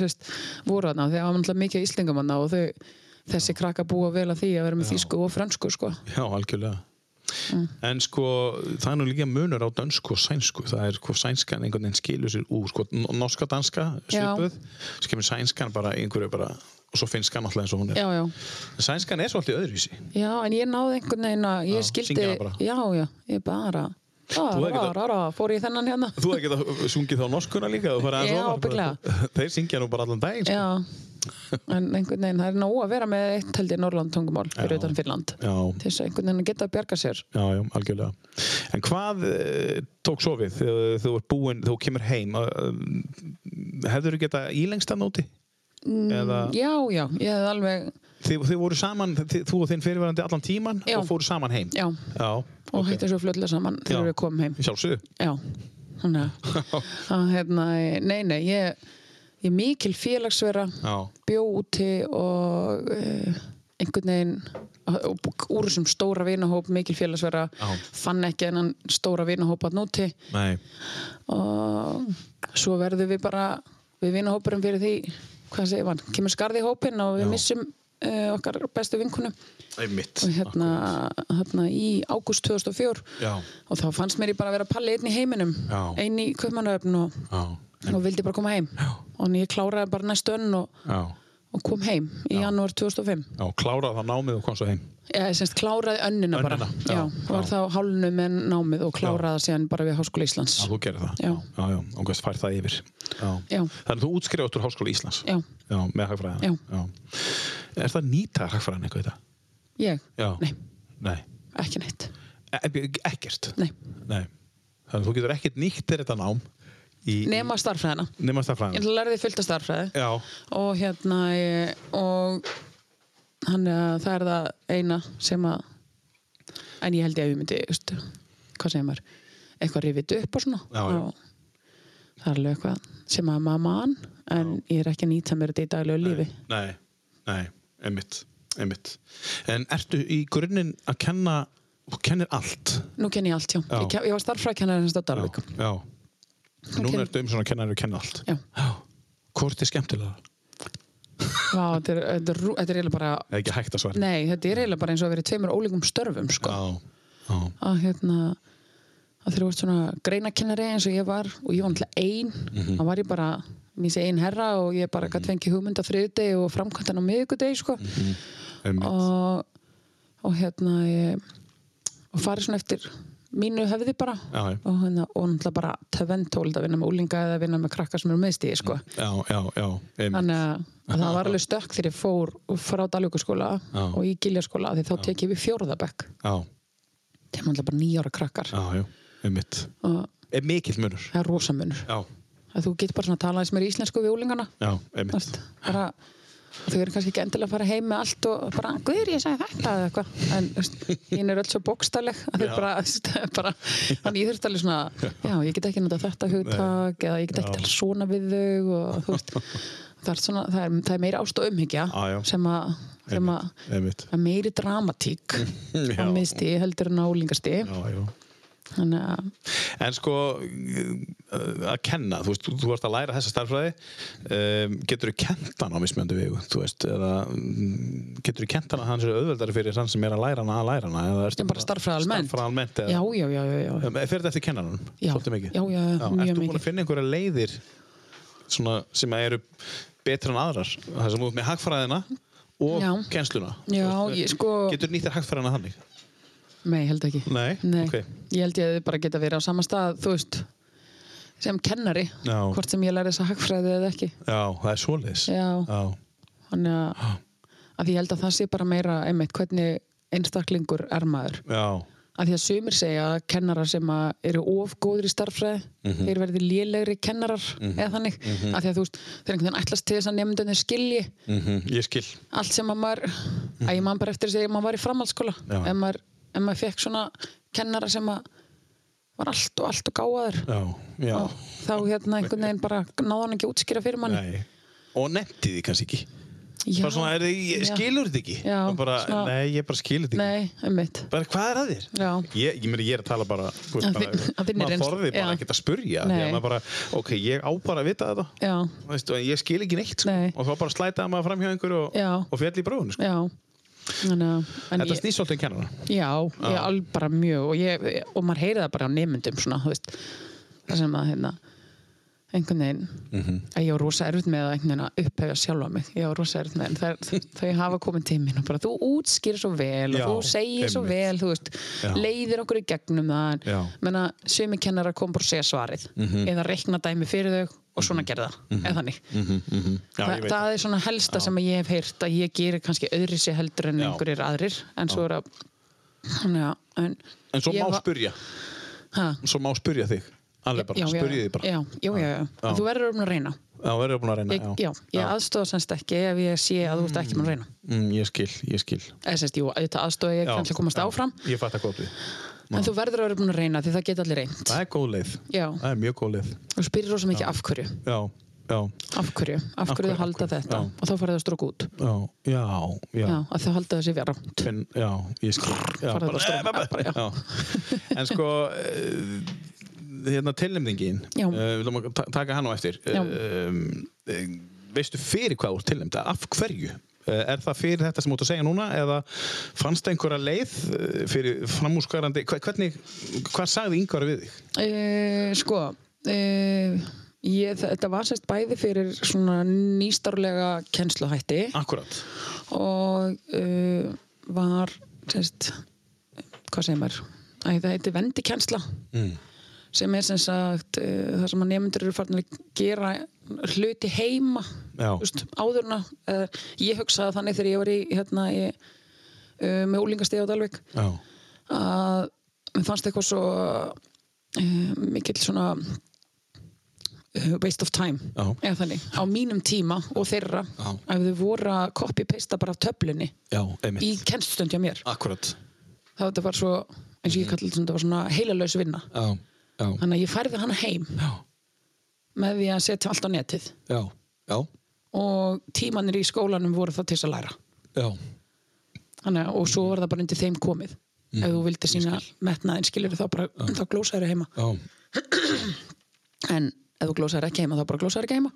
Speaker 3: sérst, voru þarna þegar það var náttúrulega mikið íslingamanna og þau, þessi krakka búa vel að því að vera með þýsku og fransku sko.
Speaker 2: Já, algjörlega
Speaker 3: Mm.
Speaker 2: En sko, það er nú líka munur á dönsku og sænsku, það er sko sænskan einhvern veginn skilur sér úr, sko, n- norska danska
Speaker 3: Já.
Speaker 2: svipuð, svo kemur sænskan bara einhverju bara, og svo finnskan alltaf eins og hún er
Speaker 3: já, já,
Speaker 2: Sænskan er svolítið öðruvísi
Speaker 3: já, en ég náði einhvern veginn að ég
Speaker 2: Já,
Speaker 3: skildi,
Speaker 2: syngja það bara.
Speaker 3: já, já, ég bara
Speaker 2: hefur
Speaker 3: Rá,
Speaker 2: getað-
Speaker 3: rá, rá, fór ég í þennan hérna
Speaker 2: Þú hefði geta sungið þá norskuna líka þú farið aðeins
Speaker 3: Já,
Speaker 2: ofar, bara- Þeir syngja nú bara allan daginn sko.
Speaker 3: Já, en einhvern veginn það er nóg að vera með eitt held ég Norrland tungumál fyrir utan Finnland
Speaker 2: Já.
Speaker 3: til þess að einhvern veginn geta að bjarga sér
Speaker 2: já, já, algjörlega En hvað eh, tók svo við þegar þú er búin, þú kemur heim hefður þú geta ílengst að nóti? Mm, Eða
Speaker 3: Já, já, ég hefði alveg
Speaker 2: þið, þið voru saman, þið, þú og þinn fyrirverandi allan tíman
Speaker 3: Já.
Speaker 2: og fóru saman heim
Speaker 3: Já,
Speaker 2: já
Speaker 3: og okay. hætti svo fljóðlega saman
Speaker 2: Já.
Speaker 3: þegar við komum heim
Speaker 2: Sjálfsögðu
Speaker 3: Já, þannig að- að hérna, nei, nei, ég, ég er mikil félagsvera,
Speaker 2: Já.
Speaker 3: bjó úti og uh, einhvern veginn og- og úr þessum stóra vinahóp mikil félagsvera,
Speaker 2: Já.
Speaker 3: fann ekki ennan stóra vinahóp að núti
Speaker 2: Nei,
Speaker 3: og svo verðum við bara, við vinahópurum fyrir því, hvað segir mann, kemur skarði í hópinn og við missum uh, okkar bestu vinkunum
Speaker 2: einmitt
Speaker 3: og hérna, hérna í ágúst 2004
Speaker 2: Já.
Speaker 3: og þá fannst mér ég bara að vera palli einn í heiminum
Speaker 2: Já.
Speaker 3: einn í Kaupmannöfn og,
Speaker 2: Já,
Speaker 3: og vildi bara koma heim Já. og ég kláraði bara næstu önn og,
Speaker 2: já,
Speaker 3: og kom heim í janúar 2005
Speaker 2: já kláraði það námið og kom svo heim
Speaker 3: ég semst kláraði önnina bara
Speaker 2: Önnina, já,
Speaker 3: Já, var
Speaker 2: já.
Speaker 3: þá hálnu með námið og kláraði það síðan bara við Háskóla Íslands
Speaker 2: Já, þú gerir það
Speaker 3: Já.
Speaker 2: já, já og hvað fær það yfir Já,
Speaker 3: Já.
Speaker 2: Þannig að þú útskrifast úr Háskóla Íslands
Speaker 3: Já.
Speaker 2: Já, með hagfræðina
Speaker 3: Já.
Speaker 2: Er það að nýta hagfræðina eitthvað í dag?
Speaker 3: ég,
Speaker 2: Já
Speaker 3: nei,
Speaker 2: Nei
Speaker 3: ekki neitt
Speaker 2: E e- ekkert
Speaker 3: Nei.
Speaker 2: Nei Þannig að þú getur ekkert nýtt þér þetta nám í,
Speaker 3: nema starffræðina,
Speaker 2: Nema
Speaker 3: ég
Speaker 2: stafræðina
Speaker 3: lærði fullt af starffræði
Speaker 2: Já,
Speaker 3: og hérna ég, og hann er það er það eina sem að en ég held ég að við myndi just, hvað segir maður, eitthvað rifið upp og svona
Speaker 2: Já, já.
Speaker 3: Og það er alveg eitthvað sem að maður man en ég er ekki að nýta mér þetta í daglegu lífi
Speaker 2: Nei, nei, einmitt, einmitt. En ertu í grunninn að kenna, þú kennir allt.
Speaker 3: nú kenn ég allt, já,
Speaker 2: Já.
Speaker 3: Ég, ken- ég var hérna starffrækennar hans á Dalvik
Speaker 2: já.
Speaker 3: Nú
Speaker 2: Núna
Speaker 3: kenn-
Speaker 2: ertu um svona að kenna að kenna allt.
Speaker 3: Já.
Speaker 2: Hvort er skemmtilega?
Speaker 3: Vá, þetta er, þetta er, rú- þetta er eiginlega bara
Speaker 2: Eða ekki hægt að svara.
Speaker 3: nei, þetta er eiginlega bara eins og að vera í tveimur ólíkum störfum sko.
Speaker 2: Já, já,
Speaker 3: að hérna að þegar þú ert svona greinakennari eins og ég var og ég var náttúrulega ein mm
Speaker 2: Mhm.
Speaker 3: -hmm. var ég bara mín sé ein herra og ég bara gætt fengið hugmynd á þriðdegi og framkvæmtan á miðvikudegi sko.
Speaker 2: Mhm. einmitt.
Speaker 3: og, og hérna ég, og farið svona eftir mínu höfði bara
Speaker 2: Já, já.
Speaker 3: og, hérna, og náttúrulega bara töventóld að vinna með úlinga eða vinna með krakka sem eru meðstíði sko.
Speaker 2: já, já, já, einmitt.
Speaker 3: þannig að, að það var alveg stökk þegar ég fór frá Dalvíkuskóla
Speaker 2: Já.
Speaker 3: og í Giljaskóla því þá tek ég við fjórðabekk
Speaker 2: Já,
Speaker 3: þeim náttúrulega bara nýjára krakkar
Speaker 2: já, já, einmitt.
Speaker 3: og
Speaker 2: Er mikill munur.
Speaker 3: það er rosamunur
Speaker 2: Já,
Speaker 3: að þú getur bara svona að tala eins meir íslensku við úlingana
Speaker 2: já, einmitt.
Speaker 3: Þarst, bara, þau eru kannski ekki endilega að fara heim með allt og bara, guður ég sagði þetta eða eitthvað, en þú veist, hín er öll svo bókstalleg að þau bara, þú veist, bara þannig ég þurfti alveg svona, já, ég get ekki nota þetta hugtak eða ég get ekki tala svona við þau og þú veist það er, svona, það er, það er meira ást og umhyggja
Speaker 2: Já, já.
Speaker 3: sem að sem að-
Speaker 2: Einmitt.
Speaker 3: það er meiri dramatík á
Speaker 2: Já.
Speaker 3: miðsti heldur en á úlingasti
Speaker 2: Já, já.
Speaker 3: þannig að
Speaker 2: En sko, uh, að kenna, þú veist, þú- þú varst að læra þessa starffræði, um, getur þú kent hana á mismjöndu vegu, þú veist, eða mm, getur þú kent hana að hans er auðveldari fyrir hann sem er að læra hana að læra hana, eða ertu
Speaker 3: Ég bara starffræði almennt.
Speaker 2: Starffræði almennt,
Speaker 3: já,
Speaker 2: eða,
Speaker 3: já, já, já, já.
Speaker 2: Um, fyrir þetta eftir kennanum,
Speaker 3: Já.
Speaker 2: svolítið mikið.
Speaker 3: Já, já, já, mjög
Speaker 2: Ertu búin
Speaker 3: mikið.
Speaker 2: að finna einhverja leiðir svona, sem að eru betra en aðrar, það sem þú ert með hagfræðina og
Speaker 3: Já.
Speaker 2: kennsluna?
Speaker 3: Já,
Speaker 2: Þú veist,
Speaker 3: ég sko-
Speaker 2: Getur nýtt þér hagfræðina þannig?
Speaker 3: Nei, ég held ekki.
Speaker 2: Nei? Ok.
Speaker 3: Ég held ég að þið bara geta verið á sama stað, þú veist, sem kennari,
Speaker 2: Já.
Speaker 3: hvort sem ég læri þessa hagfræði eða ekki.
Speaker 2: Já, það er svoleiðis.
Speaker 3: Já.
Speaker 2: Já.
Speaker 3: Þannig að, að ég held að það sé bara meira einmitt hvernig einstaklingur er maður.
Speaker 2: Já.
Speaker 3: Að því að sumir segja að kennarar sem að eru of góðir í starffræði,
Speaker 2: Mhm.
Speaker 3: þeir verði lélegri kennarar eða þannig. Að því að þú veist, þeir einhvern veginn ætlast til þess að nefndunni skilji
Speaker 2: Mhm, Ég skil.
Speaker 3: allt sem að maður, að ég man bara eftir þess að maður var í framhaldsskóla.
Speaker 2: Mhm. Já.
Speaker 3: En maður, en maður fekk svona kennara sem að var allt og allt og gáðaður.
Speaker 2: Já, já.
Speaker 3: og þá hérna einhvern veginn bara náði hann ekki að útskýra fyrir manni
Speaker 2: Nei. Og nefndi því kannski ekki.
Speaker 3: já,
Speaker 2: Bara svona, er, ég,
Speaker 3: já.
Speaker 2: skilur þetta ekki?
Speaker 3: Já,
Speaker 2: Og bara,
Speaker 3: svona-
Speaker 2: Nei, ég bara skilur þetta ekki.
Speaker 3: nei, einmitt
Speaker 2: Bara, hvað er að þér?
Speaker 3: já,
Speaker 2: Ég, ég, meni, ég er að tala bara, þú
Speaker 3: Að
Speaker 2: veist, bara
Speaker 3: þinn- að þinni
Speaker 2: maður
Speaker 3: reynslu,
Speaker 2: þorði bara
Speaker 3: já.
Speaker 2: ekkert að spurja. Því
Speaker 3: Nei.
Speaker 2: að maður bara, ok, ég á bara að vita þetta.
Speaker 3: já,
Speaker 2: Þú Veist, og ég skil ekki neitt. sko.
Speaker 3: Nei.
Speaker 2: Og þá bara slætaði maður fram hjá einhverju og,
Speaker 3: Já.
Speaker 2: og fjall í bróðun. Sko.
Speaker 3: já Þannig að, en
Speaker 2: Þetta
Speaker 3: ég,
Speaker 2: snýst svolítið um kennara.
Speaker 3: já, ég alveg bara mjög og, ég, og maður heyrið það bara á nemyndum svona, þú veist, það sem að hérna, einhvern veginn
Speaker 2: Mhm.
Speaker 3: að ég á rosa erfitt með að einhvern veginn að upphefja sjálfa mig, ég á rosa erfitt með en þær, þau hafa komið til mín og bara þú útskýr svo vel og
Speaker 2: Já,
Speaker 3: þú segir svo
Speaker 2: einmitt.
Speaker 3: vel þú veist,
Speaker 2: Já.
Speaker 3: leiðir okkur í gegnum það
Speaker 2: Já. Mhm.
Speaker 3: en menna, sumi kennarar kom bara að segja svarið eða reikna dæmi fyrir þau og svona gerða, mm eða þannig
Speaker 2: Mhm, Já,
Speaker 3: Þa,
Speaker 2: ég veit
Speaker 3: það er svona helsta sem að ég hef heyrt að ég gerir kannski öðri sér heldur en
Speaker 2: Já.
Speaker 3: einhverjir aðrir en svo er að já, en,
Speaker 2: En svo
Speaker 3: ég
Speaker 2: má
Speaker 3: var-
Speaker 2: spurja.
Speaker 3: Ha?
Speaker 2: Svo má spurja þig. Alveg um bara,
Speaker 3: já,
Speaker 2: spurja
Speaker 3: já,
Speaker 2: þig bara.
Speaker 3: já, já, já, já.
Speaker 2: Já.
Speaker 3: þú verður um að reyna
Speaker 2: Já, verður búin að reyna.
Speaker 3: ég, já, ég aðstofa semst ekki ef ég sé að þú ert ekki með að reyna
Speaker 2: Mm, ég skil, ég skil.
Speaker 3: eða semst, jú, þetta aðstofa ég
Speaker 2: Já,
Speaker 3: kannski að komast
Speaker 2: já.
Speaker 3: áfram
Speaker 2: Ég fatt að góð við.
Speaker 3: en þú verður að vera búin að reyna því það geta allir reynd
Speaker 2: Það er góð leið.
Speaker 3: Já.
Speaker 2: Það er mjög góð leið.
Speaker 3: og spyrir rosa mikið af hverju
Speaker 2: Já, já,
Speaker 3: af hverju, af
Speaker 2: hverju,
Speaker 3: hverju
Speaker 2: af
Speaker 3: þau halda
Speaker 2: hverju,
Speaker 3: þetta
Speaker 2: já.
Speaker 3: og þá farið það strók út
Speaker 2: já, já, já.
Speaker 3: já, að þau halda þessi vera rámt
Speaker 2: Finn, já, ég skil. Já,
Speaker 3: Farðu að stoppa,
Speaker 2: bara,
Speaker 3: bara, já.
Speaker 2: já. En sko, eh, hérna tilnefningin,
Speaker 3: Já.
Speaker 2: eh, við viljum að ta- taka hann á eftir.
Speaker 3: Já.
Speaker 2: Um, eh, veistu fyrir hvað úr tilnefnd? Af hverju? Eh, Er það fyrir þetta sem þú út að segja núna eða fannst það einhverja leið eh, fyrir framúskarandi? hve- Hvernig, hvað sagði yngvar við þig?
Speaker 3: Uh, sko uh, ég, þetta var sérst bæði fyrir svona nýstárlega kennsluhætti
Speaker 2: Akkurat.
Speaker 3: og uh, var sérst hvað segir maður, Æ, það heiti vendikensla mm. sem er sem sagt uh, það sem að nefndur eru farin að gera hluti heima
Speaker 2: Já.
Speaker 3: Vist, áðurna, uh, ég hugsaði þannig þegar ég var í hérna í, uh, með úlingastegi á Dalvik
Speaker 2: Já,
Speaker 3: að mér fannst eitthvað svo uh, mikill svona uh, waste of time
Speaker 2: Já.
Speaker 3: eða þannig, á mínum tíma og þeirra
Speaker 2: Já.
Speaker 3: ef þau voru að copy-pasta bara af töflunni
Speaker 2: já,
Speaker 3: í
Speaker 2: einmitt.
Speaker 3: kennstund hjá mér
Speaker 2: Akkurat.
Speaker 3: þá þetta var svo, eins og ég kallar þetta var svona heilalaus vinna
Speaker 2: Já, já,
Speaker 3: þannig að ég færði hana heim
Speaker 2: já,
Speaker 3: með því að setja allt á netið
Speaker 2: já, já,
Speaker 3: og tímanir í skólanum voru það til þess að læra
Speaker 2: já.
Speaker 3: þannig, að- og svo var það bara undir þeim komið
Speaker 2: Mhm.
Speaker 3: ef þú vildi sína metnaðin skilur þá bara, þá glósaður heima
Speaker 2: Já.
Speaker 3: en ef þú glósar ekki heima þá bara glósar ekki heima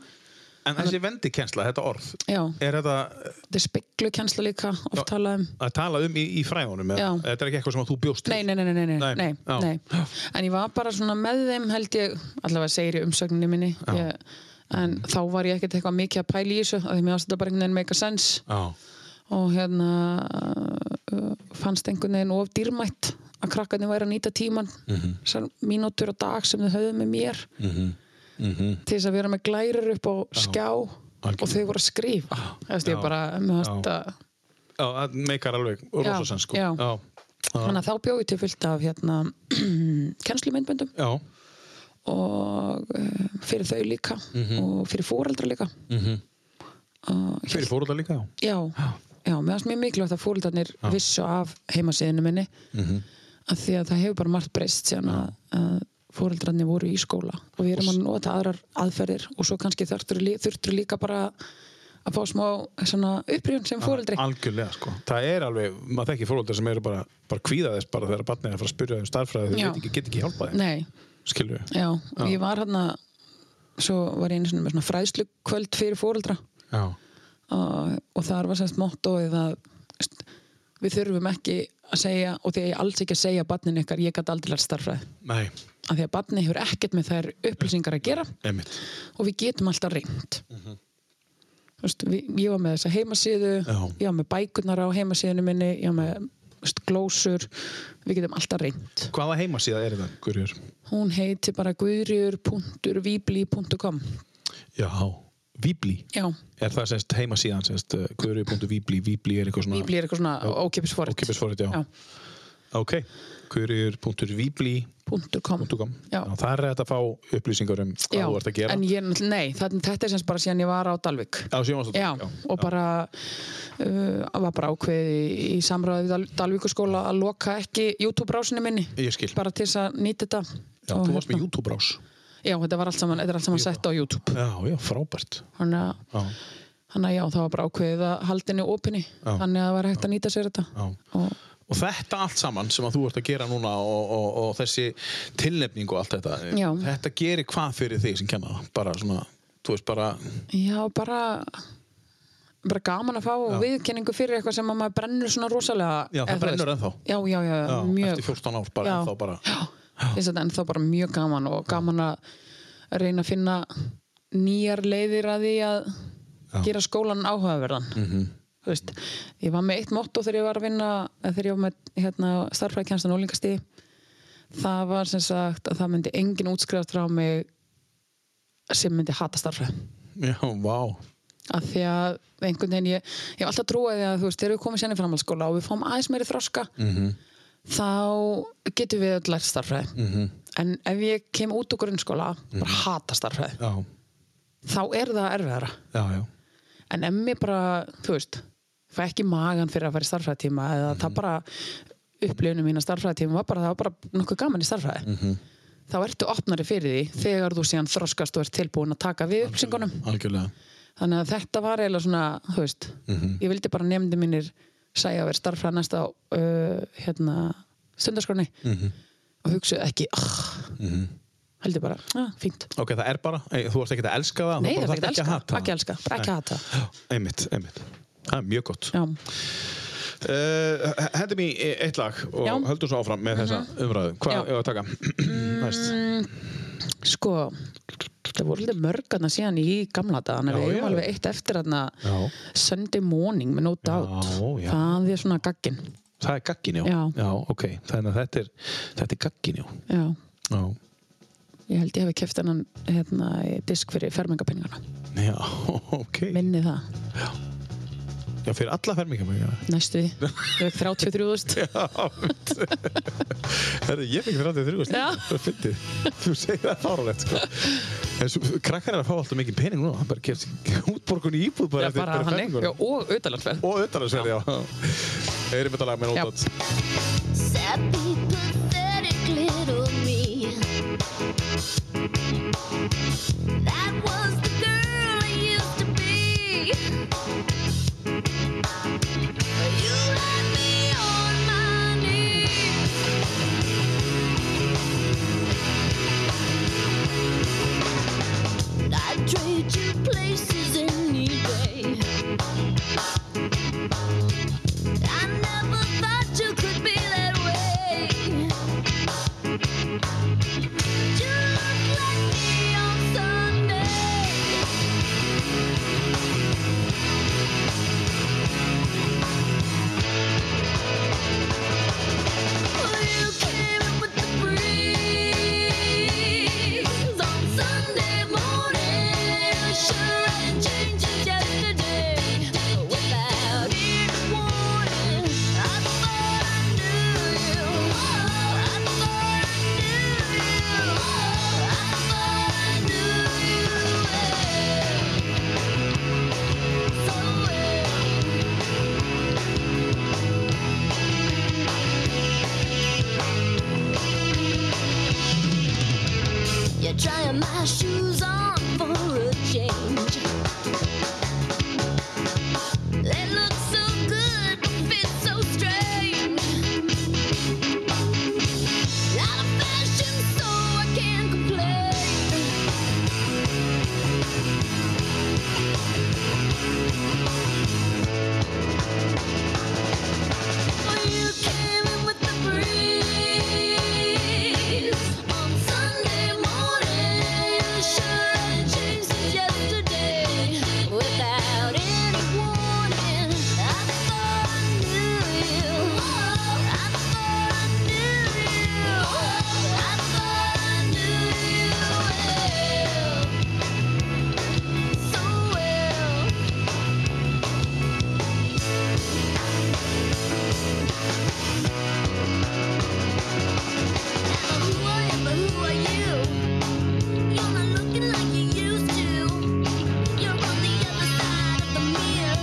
Speaker 2: En þessi vendikensla, þetta orð,
Speaker 3: já,
Speaker 2: er þetta
Speaker 3: þetta er speklu kjensla líka oft talað um
Speaker 2: að tala um í, í fræðunum?
Speaker 3: Já.
Speaker 2: eða- Þetta er ekki eitthvað sem að þú bjóst til?
Speaker 3: nei, nei, nei, nei, nei,
Speaker 2: Nei,
Speaker 3: nei, nei,
Speaker 2: já.
Speaker 3: en ég var bara svona með þeim held ég allavega segir í umsögninni minni ég, en þá var ég ekkert eitthvað mikið að pæla í þessu af því mér ástæða bara einhvern veginn make a sense
Speaker 2: Já,
Speaker 3: og hérna uh, fannst einhvern veginn of dýrmætt að krakkarnir væri að nýta tíman mm
Speaker 2: Mhm.
Speaker 3: mínútur á dag sem þau höfðu með mér
Speaker 2: mhm.
Speaker 3: til þess að vera með glærur upp á skjá og þau voru að skrifa Þú veist, ég
Speaker 2: Já.
Speaker 3: bara, mér fannst að
Speaker 2: Já, það meikar alveg og
Speaker 3: Já,
Speaker 2: rosasens sko.
Speaker 3: já.
Speaker 2: já.
Speaker 3: þannig að þá bjóði til fullt af hérna, kennslumyndböndum
Speaker 2: Já.
Speaker 3: og uh, fyrir þau líka
Speaker 2: Mhm.
Speaker 3: og fyrir fóreldra líka mm -hmm.
Speaker 2: Fyrir fórhaldar líka, já.
Speaker 3: já, já, mér finnst mjög mikilvægt að fóreldarnir vissu af heimasíðinu minni Mhm. af því að það hefur bara margt breyst síðan að, að fóreldrarnir voru í skóla og við erum að nota aðrar aðferðir og svo kannski þurftur, þurftur líka bara að fá smá svona upprýjun sem fóreldri
Speaker 2: Algjörlega, sko. Það er alveg, maður þekki fórhaldar sem eru bara, bara kvíða þess bara þegar barnið er að fara að spyrja þau um starffræði, þau
Speaker 3: Já.
Speaker 2: get ekki, get ekki hjálpað þeim.
Speaker 3: Nei,
Speaker 2: Skilur við?
Speaker 3: já, og ég var hérna svo var ég einu sinni með svona fræðslu kvöld fyrir fóreldra
Speaker 2: Já.
Speaker 3: uh, og þar var semst mottóið að st- við þurfum ekki að segja og því að ég alls ekki að segja barnin ykkar ég gæti aldrei lært starffræði
Speaker 2: Nei,
Speaker 3: af því að barni hefur ekkert með þær upplýsingar að gera
Speaker 2: emitt.
Speaker 3: og við getum alltaf reynd
Speaker 2: Mhm.
Speaker 3: þú veist, við, ég var með þessa heimasíðu
Speaker 2: Já.
Speaker 3: ég var með bækurnar á heimasíðinu minni ég var með þú veist, glósur við getum alltaf reynd
Speaker 2: Hvaða heimasíða er þetta, Guðrjur?
Speaker 3: hún heiti bara guðrjur.vibli.com
Speaker 2: Já, Víbli.
Speaker 3: já,
Speaker 2: Er það semst heimasíðan, semst Guðrjur.víbli, Víbli er eitthvað svona...
Speaker 3: vibli er eitthvað svona ókepisforrið
Speaker 2: Ókeypisforrit, já.
Speaker 3: já.
Speaker 2: Ok, Guðrjur.víbli.com
Speaker 3: punktur .com Já.
Speaker 2: Það er þetta að fá upplýsingar um hvað
Speaker 3: Já,
Speaker 2: þú ert að gera.
Speaker 3: en ég, náttúrulega- nei, það, þetta er sem sagt bara síðan ég var á Dalvik
Speaker 2: Já, síðan varstu á Dalvík,
Speaker 3: já,
Speaker 2: já.
Speaker 3: og bara uh, var bara ákveðið í, í samræði Dal, Dalvíkurskóla að loka ekki YouTube-rásinu minni
Speaker 2: Ég skil.
Speaker 3: bara til þess að nýta þetta
Speaker 2: Já,
Speaker 3: Og
Speaker 2: þú varst með
Speaker 3: hérna-
Speaker 2: YouTube-rás.
Speaker 3: já, þetta var allt saman, þetta er allt saman sett á YouTube
Speaker 2: Já, já, frábært.
Speaker 3: þannig að,
Speaker 2: Já.
Speaker 3: þannig að já, það var bara ákveðið að haldinu opinni,
Speaker 2: Já.
Speaker 3: þannig að það var hægt að nýta sér þetta
Speaker 2: Já.
Speaker 3: og
Speaker 2: Og þetta allt saman sem að þú ert að gera núna og, og, og þessi tilnefning og allt þetta,
Speaker 3: Já.
Speaker 2: þetta gerir hvað fyrir þig sem kenna það? Bara svona, þú veist bara,
Speaker 3: já, bara bara gaman að fá viðkenningu fyrir eitthvað sem að maður brennur svona rosalega
Speaker 2: Já, það
Speaker 3: eða þú
Speaker 2: brennur
Speaker 3: veist.
Speaker 2: ennþá.
Speaker 3: já, já, já,
Speaker 2: já,
Speaker 3: mjög
Speaker 2: eftir 14 ár bara,
Speaker 3: Já.
Speaker 2: ennþá bara.
Speaker 3: já, finnst þetta ennþá bara mjög gaman og gaman að reyna að finna nýjar leiðir að því að gera skólan áhugaverðan
Speaker 2: Mhm.
Speaker 3: -hmm. þú veist, ég var með eitt motto þegar ég var að vinna, eða þegar ég var með hérna, starfræðkjænstan ólingasti það var sem sagt að það myndi engin útskrifast frá mig sem myndi hata starfræð
Speaker 2: Já, vá.
Speaker 3: að því að einhvern veginn ég, ég hef alltaf trúið því að þú veist, þegar við komum sérna í framhaldsskóla og við fáum aðeins meiri þroska -hmm. þá getum við öll lært starfræði -hmm. en ef ég kem út úr grunnskóla bara hata starfræði
Speaker 2: Já,
Speaker 3: þá er það erfiðara
Speaker 2: já, já.
Speaker 3: en ef mér bara, þú veist fæ ekki magan fyrir að fara í starfræðtíma eða það bara upplifinu mín að starfræðtíma var bara, það var bara nokkuð gaman í starfræði -hmm. þá ertu opnari fyrir því þegar þú síðan þroskast og ert tilbúin að taka við uppsingunum
Speaker 2: Algjörlega.
Speaker 3: þannig að þetta var eiginlega svona þú veist,
Speaker 2: Mhm.
Speaker 3: ég vildi bara nefndi mínir sæja að vera starffræða næsta uh, hérna, stundarskroni
Speaker 2: Mhm.
Speaker 3: og hugsaði ekki oh, heldur bara, ah, fínt
Speaker 2: Ok, það er bara, ei, þú ert ekki að elska það,
Speaker 3: Nei,
Speaker 2: þú
Speaker 3: það
Speaker 2: Ah, bara
Speaker 3: er ekki
Speaker 2: þarft
Speaker 3: elska,
Speaker 2: að hata
Speaker 3: ekki elska, bara ekki
Speaker 2: Nei.
Speaker 3: hata.
Speaker 2: Já, Einmitt, einmitt. Það er mjög gott.
Speaker 3: Já,
Speaker 2: Uh, hendum í eitt lag og
Speaker 3: Já. Mhm.
Speaker 2: höldum svo áfram með þessa umræðu. Hvað
Speaker 3: Já.
Speaker 2: er að taka? Næst.
Speaker 3: sko það voru alveg mörgarna síðan í gamla dagana,
Speaker 2: Já,
Speaker 3: við
Speaker 2: já.
Speaker 3: eigum alveg eitt eftir þarna
Speaker 2: Já.
Speaker 3: Sunday morning með no doubt
Speaker 2: já.
Speaker 3: það er svona gaggin
Speaker 2: Það er gaggin, já.
Speaker 3: Já.
Speaker 2: ok. Þannig að þetta er, þetta er gaggin, já.
Speaker 3: já,
Speaker 2: Já.
Speaker 3: ég held ég hefði keft hennan hérna, í disk fyrir fermingapinningana
Speaker 2: Já, ok.
Speaker 3: minni það,
Speaker 2: Já, fyrir alla fermingamengar.
Speaker 3: næstu því Ég veit, 33.000
Speaker 2: Já, veit. Herri, ég fengi 33 stíl.
Speaker 3: Já.
Speaker 2: sko. Það er fyndið. Þú segir það fáralegt, sko. En svo, krakkar er að fá alltaf mikið pening núna. Það bara kemst útborgun í íbúð bara
Speaker 3: Já, bara hann ekki,
Speaker 2: ferminguna.
Speaker 3: já, og auðvitaðlega
Speaker 2: Og auðvitaðsverð, já. Erum þetta lag með
Speaker 3: Já.
Speaker 2: nótat.
Speaker 6: Sad, pathetic little me. That was the girl I used to be. You had me on my knees. I'd trade you places any day. I never thought you could be that way. You look like me on Sunday.
Speaker 10: Put my shoes on for a change. They look so good, fit so strange. Out of fashion, so I can't complain. You came in with the breeze on Sunday morning. Sure, I changed it yesterday without any warning. I thought I knew you. I thought I knew you. I thought I knew you so well. Who I am, but who are you? You're not looking like you used to. You're on the other side of the mirror,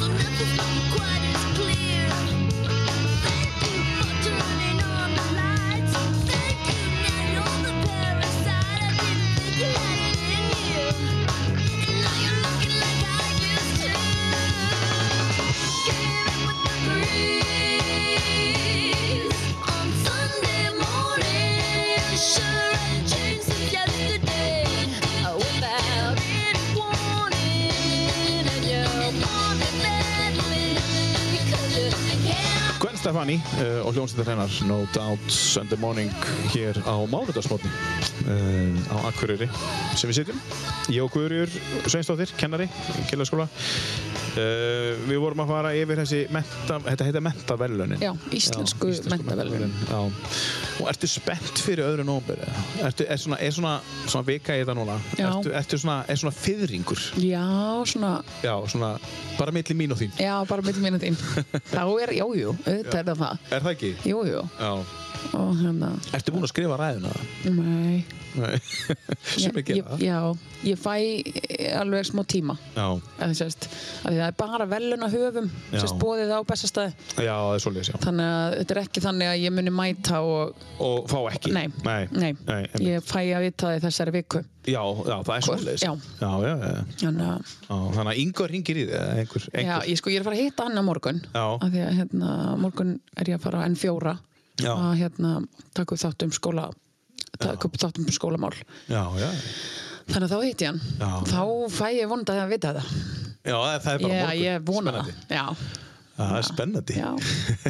Speaker 10: so nothing's looking quite as clear. Thank you for turning on the lights. Thank you that you're the parasite. I didn't think you had it in you, and now you're looking like I used to.
Speaker 2: Gwen Stefani uh, og hljómsveitar hennar No Doubt Sunday Morning hér á mánudagsmótni uh, á Akureyri sem við sitjum ég og Guðrjur Sveinsdóttir, kennari kjölaskóla uh, við vorum að fara yfir þessi menta, þetta heita mentavellunin
Speaker 3: Já, íslensku mentavellunin.
Speaker 2: Já. og ertu spennt fyrir öðru nómur ertu, er svona, er svona, svona vika í þetta núna
Speaker 3: Já.
Speaker 2: ertu, ertu svona, er svona fyrringur
Speaker 3: Já, svona,
Speaker 2: já, svona, bara milli mín og þín
Speaker 3: já, bara mitt minna þín. Þá er, jú, jú, auðvitað er það það.
Speaker 2: er það ekki?
Speaker 3: Jú, jú,
Speaker 2: Já.
Speaker 3: og hérna,
Speaker 2: Ertu búin að skrifa ræðuna?
Speaker 3: nei.
Speaker 2: Nei, sem
Speaker 3: Ég-
Speaker 2: ekki
Speaker 3: ég-
Speaker 2: það.
Speaker 3: Já, ég fæ alveg smá tíma.
Speaker 2: Já,
Speaker 3: Eða, sérst, að því það er bara velun að höfum,
Speaker 2: Já.
Speaker 3: sérst, bóðið á bestastæði.
Speaker 2: já, það er svolítið, já.
Speaker 3: Þannig að þetta er ekki þannig að ég muni mæta og,
Speaker 2: Og fá ekki?
Speaker 3: nei,
Speaker 2: Nei,
Speaker 3: nei.
Speaker 2: einmitt.
Speaker 3: ég fæ að vita það í þessari viku.
Speaker 2: Já, já, það er svolítið.
Speaker 3: Já.
Speaker 2: Já, já, já,
Speaker 3: Þannig að,
Speaker 2: já. Þannig að yngur ringir í þig, eða einhver,
Speaker 3: já,
Speaker 2: einhver.
Speaker 3: ég sko, ég er að fara að hitta hann á morgun.
Speaker 2: Já.
Speaker 3: Af því að, hérna, á morgun er ég að fara á N4
Speaker 2: Já.
Speaker 3: að, hérna, taka upp þátt um skóla, taka upp þátt um skólamál.
Speaker 2: Já, já, já.
Speaker 3: Þannig að þá hitti ég hann.
Speaker 2: Já.
Speaker 3: Þá fæ ég vonandi að vita það.
Speaker 2: það það er bara
Speaker 3: Ég,
Speaker 2: morgun.
Speaker 3: ég vona
Speaker 2: Spennandi.
Speaker 3: það. Já.
Speaker 2: Já, Það er spennandi.
Speaker 3: Já.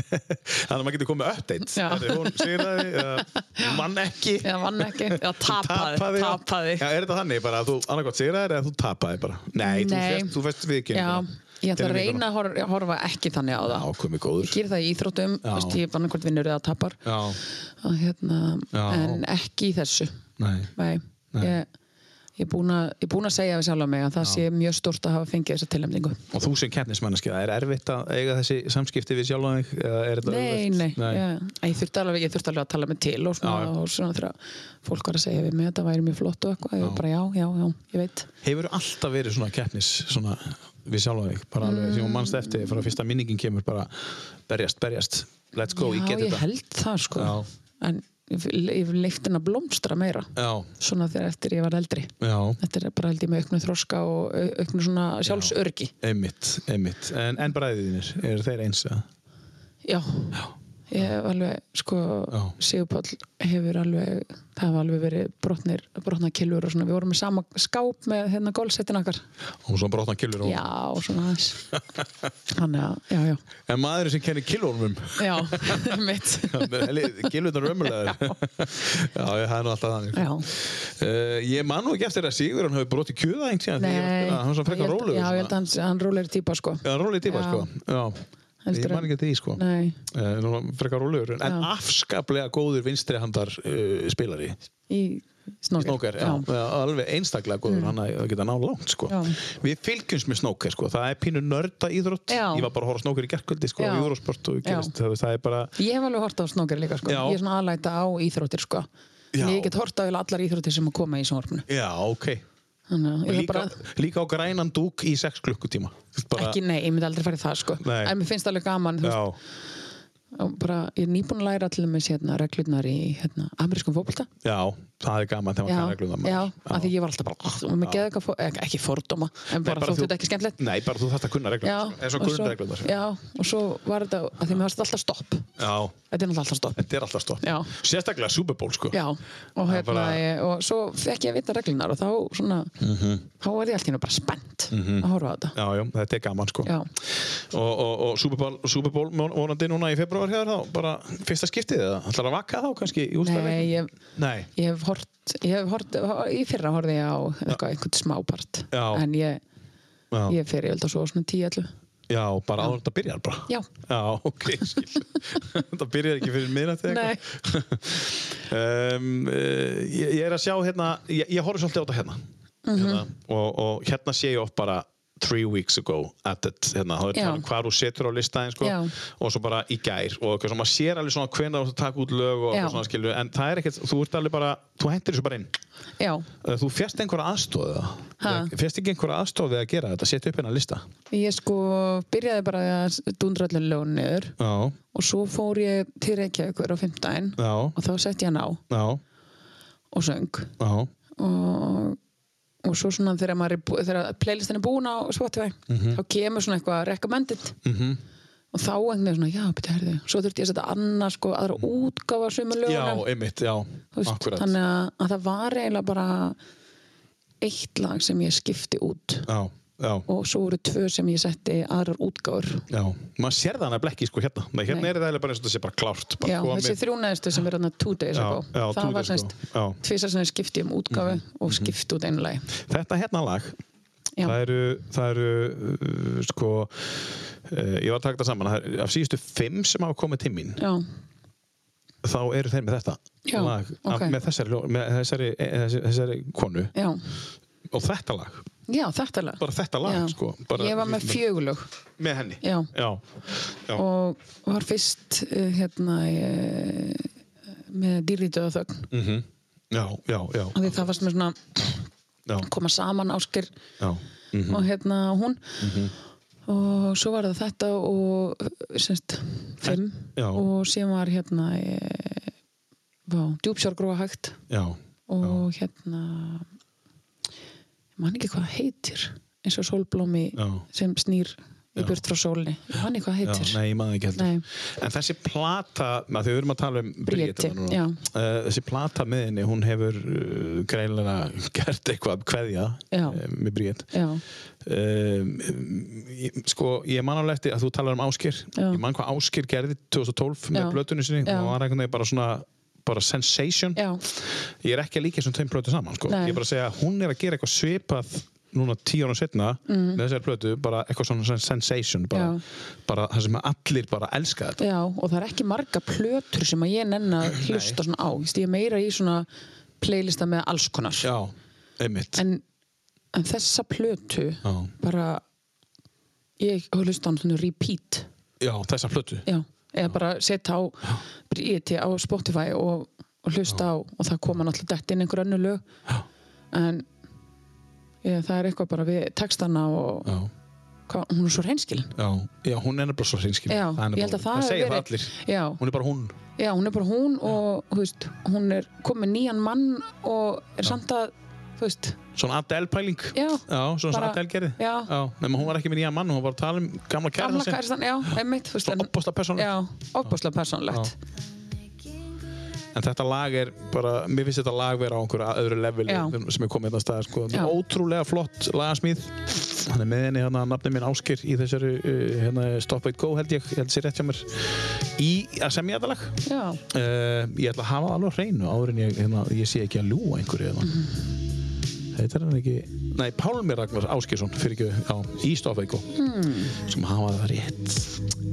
Speaker 2: Þannig að maður getur komið með updates.
Speaker 3: Já.
Speaker 2: Herri, Hún segir það, eða mann ekki.
Speaker 3: Eða vann ekki, eða tapaði,
Speaker 2: Tapaði, já.
Speaker 3: tapaði.
Speaker 2: Já, er þetta þannig bara að þú annarkvæmt segir það eða þú tapaði bara? Nei, þú
Speaker 3: Nei.
Speaker 2: fest, þú fest við ekki.
Speaker 3: Já, ég ætla að reyna að hor- horfa ekki þannig á
Speaker 2: Já,
Speaker 3: það.
Speaker 2: komið góður.
Speaker 3: Ég ger það í íþróttum,
Speaker 2: Já.
Speaker 3: veist, ég vann hvort vinnur eða tapar.
Speaker 2: Já,
Speaker 3: Að, hérna,
Speaker 2: Já.
Speaker 3: en ekki í þessu.
Speaker 2: nei.
Speaker 3: Nei, ég, ég er búin að- ég er búin að segja við sjálf mig að það sé mjög stórt að hafa fengið þessa tilnefningu.
Speaker 2: Og þú sem keppnismanneski, það er erfitt að eiga þessi samskipti við sjálf og þig? eða er þetta
Speaker 3: Nei,
Speaker 2: auðvelt?
Speaker 3: nei, ég, ég, þurfti alveg, ég þurfti alveg að tala mig til og svona, og svona þegar fólk var að segja við mig að þetta væri mjög flott og eitthvað, ég var bara já, já, já, ég veit.
Speaker 2: Hefur alltaf verið svona keppnis svona, við sjálf og þig, bara
Speaker 3: Mm.
Speaker 2: alveg sem hún mannst eftir frá fyrsta minningin kemur bara berjast, berjast, let's go,
Speaker 3: já,
Speaker 2: ég get
Speaker 3: ég
Speaker 2: þetta
Speaker 3: held það sko,
Speaker 2: Já.
Speaker 3: en ég, ég leifti henn að blómstra meira,
Speaker 2: Já,
Speaker 3: svona þegar eftir ég var eldri.
Speaker 2: já,
Speaker 3: Þetta er bara held ég með auknu þroska og au- auknu svona sjálfsörgi.
Speaker 2: einmitt, einmitt en, en bræðiðinir, eru þeir eins að
Speaker 3: Já. Ég hef alveg, sko,
Speaker 2: Já.
Speaker 3: Sigurpáll hefur alveg, það hafa alveg verið brotnir, brotna killur og svona. Við vorum með sama skáp með hérna gólsettin okkar.
Speaker 2: og svona brotna killur og
Speaker 3: Já, og svona aðeins. Þannig að, já, já.
Speaker 2: en maðurinn sem kennir killunum
Speaker 3: Já, mitt.
Speaker 2: killurnar ömulegar já, ég- það er nú alltaf þannig
Speaker 3: Já.
Speaker 2: uh, ég man nú ekki eftir að Sigur hann hafi brotið kjöða einhvern tíðan
Speaker 3: Nei.
Speaker 2: hann var svona
Speaker 3: Ég
Speaker 2: frekar
Speaker 3: held-
Speaker 2: rólegur
Speaker 3: Já, ég held að
Speaker 2: svona.
Speaker 3: hann, hann rólegur típa, sko.
Speaker 2: Já, rólegur típa,
Speaker 3: Já.
Speaker 2: sko já,
Speaker 3: Heldur
Speaker 2: ég man
Speaker 3: en-
Speaker 2: ekki eftir því, sko
Speaker 3: Nei.
Speaker 2: Eh, nú var frekar rólegur en, en
Speaker 3: Já.
Speaker 2: afskaplega góður vinstrihandar uh, spilari
Speaker 3: Í snóker.
Speaker 2: Snóker, já, já. alveg einstaklega góður hann að geta ná langt sko.
Speaker 3: Mm. Já.
Speaker 2: við fylgjumst með snóker, sko. það er pínu nörda íþrótt,
Speaker 3: Já.
Speaker 2: ég var bara að horfa á snóker í gerkvöldi sko,
Speaker 3: Já.
Speaker 2: á Eurosport og gerist, það, það er bara
Speaker 3: Ég hef alveg hort á snóker líka, sko.
Speaker 2: Já.
Speaker 3: Ég er svona aðlæta á íþróttir, sko.
Speaker 2: Já.
Speaker 3: Já. Ég get hort á eiginlega allar íþróttir sem að koma í sjónvarpinu.
Speaker 2: já, ok
Speaker 3: Þannig að ég þarf
Speaker 2: líka,
Speaker 3: bara...
Speaker 2: líka á grænan dúk í 6 klukkutíma bara,
Speaker 3: Ekki, nei, ég myndi aldrei farið það, sko.
Speaker 2: Nei.
Speaker 3: En mér finnst alveg gaman, þú veist,
Speaker 2: já,
Speaker 3: og bara, ég er nýbúin að læra allir með hérna, reglurnar í hérna, amerískum fókbalta
Speaker 2: já, það er gaman þegar
Speaker 3: Já,
Speaker 2: maður kann reglum það
Speaker 3: já, af því ég var alltaf bara og mér geði eitthvað, ekki, Eh, ekki fordóma en bara,
Speaker 2: bara
Speaker 3: þótti
Speaker 2: þú-
Speaker 3: þetta ekki skemmtilegt
Speaker 2: Nei, bara þú þarft að kunna reglum
Speaker 3: já,
Speaker 2: eins og sko.
Speaker 3: og sko. svo-
Speaker 2: grunnreglum þar
Speaker 3: já, og svo var þetta að því mér varst alltaf stopp þetta
Speaker 2: Já,
Speaker 3: er náttúrulega alltaf stopp
Speaker 2: þetta er alltaf stopp
Speaker 3: Já.
Speaker 2: Sérstaklega Super Bowl sko
Speaker 3: já, og,
Speaker 2: Það er
Speaker 3: hérna,
Speaker 2: bara-
Speaker 3: ég, og svo fekk ég að vita reglunar og þá svona þá er ég alltaf bara spennt að horfa á þetta
Speaker 2: Mhm. Já, já, þetta er gaman sko
Speaker 3: já,
Speaker 2: Og, og, og Super Bowl, Super Bowl von- vonandi núna í februar hér þá, bara fyrsta skiptið eða ætlar að vaka þá kannski í
Speaker 3: nei,
Speaker 2: ústæðleik
Speaker 3: ég,
Speaker 2: Nei,
Speaker 3: ég hef hort ég hef hort, í fyrra horfði ég á eitthvað, einhvern smápart
Speaker 2: Já.
Speaker 3: en ég,
Speaker 2: Já.
Speaker 3: ég fer ég held að svo svona 10-11
Speaker 2: já, bara áður en þetta byrjar bara
Speaker 3: Já.
Speaker 2: Já, ok, skil Þetta byrjar ekki fyrir miðnætti eða
Speaker 3: Nei.
Speaker 2: eitthvað um, uh, ég, ég er að sjá hérna ég, ég horf svolítið á þetta hérna,
Speaker 3: Mhm.
Speaker 2: hérna og, og hérna sé ég oft bara three weeks ago at it hérna, þá er
Speaker 3: Já.
Speaker 2: talað um hvar þú setur á listaðin sko,
Speaker 3: Já.
Speaker 2: og svo bara í gær og eitthvað, svo maður sér alveg svona hvenær þú ert að taka út lög og
Speaker 3: Já.
Speaker 2: eitthvað svona skilur, en það er ekkert, þú ert alveg bara þú hendir þessu bara inn
Speaker 3: já,
Speaker 2: Uh, Þú fjast einhverja aðstóð
Speaker 3: Ha?
Speaker 2: Fjast ekki einhverja aðstóð við að gera þetta, setja upp hérna lista
Speaker 3: ég sko byrjaði bara að dundra allir lögun niður
Speaker 2: Já,
Speaker 3: og svo fór ég til Reykjavíkur á fimmtdæin
Speaker 2: já,
Speaker 3: og þá sett ég hann á
Speaker 2: já,
Speaker 3: og söng
Speaker 2: já
Speaker 3: og, og svo svona þegar, maður er bú, þegar playlistin er búin á Spotify
Speaker 2: Mhm.
Speaker 3: þá kemur svona eitthvað recommended og þá einhvern veginn svona já, betur herðu, svo þurfti ég að setja annað sko, aðra útgáfa sömu
Speaker 2: Já,
Speaker 3: lögunum
Speaker 2: einmitt, já,
Speaker 3: Þú veist,
Speaker 2: akkurat
Speaker 3: þannig að, að það var eiginlega bara eitt lag sem ég skipti út
Speaker 2: Já, já,
Speaker 3: og svo voru tvö sem ég setti aðrar útgáfur
Speaker 2: já Maður sér það nefnilega ekki sko hérna Nei, hérna
Speaker 3: Nei.
Speaker 2: er það eiginlega bara eins og þetta sé bara klárt bara
Speaker 3: Já, þessi þrjúnaðistu sem er hann að two days
Speaker 2: Já,
Speaker 3: ago
Speaker 2: já,
Speaker 3: það
Speaker 2: two
Speaker 3: var
Speaker 2: days
Speaker 3: semst
Speaker 2: ago, já. Mhm,
Speaker 3: tvisar sem ég skipti um útgáfu og skipti út einu lagi
Speaker 2: Þetta hérna lag
Speaker 3: Já.
Speaker 2: Það eru, það eru uh, sko uh, Ég var að taka þetta saman það er, Af síðustu fimm sem hafa komið til mín
Speaker 3: Já,
Speaker 2: Þá eru þeir með þetta
Speaker 3: Já,
Speaker 2: lag, af-
Speaker 3: ok.
Speaker 2: Með þessari, ljó- með þessari, eh, þessari, þessari konu
Speaker 3: já,
Speaker 2: Og þetta lag
Speaker 3: já, þetta lag
Speaker 2: Bara þetta lag,
Speaker 3: Já.
Speaker 2: sko bara,
Speaker 3: Ég var með fjögulög
Speaker 2: Með henni
Speaker 3: Já,
Speaker 2: Já, já,
Speaker 3: og var fyrst eh, hérna eh, með dýrri döðaþögn mm.
Speaker 2: Mhm. já, já, já,
Speaker 3: því það varst með svona
Speaker 2: já,
Speaker 3: koma saman áskir
Speaker 2: já. Mhm.
Speaker 3: og hérna hún og svo var það þetta og eh, semst fimm
Speaker 2: Já.
Speaker 3: og síðan var hérna e, djúpsjárgróa hægt
Speaker 2: já.
Speaker 3: og hérna ég man ekki hvað það heitir eins og sólblómi
Speaker 2: Já.
Speaker 3: sem snýr í burt frá sólinni ég man ekki hvað það
Speaker 2: Já,
Speaker 3: heitir
Speaker 2: nei, ég maður ekki heldur
Speaker 3: Nei.
Speaker 2: En þessi plata, að því við erum að tala um
Speaker 3: Bríeti,
Speaker 2: Bríeti
Speaker 3: já.
Speaker 2: uh, Þessi plata með henni, hún hefur uh, greinlega gert eitthvað kveðja
Speaker 3: Já.
Speaker 2: uh, með Bríet
Speaker 3: já,
Speaker 2: um, ég- Sko, ég man alveg eftir að þú talar um Áskir
Speaker 3: Já.
Speaker 2: Ég man hvað Áskir gerði 2012
Speaker 3: Já.
Speaker 2: með blötunni sinni
Speaker 3: Já.
Speaker 2: og var einhvern veginn bara svona bara sensation
Speaker 3: já,
Speaker 2: ég er ekki að líka þessum tveim plötu saman sko. ég
Speaker 3: Nei.
Speaker 2: er bara að segja að hún er að gera eitthvað svipað núna tíu ára setna með þessari plötu, bara eitthvað svona sen- sensation bara,
Speaker 3: Mhm. Já.
Speaker 2: bara það sem allir bara elska þetta
Speaker 3: já og það er ekki marga plötur sem að ég nenn að hlusta svona á Vist, ég er meira í svona playlista með alls konar
Speaker 2: já, einmitt
Speaker 3: en, en þessa plötu
Speaker 2: já.
Speaker 3: bara ég hlusta á hann svona repeat
Speaker 2: já, þessa plötu
Speaker 3: já, eða bara setja á Bríeti á Spotify og, og hlusta á og það koma náttúrulega dætt inn einhver önnu lög
Speaker 2: Já.
Speaker 3: en ég, það er eitthvað bara við textana og
Speaker 2: já,
Speaker 3: hva, hún er svo reynskilin
Speaker 2: já, já hún er bara svo hreinskil
Speaker 3: Já, ég held að það hafi
Speaker 2: segir það
Speaker 3: verið-
Speaker 2: allir,
Speaker 3: já,
Speaker 2: hún er bara hún
Speaker 3: já, hún er bara hún og þú veist, hún er komið nýjan mann og er samt að þú veist,
Speaker 2: svona Adele pæling
Speaker 3: Já.
Speaker 2: svona sem
Speaker 3: Bara-
Speaker 2: Adele gerði
Speaker 3: já.
Speaker 2: nema hún var ekki með nýja mann, hún var bara að tala um gamla kæra
Speaker 3: gamla kæristan já, einmitt, þú veist
Speaker 2: Svo
Speaker 3: en-
Speaker 2: opbósta persónlega
Speaker 3: já, opbúslega persónlegt
Speaker 2: En þetta lag er bara, mér finnst þetta lag vera á einhverju öðru leveli
Speaker 3: Já.
Speaker 2: sem er komið hérna að staða sko.
Speaker 3: Já.
Speaker 2: Ótrúlega flott lagasmíð. Hann er með henni hérna, nafni minn Áskir í þessari uh, hérna, Stop It Go held ég, ég held sér rétt hjá mér í að semja þetta lag.
Speaker 3: já,
Speaker 2: Uh, ég ætla að hafa það alveg á hreinu áður en ég, hérna, ég sé ekki að ljúa einhverju hérna.
Speaker 3: Mhm.
Speaker 2: Þetta er hann ekki, nei, Pálmi Ragnar Áskirsson fyrir ekki, já, í Stop It Go.
Speaker 3: Hmm.
Speaker 2: Mm. Sem hafa það rétt.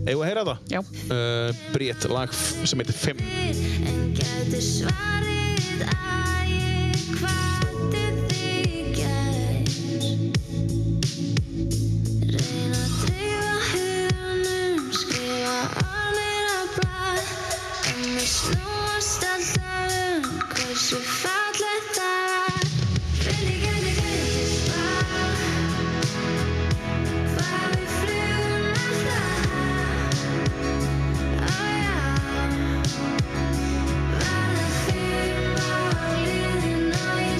Speaker 2: Eigum við að heyra það?
Speaker 3: já,
Speaker 2: Uh, Brét, lag f- sem heitir 5.
Speaker 9: En gæti svarið að ég kvati þig gær Reina að dreifa huganum, skrifa orðin á blað En við snúast alltaf um hversu fallegt það var Hvernig gæti gæti svar Hvað við flugum alltaf Ó já Verða fimm og ég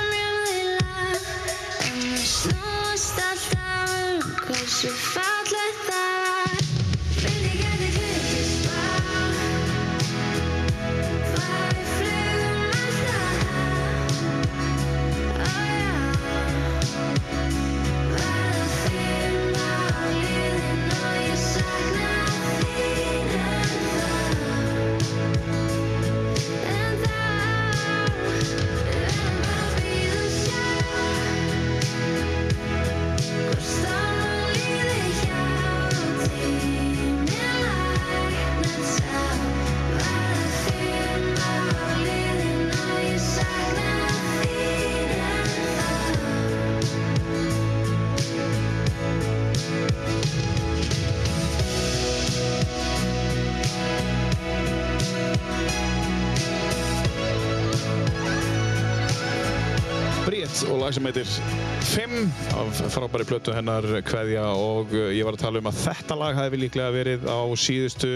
Speaker 10: um
Speaker 2: Bennett og lag sem heitir 5 af frábæri plötu hennar Kveðja og uh, ég var að tala um að þetta lag hafi líklega verið á síðustu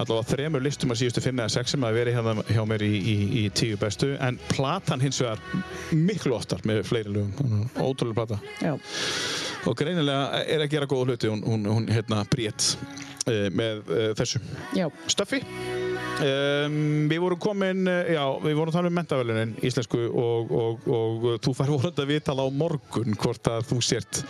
Speaker 2: allavega þremur listum að síðustu 5 eða 6 sem hafi verið hérna hjá mér í, í, í tíu bestu en platan hins vegar miklu oftar með fleiri lögum ótrúlega plata
Speaker 3: Já.
Speaker 2: og greinilega er að gera góða hluti hún, hún, hún hérna brét með uh, þessu
Speaker 3: Já.
Speaker 2: Stöffi um, Við vorum komin, eh, já, við vorum að tala um mentavelunin íslensku og, og, og, þú fær vorandi að vitala á morgun hvort að þú sért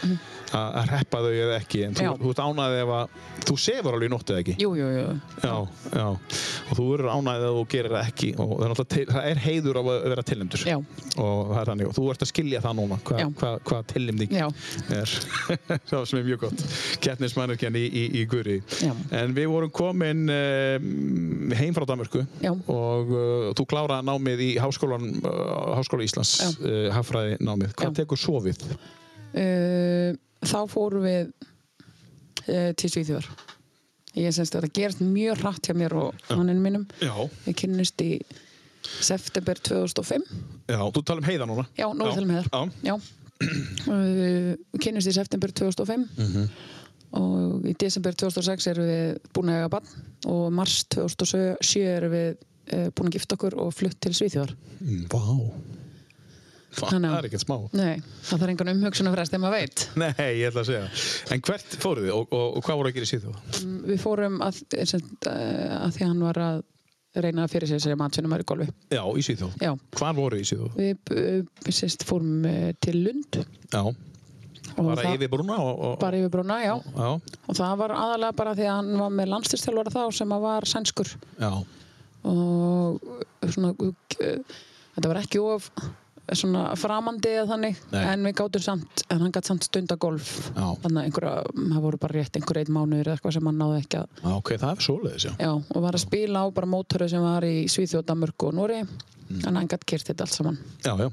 Speaker 2: að að reppa þau eða ekki en þú,
Speaker 3: Já.
Speaker 2: þú ert ánaðið ef að þú sefur alveg í nótt eða ekki
Speaker 3: Jú, jú, jú.
Speaker 2: já, já, og þú verður ánaðið ef þú gerir það ekki og það er, náttúrulega til, það er heiður af að vera tilnæmdur
Speaker 3: Já.
Speaker 2: og það er þannig og þú ert að skilja það núna hvað
Speaker 3: Já.
Speaker 2: hva, hva tilnæmning
Speaker 3: Já.
Speaker 2: er það sem er mjög gott kettnismannurkjan í, í, í Guri
Speaker 3: Já.
Speaker 2: en við vorum komin um, heim frá Danmörku
Speaker 3: Já.
Speaker 2: og uh, þú kláraði námið í háskólan, uh, háskóla Íslands
Speaker 3: Já.
Speaker 2: uh, hafræði námið, hvað
Speaker 3: Já.
Speaker 2: tekur svo við?
Speaker 3: Uh, þá fórum við uh, til Svíþjóðar. Ég semst að þetta gerst mjög hratt hjá mér og manninu mínum.
Speaker 2: Já,
Speaker 3: Við kynnust í september 2005.
Speaker 2: já, þú tala um heiða núna
Speaker 3: Já, nú um erum við talað með þér.
Speaker 2: Já,
Speaker 3: Já. Uh, kynnist í september 2005
Speaker 2: Mhm.
Speaker 3: og í desember 2006 erum við búin að eiga bann og mars 2007 erum við uh, búin að gifta okkur og flutt til Svíþjóðar.
Speaker 2: Mm, vá Fa,
Speaker 3: Þannig
Speaker 2: Það
Speaker 3: að-
Speaker 2: er ekkert smá
Speaker 3: Nei, það þarf engan umhugsun að fresta ef maður veit.
Speaker 2: Nei, ég ætla að segja En hvert fóruð þið og, og, og hvað voru að gera í síðu?
Speaker 3: Mm, Við fórum að, eh, sem, uh, að því hann var að reyna að fyrir sér sér matvinnum í golfi.
Speaker 2: Já, í síðu
Speaker 3: Já,
Speaker 2: Hvar voru í síðu?
Speaker 3: við, eh, við sérst fórum eh, til Lund
Speaker 2: Já,
Speaker 3: og
Speaker 2: bara
Speaker 3: það-
Speaker 2: yfir brúna og, og,
Speaker 3: bara yfir Brúna, já.
Speaker 2: Já,
Speaker 3: Og það var aðalega bara því að hann var með landslistjálfara þá sem að var sænskur
Speaker 2: já
Speaker 3: og svona eh, þetta var ekki of eh, svona framandi eða þannig
Speaker 2: Nei.
Speaker 3: en við gátum samt, en hann gæti samt stunda golf
Speaker 2: Já.
Speaker 3: þannig að einhverja, það voru bara rétt einhver einn mánuður eða eitthvað sem hann náði ekki að
Speaker 2: Já, ok, það er svoleiðis, já.
Speaker 3: já, og var að spila á bara mótoru sem var í Svíþjóð, Danmörku og Núri mm. en hann gæti kert þetta allt saman
Speaker 2: Já, já.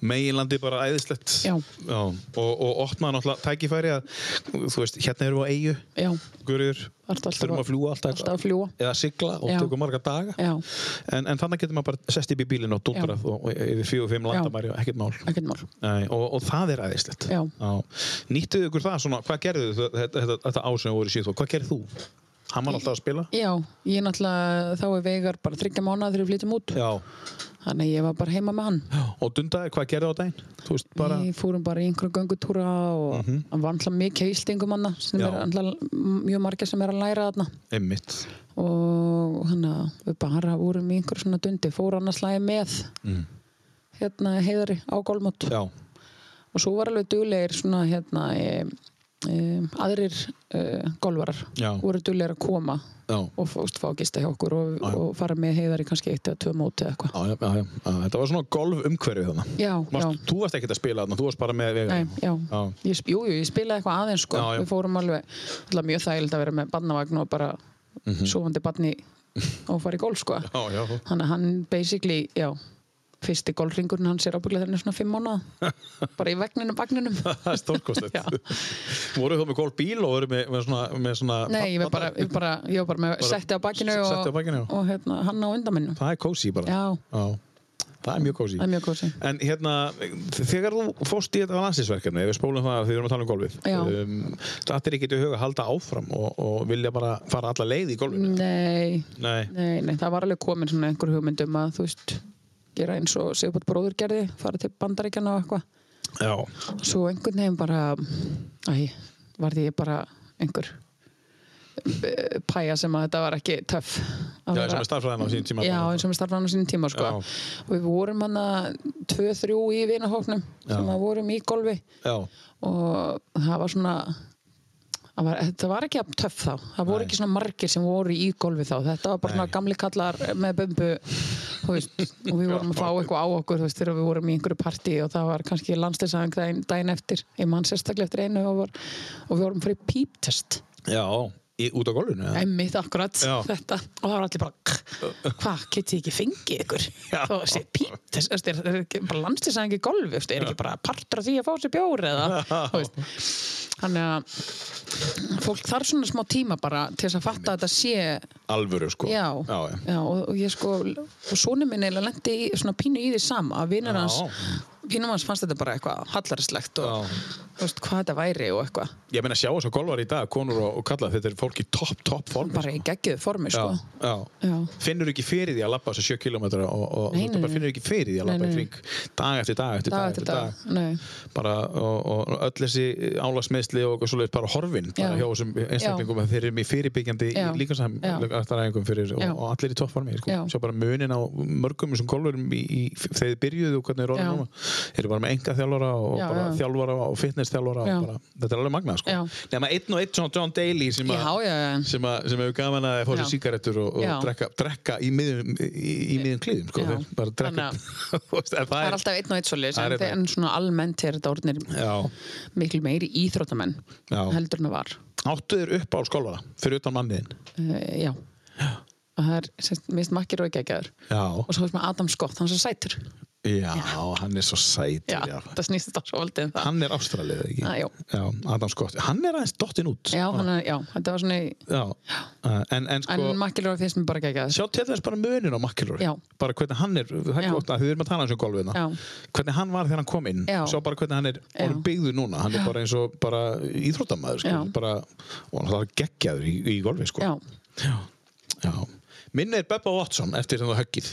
Speaker 2: Meginlandi bara æðislegt.
Speaker 3: Já.
Speaker 2: Og, og opnaði náttúrulega tækifæri að, þú veist, hérna erum við á eigu,
Speaker 3: já,
Speaker 2: gurur,
Speaker 3: Allt- alltaf
Speaker 2: þurfum
Speaker 3: að-
Speaker 2: að fljúa alltaf,
Speaker 3: alltaf að fljúga.
Speaker 2: eða sigla og
Speaker 3: Já.
Speaker 2: tökum marga daga.
Speaker 3: Já.
Speaker 2: En, en þannig getur maður bara sest upp í bílinn og dundrað og, og yfir fjögur og fimm
Speaker 3: Já.
Speaker 2: landamæri og ekkert mál.
Speaker 3: ekkert mál
Speaker 2: Nei, og, og það er æðislegt.
Speaker 3: Já.
Speaker 2: Nýttuðu ykkur það svona, hvað gerðu þau þetta, þetta, þetta ár sem þau voru í síðan? Hvað gerðu þú? Hann var alltaf að spila?
Speaker 3: já, ég náttúrulega, þá er Veigar bara þryggja mánuða þegar við flytjum út
Speaker 2: Já.
Speaker 3: þannig að ég var bara heima með hann
Speaker 2: Og dundaði, hvað gerðu á daginn? Þú veist, bara... Mhm.
Speaker 3: Við fórum bara í einhverju göngutúra og hann var alltaf mikið á íslingum hann sem
Speaker 2: Já.
Speaker 3: er alltaf mjög margir sem er að læra þarna
Speaker 2: Einmitt.
Speaker 3: og hann að við bara vorum í einhverju svona dundi fór hann að slæði með
Speaker 2: Mm.
Speaker 3: hérna heiðari á gólmót
Speaker 2: Já.
Speaker 3: og svo var alveg duglegir svona hérna e, e, aðrir e, gólvarar
Speaker 2: Já.
Speaker 3: voru duglegir að koma
Speaker 2: Já.
Speaker 3: og fóst fá að gista hjá okkur og, og fara með heiðari kannski eitt eða tvö móti eða eitthvað
Speaker 2: Já, já, já, já. Þetta var svona golf umhverfið þannig.
Speaker 3: Já, já.
Speaker 2: Varst, þú varst ekkert að spila þarna, þú varst bara með vegar.
Speaker 3: Nei, já.
Speaker 2: Já.
Speaker 3: Ég, sp- jú, jú, ég spilaði eitthvað aðeins sko.
Speaker 2: Já, já.
Speaker 3: Við fórum alveg, alltaf mjög þægild að vera með barnavagn og bara mm sofandi barni og fara í golf sko.
Speaker 2: Mhm. Já, já.
Speaker 3: Þannig að hann basically, já, fyrsti golfringurinn hans er ábygglega þenni svona fimm mánuða. bara í vegninum, vagninum.
Speaker 2: Það er stórkostlegt. Voruð þú með golfbíl og voruð með, með svona... Með svona
Speaker 3: Nei, ég var bara, ég var bara, ég var bara með setti á bakinu og,
Speaker 2: setti á bakinu, já.
Speaker 3: og hérna, hann á undan minnu.
Speaker 2: Það er kósi bara.
Speaker 3: Já,
Speaker 2: Það er mjög kósi.
Speaker 3: það er mjög kósi.
Speaker 2: En hérna, þegar þú fórst í þetta landsinsverkefni, ef við spólum það því við erum að tala um golfið,
Speaker 3: Já.
Speaker 2: þetta er ekki til huga að halda áfram og, og vilja bara fara alla leið í golfinu.
Speaker 3: Nei,
Speaker 2: Nei.
Speaker 3: nei, nei, það var alveg komin svona einhver hugmyndum að, þú veist, gera eins og Sigurbjörn bróður gerði, fara til bandaríkjana og eitthvað.
Speaker 2: Já.
Speaker 3: svo einhvern veginn bara æ, varði ég bara einhver eh, pæja sem að þetta var ekki töff að
Speaker 2: Já,
Speaker 3: vera-
Speaker 2: eins og með starffræðina á sínum tíma.
Speaker 3: já, eins og við starfum á sínum tíma sko.
Speaker 2: Já.
Speaker 3: og við vorum hann að tvö, þrjú í vinahóknum sem að vorum í golfi
Speaker 2: Já.
Speaker 3: og það var svona það var, þetta var ekki jafn töff þá það voru ekki svona margir sem voru í golfi þá þetta var bara svona gamli kallar með bumbu þú veist, og við vorum að fá eitthvað á okkur þú veist, þegar við vorum í einhverju partí og það var kannski landsleysang daginn, daginn eftir ég mann sérstaklega eftir einu og, var, og við vorum fyrir píptest
Speaker 2: Já. Í, út á golfinu? eða?
Speaker 3: Emmitt akkurat
Speaker 2: Já.
Speaker 3: þetta og það var allir bara hvað, get ég ekki fengið ykkur þá sé pít, þess þess- er, er ekki bara landslýsæðing í golfi, þess- er ekki bara partur af því að fá sér bjór eða, þú veist þannig að fólk þarf svona smá tíma bara til þess að fatta að þetta sé
Speaker 2: alvöru sko
Speaker 3: Já,
Speaker 2: já, já.
Speaker 3: og, og ég sko og sonur minn eiginlega lendi í svona pínu í því sama að vinur hans, vinur hans fannst þetta bara eitthvað hallarslegt og þú veist hvað þetta væri og eitthvað
Speaker 2: Ég meina sjá þess að golvar í dag, konur og, og kalla þetta er fólk í topp, topp form
Speaker 3: bara í geggjöðu formi sko
Speaker 2: já, já.
Speaker 3: Já.
Speaker 2: Finnur ekki fyrir því að labba þessu 7 km og, og
Speaker 3: Nei,
Speaker 2: þú
Speaker 3: nei,
Speaker 2: bara
Speaker 3: nei.
Speaker 2: finnur ekki fyrir því að labba
Speaker 3: Nei,
Speaker 2: í
Speaker 3: nei.
Speaker 2: kring dag eftir dag eftir dag,
Speaker 3: dag eftir dag, nei
Speaker 2: bara og, og öll þessi álagsmeðsli og svoleiðis bara horfin bara
Speaker 3: Já.
Speaker 2: hjá þessum einstaklingum að þeir eru mjög fyrirbyggjandi
Speaker 3: Já. Já.
Speaker 2: líkansæðaræðingum fyrir og,
Speaker 3: Já.
Speaker 2: og allir í toppformi sko.
Speaker 3: Já.
Speaker 2: sjá bara munin á mörgum þessum golfurum í, í, þegar þið byrjuðu og hvernig er
Speaker 3: Já.
Speaker 2: orðin núna þeir eru bara með enga þjálfara og
Speaker 3: Já,
Speaker 2: bara
Speaker 3: já.
Speaker 2: þjálfara og fitness þjálfara
Speaker 3: Já.
Speaker 2: og bara, þetta er alveg magnað sko.
Speaker 3: Já.
Speaker 2: nema einn og einn svona John Daly sem,
Speaker 3: Já,
Speaker 2: að-
Speaker 3: já, já.
Speaker 2: sem, að- sem hefur gaman að fá sér
Speaker 3: Já.
Speaker 2: síkarettur og,
Speaker 3: Já.
Speaker 2: og drekka, drekka í miðjum, í, í miðjum kliðum sko.
Speaker 3: Já.
Speaker 2: Þeir bara drekka
Speaker 3: Þannig að-
Speaker 2: Þú veist, en
Speaker 3: það er alltaf einn og einn svoleiðis
Speaker 2: Það er einn
Speaker 3: en,
Speaker 2: og
Speaker 3: þeir- en svona almennt er þetta orðnir
Speaker 2: Já.
Speaker 3: miklu meiri íþróttamenn
Speaker 2: Já.
Speaker 3: heldur en það var
Speaker 2: Áttu þér upp á skólvara fyrir utan manniðin
Speaker 3: uh, já og það er, sérst, mist makkir og geggjöður
Speaker 2: Já,
Speaker 3: og svo er sem Adam Scott, hann er svo sætur
Speaker 2: já, hann er svo sætur
Speaker 3: já,
Speaker 2: já.
Speaker 3: það snýst þetta svo valdið um það
Speaker 2: Hann er ástralið, ekki?
Speaker 3: Ah, já.
Speaker 2: já, Adam Scott, hann er aðeins dottinn út
Speaker 3: já, hann er, já, þetta var svona í-
Speaker 2: já. Uh, En, en sko,
Speaker 3: En Makkilur finnst mér bara geggjað
Speaker 2: sjá til þess bara munin á McIlroy
Speaker 3: Já.
Speaker 2: bara hvernig hann er, það er
Speaker 3: Já.
Speaker 2: ekki ofta því við erum að tala um þessu golfina,
Speaker 3: Já.
Speaker 2: hvernig hann var þegar hann kom inn,
Speaker 3: Já.
Speaker 2: sjá bara hvernig hann er
Speaker 3: Já.
Speaker 2: orðin byggður núna, hann er bara eins og bara íþróttamaður, sko,
Speaker 3: Já.
Speaker 2: bara og hann er geggjaður í, í golfi, sko
Speaker 3: Já,
Speaker 2: Já. Minni er Bubba Watson eftir hérna höggið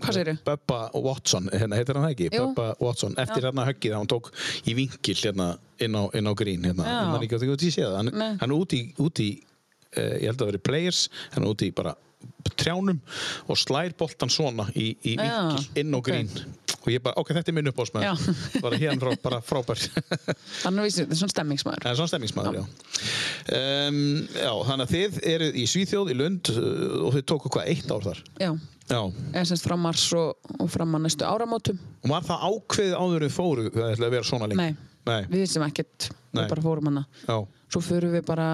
Speaker 3: hvað segirðu?
Speaker 2: Bubba Watson, hérna heitir hann það ekki
Speaker 3: Jú.
Speaker 2: Bubba Watson, eftir hérna höggið þegar hann tók í vinkil hérna inn á, inn á grín hérna,
Speaker 3: Já.
Speaker 2: hann er ekki að því að sé það hann,
Speaker 3: Nei.
Speaker 2: hann er úti, í- úti í, eh, ég held að það veri players, hann er úti í bara trjánum og slær boltan svona í, í
Speaker 3: Já,
Speaker 2: vinkil inn á
Speaker 3: ok.
Speaker 2: grín og ég bara, ok, þetta er minn uppásmæður
Speaker 3: Já.
Speaker 2: bara hérna frá, bara frábær
Speaker 3: Hann er vísið, þetta er svona stemmingsmaður
Speaker 2: Það er svona stemmingsmaður, já. Um, já, þannig að þið eruð í Svíþjóð, í Lund uh, og þið tóku hvað, eitt ár þar?
Speaker 3: Já,
Speaker 2: Já.
Speaker 3: eða semst frá mars og, og fram að næstu áramótum
Speaker 2: Og var það ákveðið áður en þið fóru að það ætlaði að vera svona lengi?
Speaker 3: Nei,
Speaker 2: Nei.
Speaker 3: við vissum ekkert
Speaker 2: Nei.
Speaker 3: Við bara fórum hana
Speaker 2: Já.
Speaker 3: Svo förum við bara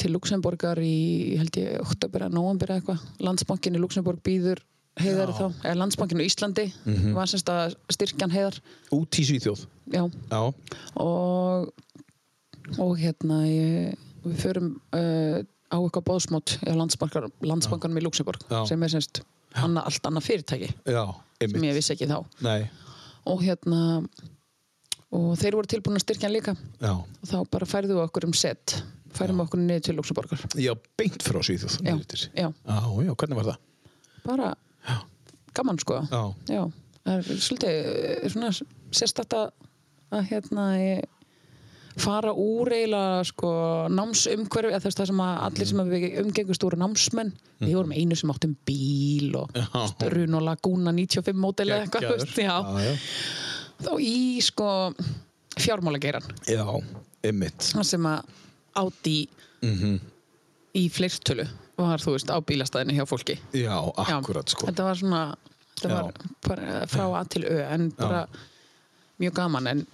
Speaker 3: til Luxemburgar í, held ég, oktober að november eða eitthvað Landsbankin í Luxemburg býður heiðar þá eða Landsbankin í Íslandi
Speaker 2: Mhm.
Speaker 3: var semst að styrkjan heiðar
Speaker 2: Út í Svíþjóð?
Speaker 3: Já,
Speaker 2: Já.
Speaker 3: og og hérna ég, við förum uh, á eitthvað bóðsmót á landsbankan, landsbankanum í Luxemburg
Speaker 2: Já.
Speaker 3: sem er semst anna, allt annað fyrirtæki
Speaker 2: Já,
Speaker 3: sem
Speaker 2: einmitt.
Speaker 3: ég vissi ekki þá
Speaker 2: Nei.
Speaker 3: og hérna og þeir voru tilbúin að styrkja hann líka
Speaker 2: Já.
Speaker 3: og þá bara færðu við okkur um set færum okkur niður til Luxemburgar
Speaker 2: Já, beint frá Svíþjóð.
Speaker 3: Já,
Speaker 2: niður eftir.
Speaker 3: já.
Speaker 2: Já, já, hvernig var það?
Speaker 3: bara gaman sko
Speaker 2: Já.
Speaker 3: það er svolítið eh, svona sérstætt að að, hérna ég, fara úr eiginlega sko námsumhverfi eða þess það sem að allir sem að við umgengust úr námsmenn við vorum einu sem áttum bíl og
Speaker 2: Mhm. Já.
Speaker 3: Run og Laguna 95 mótel eða eitthvað
Speaker 2: Geggjaður.
Speaker 3: þú veist, já.
Speaker 2: Já,
Speaker 3: þá í sko fjármálageiran
Speaker 2: já. Já, einmitt.
Speaker 3: þar sem að átt í
Speaker 2: Mhm.
Speaker 3: í fleirtölu var þú veist á bílastæðinu hjá fólki
Speaker 2: Já,
Speaker 3: Já,
Speaker 2: akkurat, sko.
Speaker 3: þetta var svona þetta
Speaker 2: Já.
Speaker 3: var bara frá að til ö en bara mjög gaman en,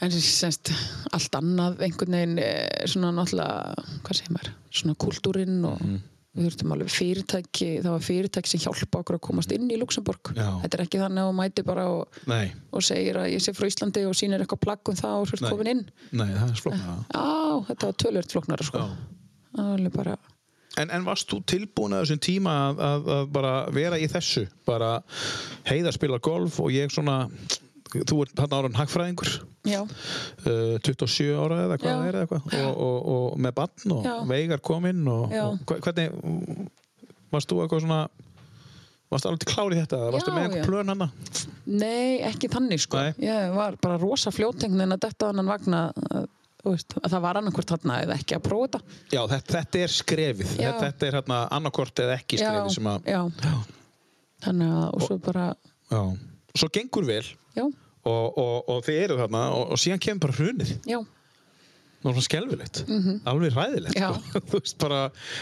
Speaker 3: en semst, allt annað einhvern veginn eh, svona náttúrulega, hvað segir maður svona kúltúrin og
Speaker 2: Mhm.
Speaker 3: við þurftum alveg fyrirtæki, það var fyrirtæki sem hjálpa okkur að komast inn í Luxemburg
Speaker 2: Já.
Speaker 3: þetta er ekki þannig að þú mæti bara og,
Speaker 2: Nei.
Speaker 3: og segir að ég sé frá Íslandi og sýnir eitthvað plagg um það og svo er
Speaker 2: Nei.
Speaker 3: komin inn
Speaker 2: Nei, það er flóknar það.
Speaker 3: Já, þetta var tölvöld flóknara sko.
Speaker 2: Já.
Speaker 3: Það var alveg bara
Speaker 2: En, en varst þú tilbúin að þessum tíma að, að, að bara vera í þessu? Bara heiða spila golf og ég svona, þú ert hann ára hagfræðingur,
Speaker 3: Já,
Speaker 2: uh, 27 ára eða hvað
Speaker 3: Já.
Speaker 2: það er eða eitthvað og, og, og með bann og
Speaker 3: Já.
Speaker 2: veigar kominn og,
Speaker 3: Já.
Speaker 2: og hva- hvernig varst þú eitthvað svona varst alveg til klár í þetta? eða Varstu
Speaker 3: Já,
Speaker 2: með einhver
Speaker 3: já.
Speaker 2: plön hana?
Speaker 3: nei, ekki þannig sko
Speaker 2: Nei.
Speaker 3: Ég var bara rosa fljótengn en að detta á annan vagna að, þú veist, að það var annarkvort þarna eða ekki að prófa þetta
Speaker 2: Já, þetta, þetta er skrefið.
Speaker 3: Já.
Speaker 2: Þetta, þetta er hérna annarkort eða ekki skrefið sem að...
Speaker 3: já. Þannig að, og svo bara
Speaker 2: Já. Svo gengur vel
Speaker 3: Já,
Speaker 2: og, og, og þið eru þarna og, og síðan kemur bara hrunið.
Speaker 3: já,
Speaker 2: náttúrulega skelfilegt, alveg ræðilegt
Speaker 3: Mhm. Já.
Speaker 2: sko. þú veist bara,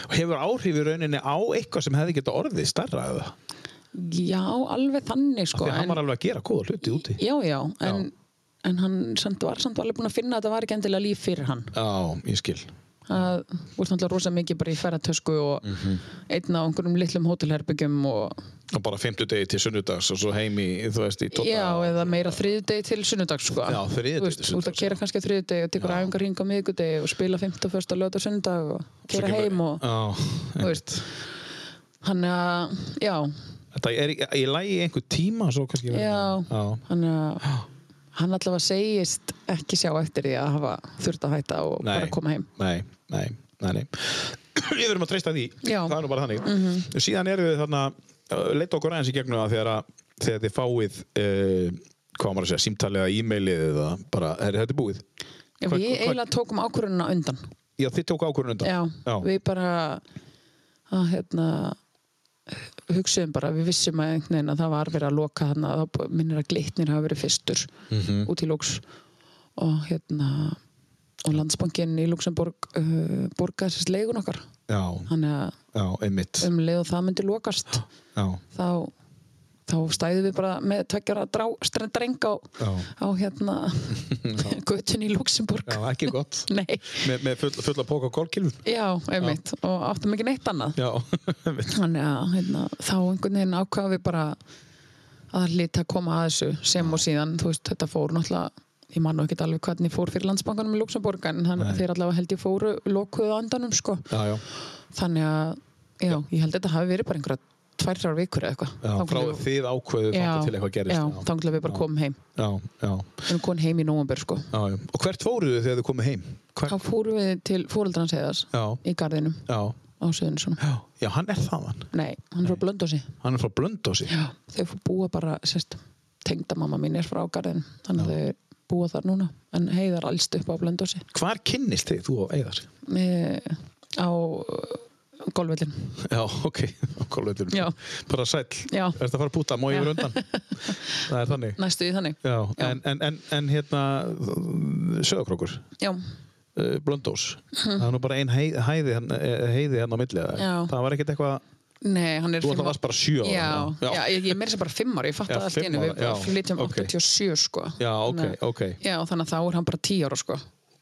Speaker 2: og hefur áhrif í rauninni á eitthvað sem hefði geta orðið starra eða,
Speaker 3: já, alveg þannig
Speaker 2: af
Speaker 3: sko
Speaker 2: því að hann
Speaker 3: en,
Speaker 2: var alveg að gera góða hluti úti
Speaker 3: Já, já, en, en hann samt var samt alveg búin að finna að þetta var ekki endilega líf fyrir hann
Speaker 2: Já, ég skil
Speaker 3: að þú ert náttúrulega rosa mikið bara í ferðartösku og
Speaker 2: Mhm.
Speaker 3: einn á einhverjum litlum hótelherbyggjum og
Speaker 2: og bara 50 degi til sunnudags og svo heim í, þú veist, í tóta
Speaker 3: já, eða meira þriðdegi til sunnudags sko.
Speaker 2: Já, þriðjudegi
Speaker 3: Þú veist,
Speaker 2: til
Speaker 3: þú ert að
Speaker 2: sunnudags,
Speaker 3: kera kannski þriðdegi og tekur æfingar hring á miðgudegi og spila 51. lögð á sunnudag og kera heim og
Speaker 2: já,
Speaker 3: þú veist þannig að, já,
Speaker 2: Þetta er í- í lagi í einhver tíma svo kannski verður-
Speaker 3: já
Speaker 2: já.
Speaker 3: þannig að hann allavega segist ekki sjá eftir því að hafa þurft að hætta og
Speaker 2: Nei.
Speaker 3: bara koma heim
Speaker 2: Nei, nei, nei, nei. Við verum að treysta því
Speaker 3: Já. Mhm.
Speaker 2: Það er nú bara þannig Síðan erum við þarna uh, Leita okkur aðeins í gegnum það þegar, að, þegar þið fáið uh, Hvað á maður að segja, símtalið eða e-mailið eða bara, er þetta er búið?
Speaker 3: Já,
Speaker 2: Hvað-
Speaker 3: við
Speaker 2: hvað-
Speaker 3: eiginlega tókum ákvörðunina undan
Speaker 2: Já, þið tók ákvörðun undan
Speaker 3: já,
Speaker 2: Já.
Speaker 3: við bara að, hérna, hugsuðum bara við vissum að einhvern veginn að það var verið að loka þannig að það minnir að glitnir hafa verið fyrstur út í lóks og hérna og landsbankin í Luxemburg uh, borgaði sérst leigun okkar
Speaker 2: já,
Speaker 3: þannig að
Speaker 2: já, einmitt
Speaker 3: um leið og það myndi lokast
Speaker 2: Já,
Speaker 3: þá þá stæðum við bara með tveggjara drá, stre- dreng á,
Speaker 2: Já.
Speaker 3: á hérna götun í Luxemburg
Speaker 2: já ekki gott
Speaker 3: nei,
Speaker 2: Með, með full, fulla póka og kólkilvum
Speaker 3: já, einmitt og áttum ekki neitt annað
Speaker 2: Já, einmitt
Speaker 3: Þannig að hérna, þá einhvern veginn ákvaða við bara að lita að koma að þessu sem og síðan, þú veist, þetta fór náttúrulega ég man nú ekkert alveg hvernig fór fyrir landsbankanum í Luxemburg en hann, þeir allavega held ég fóru lokuðu á andanum sko
Speaker 2: Já, já,
Speaker 3: þannig að, já, ég held þetta hafi verið bara einhverja tvær, þrjár vikur eða eitthvað
Speaker 2: já frá þið ákveðu
Speaker 3: já,
Speaker 2: þangað til eitthvað gerist
Speaker 3: já, þannig að við bara komum heim
Speaker 2: já, já,
Speaker 3: við erum konum heim í nóvambur sko
Speaker 2: já, já. Og hvert fóruðu þegar þið komið heim? Hver,
Speaker 3: þá fórum við til fóreldrans heiðas
Speaker 2: Já.
Speaker 3: í garðinum
Speaker 2: já,
Speaker 3: á söðunum svona
Speaker 2: já, já, hann er það hann
Speaker 3: nei, hann er frá Blöndósi
Speaker 2: Hann er frá Blöndósi
Speaker 3: Já, þau fór búa bara, sérst, tengdamamma mín er frá garðin, þannig að þau búa þar núna, en heiðar allst upp á blendósi,
Speaker 2: Hvar kynnist þið, þú og Eðar?
Speaker 3: e, á uh, golvillin.
Speaker 2: Já, ok, kólveitur
Speaker 3: Já.
Speaker 2: Bara sæll,
Speaker 3: Já.
Speaker 2: ertu að fara að púta, má ég vera undan Það er þannig
Speaker 3: Næstu í þannig.
Speaker 2: Já, En, en, en, en hérna Söðakrókur,
Speaker 3: Já,
Speaker 2: uh, Blöndós Það er nú bara ein hei- hæði, hann- eh, heiði hann á milli eða?
Speaker 3: Hm. Já.
Speaker 2: Það var ekkert eitthvað
Speaker 3: nei, hann er
Speaker 2: Þú alltaf varst bara sjö ára,
Speaker 3: ára. Já,
Speaker 2: já.
Speaker 3: já. ég, ég meiri sér bara fimm ára, ég fatt
Speaker 2: Já,
Speaker 3: að allt í
Speaker 2: fimm
Speaker 3: einu, við
Speaker 2: ára, já,
Speaker 3: bara flytjum
Speaker 2: ok.
Speaker 3: 87 sko.
Speaker 2: Já, ok,
Speaker 3: Þannig að-
Speaker 2: ok.
Speaker 3: Já, þannig að þá er hann bara 10 ára sko,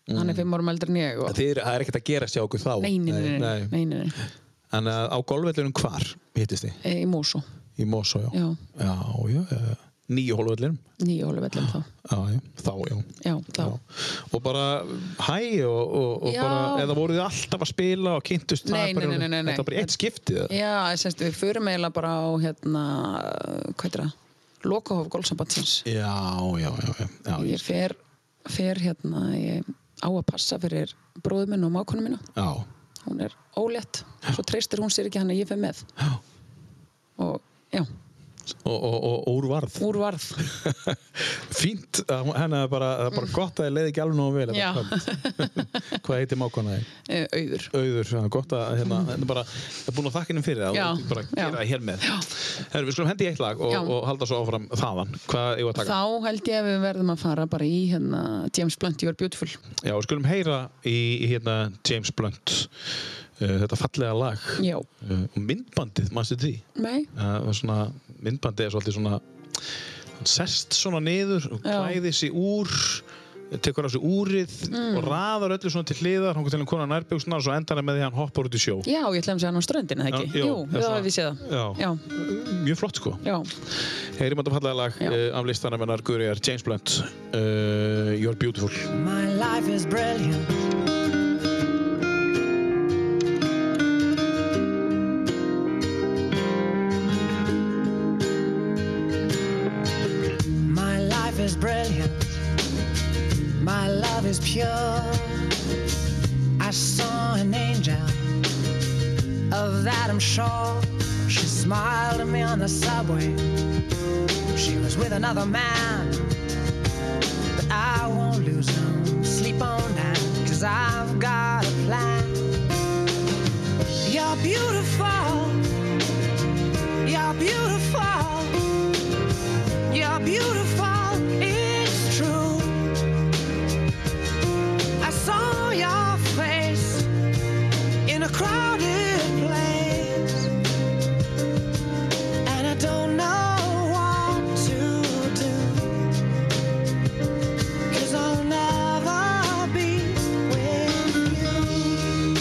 Speaker 3: hann er fimm árum eldri en ég og...
Speaker 2: Þið er, það er ekkert að gera sjá okkur þá
Speaker 3: Nei, nei, nei, nei, nei, nei, nei,
Speaker 2: En uh, á golvellunum hvar hittist þið?
Speaker 3: E, í Músú,
Speaker 2: Í Mosó, já
Speaker 3: Já.
Speaker 2: já, já uh, Nýju hólvellunum
Speaker 3: nýja ólefellin þá.
Speaker 2: Já, já, þá, já
Speaker 3: Já, þá.
Speaker 2: og bara hæ og, og, og
Speaker 3: Já.
Speaker 2: bara, eða voruð þið alltaf að spila og kynntust
Speaker 3: Nei,
Speaker 2: það bara-
Speaker 3: nei, nei, nei, nei.
Speaker 2: þetta var bara eitt skiptið eða?
Speaker 3: Já, semst, við förum eiginlega bara á hérna, hvað er það? Lokahof golfsambandsins.
Speaker 2: já, já, já, já, já,
Speaker 3: Ég fer, fer hérna, ég á að passa fyrir bróðu minn og mákonu mínu.
Speaker 2: já,
Speaker 3: Hún er ólétt, svo treystir hún sér ekki hann að ég fer með.
Speaker 2: já.
Speaker 3: Og já,
Speaker 2: Og, og, og, og úr varð
Speaker 3: úr varð.
Speaker 2: fínt, að hún- henni er bara, það er bara gott að þið leiði ekki alveg nógu vel þetta
Speaker 3: Já.
Speaker 2: kvöld. hvað heitir mákona þið?
Speaker 3: eh, auður.
Speaker 2: auður, það er gott að hérna, þetta er bara, það er búin að þakka hennum fyrir það
Speaker 3: Mm. Já,
Speaker 2: og bara
Speaker 3: já.
Speaker 2: gera það hér með Heru, við skulum hendi í eitt lag og,
Speaker 3: Já.
Speaker 2: og halda svo áfram þaðan, hvað eigum við að taka?
Speaker 3: Þá held ég að við verðum að fara bara í hérna James Blunt, You're Beautiful.
Speaker 2: Já, við skulum heyra í, í hérna James Blunt uh, þetta fallega lag
Speaker 3: Já,
Speaker 2: Uh, og myndbandið, mannstu því
Speaker 3: nei,
Speaker 2: það var svona, myndbandið er svolítið svona hann sest svona niður og
Speaker 3: Já.
Speaker 2: klæðir sig úr tekur á sig úrið
Speaker 3: Mm.
Speaker 2: og raðar öllu svona til hliðar, hann kom til hann konar nærbjöksna og svo endar hann með því að hann hoppar út í sjó
Speaker 3: já, ég ætla að segja hann á ströndinu, eða ekki?
Speaker 2: Já,
Speaker 3: Jú,
Speaker 2: er
Speaker 3: það
Speaker 2: svona-
Speaker 3: hef ég séð það.
Speaker 2: já.
Speaker 3: Já,
Speaker 2: mjög flott sko
Speaker 3: já,
Speaker 2: heyrim að það fallega lag
Speaker 3: Já.
Speaker 2: uh, af listanum hennar Guðriðar, James Blunt uh, You're Beautiful
Speaker 1: My life is brilliant. My life is brilliant. My love is pure. I saw an angel. Of that I'm sure. She smiled at me on the subway. She was with another man. But I won't lose no sleep on that, cause I've got a plan. You're beautiful. You're beautiful. You're beautiful. It's true. I saw your face in a crowded place. And I don't know what to do. Cause I'll never be with you.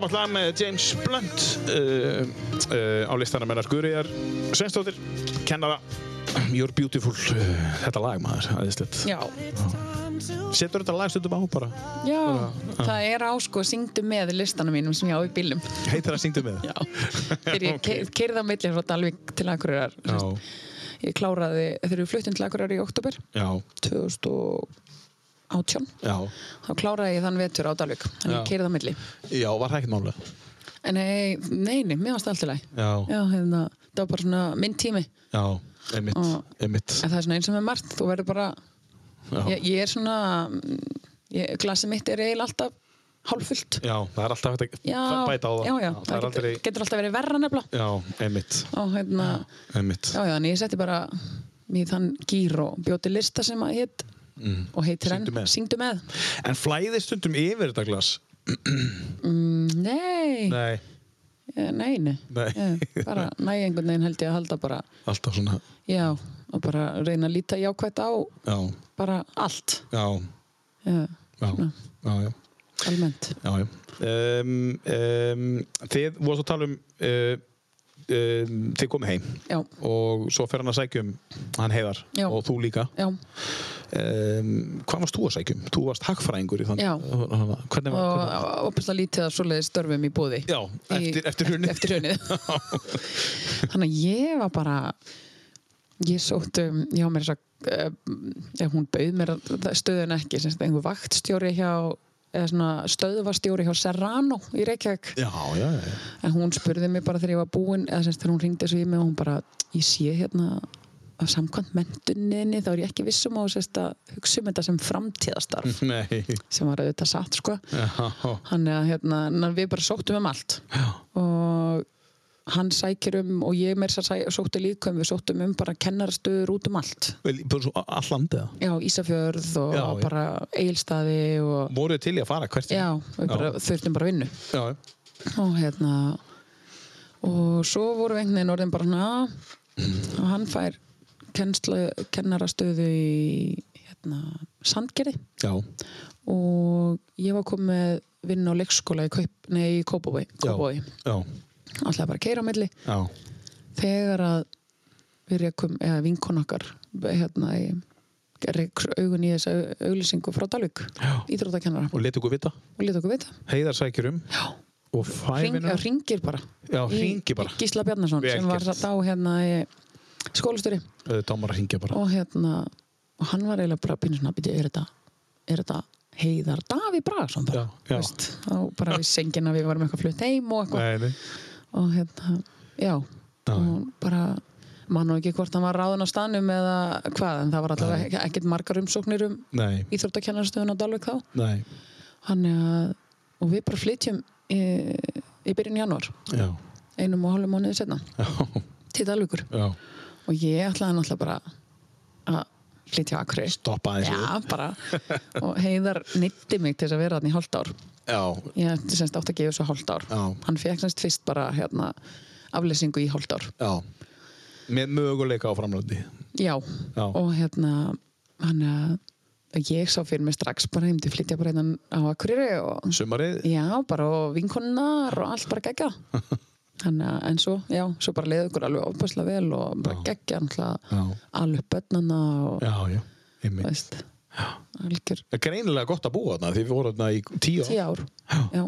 Speaker 2: gott lag með James Blunt uh, uh, á listanum hennar Guðriðar Sveinsdóttir, kennara You're Beautiful, uh, þetta lag maður aðeinslegt.
Speaker 3: Já,
Speaker 2: Setur þetta lag stundum á bara
Speaker 3: já, það er á sko syngdu með listanum mínum sem ég á í bílum
Speaker 2: heitir að syngdu með
Speaker 3: Já, þegar ég okay. keirði á milli frá Dalvík til Akureyrar sem sagt. Ég kláraði, þegar við fluttum til Akureyrar í oktober
Speaker 2: Já,
Speaker 3: 2018
Speaker 2: já,
Speaker 3: þá kláraði ég þann vetur á Dalvík þannig ég keirði á milli
Speaker 2: já, var það ekkert málega
Speaker 3: En nei, nei, nei, mér varst allt í lagi
Speaker 2: Já,
Speaker 3: Já, hérna, það var bara svona minn tími en
Speaker 2: já, einmitt,
Speaker 3: Og-
Speaker 2: einmitt
Speaker 3: það er svona eins og með margt, þú verður bara ég, ég er svona mm, ég, glasið mitt er eiginlega alltaf hálffullt
Speaker 2: Já, það er alltaf hægt að
Speaker 3: Já,
Speaker 2: bæta á það
Speaker 3: já, já,
Speaker 2: það,
Speaker 3: það
Speaker 2: er
Speaker 3: getur,
Speaker 2: aldrei
Speaker 3: getur alltaf verið verra nefnilega
Speaker 2: Já, einmitt,
Speaker 3: og hérna,
Speaker 2: einmitt
Speaker 3: já, já, en ég setti bara mér þann gýr og bjóti lista sem að hétt og heitir
Speaker 2: Mm. Syngdu með.
Speaker 3: enn Syngdu með
Speaker 2: En flæði stundum yfir þetta glas
Speaker 3: Mm, Nei, nei,
Speaker 2: Nei,
Speaker 3: nei, nei.
Speaker 2: Nei.
Speaker 3: Ég, bara næ einhvern veginn held ég að halda bara
Speaker 2: alltaf svona
Speaker 3: já, og bara reyna að líta jákvætt á
Speaker 2: Já,
Speaker 3: bara allt
Speaker 2: já,
Speaker 3: já,
Speaker 2: já,
Speaker 3: svona,
Speaker 2: já, já
Speaker 3: almennt
Speaker 2: já, já. Um, um, þið voru að tala um, uh, um þið komið heim
Speaker 3: Já,
Speaker 2: og svo fer hann að sækjum hann heiðar
Speaker 3: Já.
Speaker 2: og þú líka
Speaker 3: já,
Speaker 2: um, hvað varst þú að sækjum? þú varst hagfræðingur í þann
Speaker 3: Já.
Speaker 2: hvernig var
Speaker 3: og opaslega lítið að svoleiði störfum í búði
Speaker 2: Já, eftir- eftir hrunið.
Speaker 3: eftir hrunið. þannig að ég var bara ég sótt um, já mér svo eh, eh, hún bauð mér það- stöðuna ekki sem sagt, einhver vaktstjóri hjá eða svona stöðvastjóri hjá Serrano í Reykjavík
Speaker 2: já, já, já, já.
Speaker 3: en hún spurði mig bara þegar ég var búin eða semst þegar hún ringdi svo í mig og hún bara ég sé hérna að samkvæmt mentuninni þá er ég ekki vissum á semst að hugsa um þetta sem framtíðastarf
Speaker 2: nei
Speaker 3: sem var auðvitað satt sko
Speaker 2: já,
Speaker 3: hann er að hérna, ná, við bara sóttum um allt já. og hann sækir um og ég meir sér sótti líka um við sóttum um bara kennarastöður út um allt
Speaker 2: Vel, bara svo all landið
Speaker 3: já, Ísafjörð og
Speaker 2: Já, já.
Speaker 3: bara Egilstaði og
Speaker 2: voruð þið til í að fara hvert
Speaker 3: já, við bara þurftum bara vinnu
Speaker 2: já,
Speaker 3: og hérna og svo voru einhvern veginn orðin bara svona og hann fær kennslu, kennarastöðu í hérna, Sandgerði
Speaker 2: já,
Speaker 3: og ég var komið með vinn á leikskóla í, Kaup, nei, í Kópavói, Kópavói.
Speaker 2: já,
Speaker 3: alltaf bara að keira á milli
Speaker 2: já.
Speaker 3: þegar að við rekum, eða vinkon okkar hérna í reiks augun í þessa au- auglýsingu frá Dalvik íþróttakennara
Speaker 2: og leti ykkur vita
Speaker 3: og leta okkur vita
Speaker 2: heiðar sækjur um já. og
Speaker 3: Hring,
Speaker 2: fævinur
Speaker 3: ringir bara
Speaker 2: Já,
Speaker 3: í-
Speaker 2: hringir bara.
Speaker 3: í Gísla Bjarnason
Speaker 2: Vel
Speaker 3: sem var
Speaker 2: gert.
Speaker 3: þá hérna í skólastöri
Speaker 2: dámar að hringja bara
Speaker 3: og hérna og hann var eiginlega bara pínu svona býtu, er þetta, er þetta heiðar Daví Bragason bara,
Speaker 2: Já, já.
Speaker 3: Veist, þá bara við sengina við varum eitthvað flutt heim og eitthvað
Speaker 2: nei, nei.
Speaker 3: og hérna, já og bara, mann og ekki hvort hann var ráðun á staðnum eða hvað en það var alltaf ek ekkert margar umsóknir um
Speaker 2: Nei,
Speaker 3: íþróttakennarstöðun á Dalvik þá
Speaker 2: nei,
Speaker 3: hann, og við bara flytjum í, í byrjun janúar
Speaker 2: já,
Speaker 3: einum og hálfum mánuði setna
Speaker 2: já,
Speaker 3: til Dalvíkur
Speaker 2: já,
Speaker 3: og ég ætlaði náttúrulega bara að flytja á Akureyri
Speaker 2: doppa aðeins við.
Speaker 3: Já, bara og heiðar nýtti mig til þess að vera þannig hálft ár
Speaker 2: Já,
Speaker 3: ég semst átt að gefa þessu hálft ár
Speaker 2: Já.
Speaker 3: hann fekk semst fyrst bara hérna, aflýsingu í hálft ár
Speaker 2: já, með möguleika á framlandi.
Speaker 3: Já,
Speaker 2: Já.
Speaker 3: og hérna hann að ég sá fyrir mig strax bara heim til flytja bara hérna á Akureyri og
Speaker 2: Sumarið,
Speaker 3: já, bara og vinkonnar og allt bara gegja Þannig að, en svo, já, svo bara leiði ykkur alveg ofbæslega vel og bara geggja náttúrulega
Speaker 2: Já.
Speaker 3: alveg bönnana og,
Speaker 2: já, já,
Speaker 3: þú
Speaker 2: einmitt.
Speaker 3: veist, algjör
Speaker 2: Það er greinilega gott að búa þarna, því við vorum þarna í tíu ár.
Speaker 3: tíu ár. Já,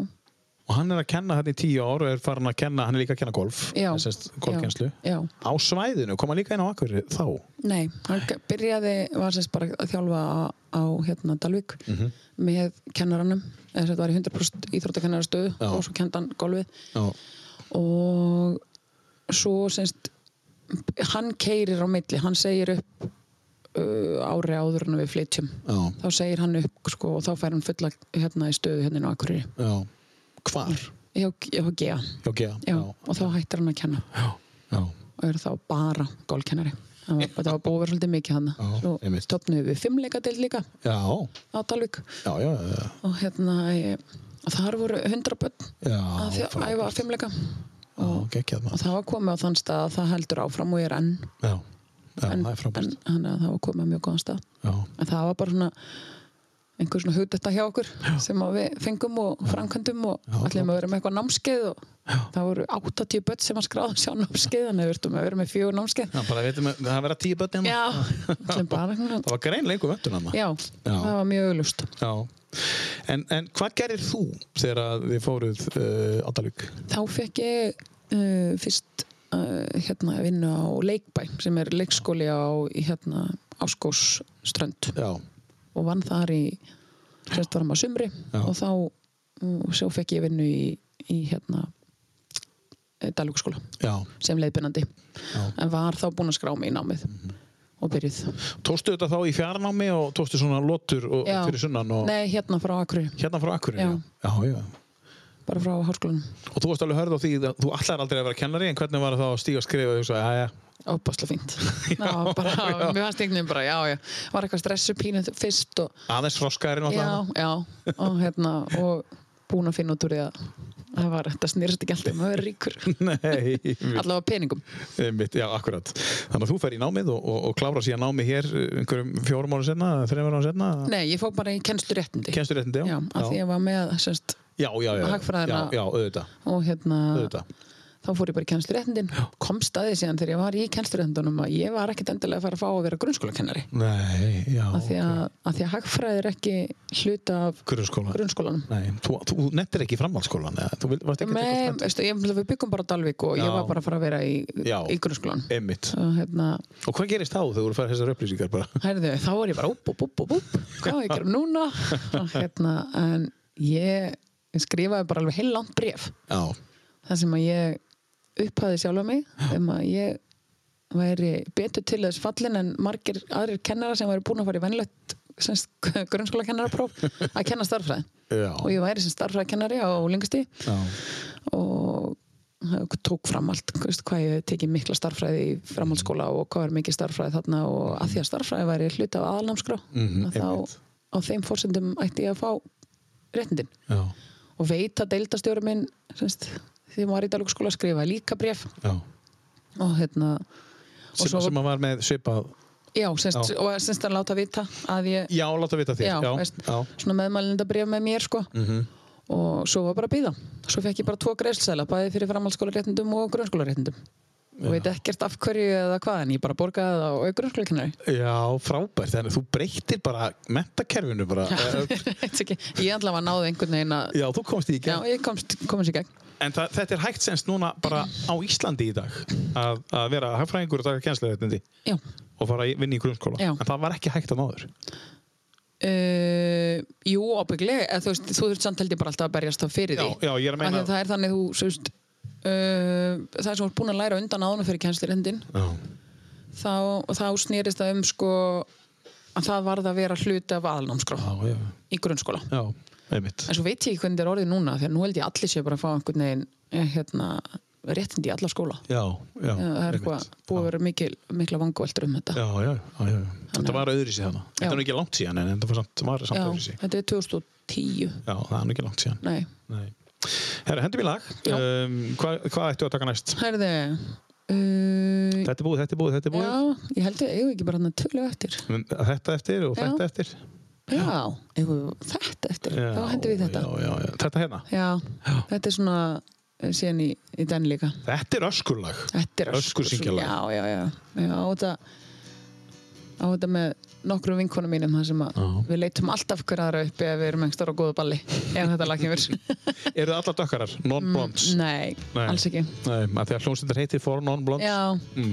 Speaker 2: Og hann er að kenna þarna í tíu ár og er farin að kenna, hann er líka að kenna golf,
Speaker 3: já.
Speaker 2: sest, golfkenslu.
Speaker 3: Já, já.
Speaker 2: Á svæðinu, kom hann líka inn á Akureyri þá?
Speaker 3: Nei, hann g- byrjaði, var sérst bara að þjálfa á, á hérna Dalvík með kennaranum, eða þetta var í 100% íþróttakennarastöðu
Speaker 2: Já.
Speaker 3: og svo kendan golfið
Speaker 2: Já,
Speaker 3: og svo sérst hann keirir á milli, hann segir upp uh, ári áður en við flytjum
Speaker 2: já,
Speaker 3: þá segir hann upp sko og þá fær hann fulla hérna í stöðu hérna inn á Akureyri
Speaker 2: já. Hvar?
Speaker 3: já, já, já,
Speaker 2: Já, já,
Speaker 3: já, og þá hættir hann að kenna
Speaker 2: já,
Speaker 3: og eru þá bara gólkennari það var, það var búið að vera svolítið mikið hann
Speaker 2: Já,
Speaker 3: svo
Speaker 2: einmitt.
Speaker 3: stopnum við fimmleikadeild líka
Speaker 2: já,
Speaker 3: á Dalvík
Speaker 2: já, já, já,
Speaker 3: og hérna ég, og þar voru hundra börn
Speaker 2: já,
Speaker 3: að því að æfa fimmleika
Speaker 2: já, geggjað
Speaker 3: og
Speaker 2: maður.
Speaker 3: það var komið á þann stað að það heldur áfram og ég er enn
Speaker 2: Já, já,
Speaker 3: en,
Speaker 2: það er
Speaker 3: en
Speaker 2: frábært.
Speaker 3: þannig að það var komið á mjög góðan stað
Speaker 2: Já,
Speaker 3: en það var bara svona einhver svona hugdetta hjá okkur sem að við fengum og framkvæmdum og ætlum að vera með eitthvað námskeið og það voru 80 börn sem að skráða sjá námskeið þannig að við virtum að vera með fjögur námskeið
Speaker 2: Já, bara veitum að það verða tíu börn hérna.
Speaker 3: Já, ætlum bara
Speaker 2: Það var greinlega einhver vöntun hann.
Speaker 3: Já, það var mjög auðlust
Speaker 2: Já. En, en hvað gerir þú þegar að þið fóruð uh, á Dalvík?
Speaker 3: Þá fekk ég uh, fyrst uh, hérna að vinna á Leikbæ sem er leikskóli á í, hérna, Áskósströnd
Speaker 2: Já.
Speaker 3: og vann þar í semst varum á sumri og þá og svo fekk ég vinnu í, í hérna Dalvíkskóla
Speaker 2: Já.
Speaker 3: sem leiðbyrnandi en var þá búin að skrá mig í námið
Speaker 2: Mhm.
Speaker 3: og byrjuð
Speaker 2: Tóstu þetta þá í fjarnámi og tóstu svona lotur og,
Speaker 3: Já.
Speaker 2: fyrir sunnan og
Speaker 3: Nei, hérna frá Akureyri,
Speaker 2: hérna frá Akureyri?
Speaker 3: Já.
Speaker 2: já, já.
Speaker 3: bara frá háskólanum
Speaker 2: Og þú varst alveg hörð á því að þú allar aldrei að vera kennari en hvernig var það að stíga að skrifa og hugsa, já, já,
Speaker 3: Óbáslega fínt já, bara,
Speaker 2: já.
Speaker 3: Mér fannst einhvern veginn bara, já, já Var eitthvað stressu pínu fyrst og
Speaker 2: aðeins froskaðurinn
Speaker 3: Já, já, og hérna og búin að finna út úr því að það var, þetta snýrst ekki alltaf, maður er ríkur
Speaker 2: Nei,
Speaker 3: allavega peningum
Speaker 2: mitt, já, akkurat. Þannig að þú fer í námið og, og, og klára síðan námið hér uh, einhverjum fjórum ára senna, þreymur ára senna,
Speaker 3: Nei, ég fór bara í kennsluréttindi
Speaker 2: kennstu réttindi,
Speaker 3: Já, af því ég var með, semst,
Speaker 2: Já, já, já, já,
Speaker 3: Hagfræðina-
Speaker 2: já, já, auðvitað,
Speaker 3: og hérna
Speaker 2: auðvitað.
Speaker 3: þá fór ég bara í kennsluréttindin komst að því síðan þegar ég var í kennsluréttindunum að ég var ekkit endilega að fara að fá að vera grunnskólakennari
Speaker 2: Nei, já.
Speaker 3: af því að, að, því að hagfræði er ekki hluta af
Speaker 2: Grunnskóla.
Speaker 3: grunnskólanum
Speaker 2: Nei, þú, þú nettir ekki framhaldsskólan eða? Þú vil- varst ekki
Speaker 3: Nei, veistu, ég, við byggum bara á Dalvík og
Speaker 2: Já.
Speaker 3: ég var bara að fara að vera í,
Speaker 2: Já. Eh.
Speaker 3: í grunnskólan
Speaker 2: Emmitt.
Speaker 3: og hérna,
Speaker 2: Og hvað gerist þá þegar þú fær þessar upplýsingar bara?
Speaker 3: herðu, þá var ég bara upp, upp, upp, upp, upp, hvað á ég að gera núna og hérna, en ég, ég skrifaði bara alveg heil langt bref
Speaker 2: Já.
Speaker 3: þar sem að ég upphæði sjálfa mig um að ég væri betur til þess fallin en margir aðrir kennara sem væri búin að fara í venlegt grunnskóla kennarapróf að kenna starffræði
Speaker 2: Já.
Speaker 3: og ég væri sem starffræði kennari á lengasti
Speaker 2: Já.
Speaker 3: og tók fram allt þú veist, hvað ég hef tekið mikla starffræði í framhaldsskóla og hvað er mikið starffræði þarna og að því að starffræði væri hluti af aðalnámskrá
Speaker 2: Mhm,
Speaker 3: að þá á þeim fórsendum ætti ég að fá réttindin
Speaker 2: Já.
Speaker 3: og veit að deildastjóri minn semst, því maður var í dalugskóla skrifaði líka bref
Speaker 2: Já.
Speaker 3: og hérna og
Speaker 2: Sem,
Speaker 3: svo,
Speaker 2: sem að var með svipað...
Speaker 3: já, semst,
Speaker 2: Já.
Speaker 3: og semst að láta vita að ég
Speaker 2: Já, láta vita þér.
Speaker 3: já,
Speaker 2: já.
Speaker 3: veist,
Speaker 2: já. Mhm.
Speaker 3: svona meðmælinda bref með mér sko og svo var bara að býða svo fekk ég bara tvo greiðsæla, bæði fyrir framhaldsskólaréttindum og grunnskólaréttindum og veit ekkert af hverju eða hvað en ég bara borgaði það og grunnskólakennari
Speaker 2: Já, frábært. Þannig að þú breytir bara mentakerfinu bara. Eh,
Speaker 3: Veit ekki, ég allavega náði einhvern veginn að
Speaker 2: Já, þú komst í ekki.
Speaker 3: já, ég komst, komst í gegn
Speaker 2: En það, þetta er hægt senst núna bara á Íslandi í dag að, að vera hagfræðingur og taka kennslegaðetindi
Speaker 3: já,
Speaker 2: og fara að vinna í grunnskóla.
Speaker 3: Já.
Speaker 2: En það var ekki hægt að náður.
Speaker 3: Uh, jú, ábygglega eða, þú, veist, þú þurft samt held ég bara alltaf að berjast þá fyrir
Speaker 2: Já,
Speaker 3: því
Speaker 2: já, ég er að meina-
Speaker 3: Af því það er þannig þú, þú veist, uh, það sem þú ert búin að læra undan áðunum fyrir kennslirændin
Speaker 2: Já.
Speaker 3: þá, þá snýrist það um sko að það varð að vera hluti af aðalnámskrá
Speaker 2: Já, já.
Speaker 3: í grunnskóla
Speaker 2: Já, einmitt.
Speaker 3: en svo veit ég ekki hvernig það er orðið núna því að nú held ég allir sé bara að fá einhvern veginn eh, hérna, réttindi í alla skóla
Speaker 2: Já, já.
Speaker 3: Já, það er
Speaker 2: einmitt.
Speaker 3: eitthvað búið að vera mikil, mikla vanguveldur um þetta
Speaker 2: Já, já, já, já. Þetta var öðru sér þannig. Þetta er
Speaker 3: Já.
Speaker 2: nú ekki langt síðan en þetta var samt, var samt öðru sér.
Speaker 3: þetta er 2010
Speaker 2: Já, það er nú ekki langt síðan.
Speaker 3: nei,
Speaker 2: Nei. Herra, hendum í lag.
Speaker 3: Já.
Speaker 2: Um, hvað, hvað ættu að taka næst?
Speaker 3: herði uh,
Speaker 2: Þetta er búið, þetta er búið, þetta er búið.
Speaker 3: Já, ég held að eigum við ekki bara hann að tölu eftir.
Speaker 2: En Þetta eftir og
Speaker 3: Já.
Speaker 2: þetta eftir.
Speaker 3: Já, eigum við þetta eftir.
Speaker 2: Já,
Speaker 3: Þá hendur við þetta.
Speaker 2: Já, já, já. Þetta hérna.
Speaker 3: Já, þetta er svona eh, síðan í, í den líka.
Speaker 2: Þetta er öskurlag.
Speaker 3: Þetta er
Speaker 2: Öskursýkjalag.
Speaker 3: Já, já, já. já á, þetta, á þetta með nokkrum vinkonum mínum þar sem að við leitum alltaf hver aðra uppi ef við erum engstar á góðu balli ef þetta lakið verið.
Speaker 2: Eru það allar dökkarar? Non-blondes?
Speaker 3: Mm, Nei,
Speaker 2: Nei.
Speaker 3: alls ekki.
Speaker 2: Nei, að því að hljómsveitar heitir for non-blondes.
Speaker 3: Já,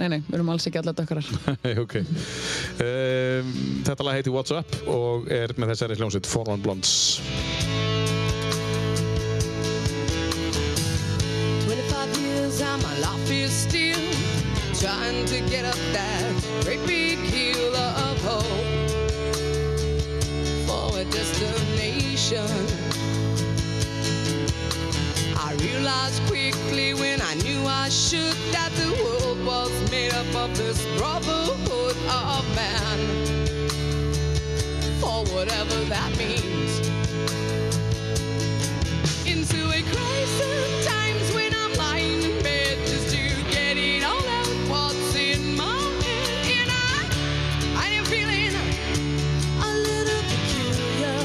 Speaker 3: nei, nei, við erum alls ekki allar dökkarar.
Speaker 2: Nei, ok. Um, þetta lag heitir What's Up og er með þessari hljómsveit for non-blondes.
Speaker 6: 25 years and my life is still trying to get up that great big hill of hope for a destination. I realized quickly when I knew I should that the world was made up of this brotherhood of man, or whatever that means into a crisis times when I'm lying in bed just to get it all out what's in my head and I I am feeling a little peculiar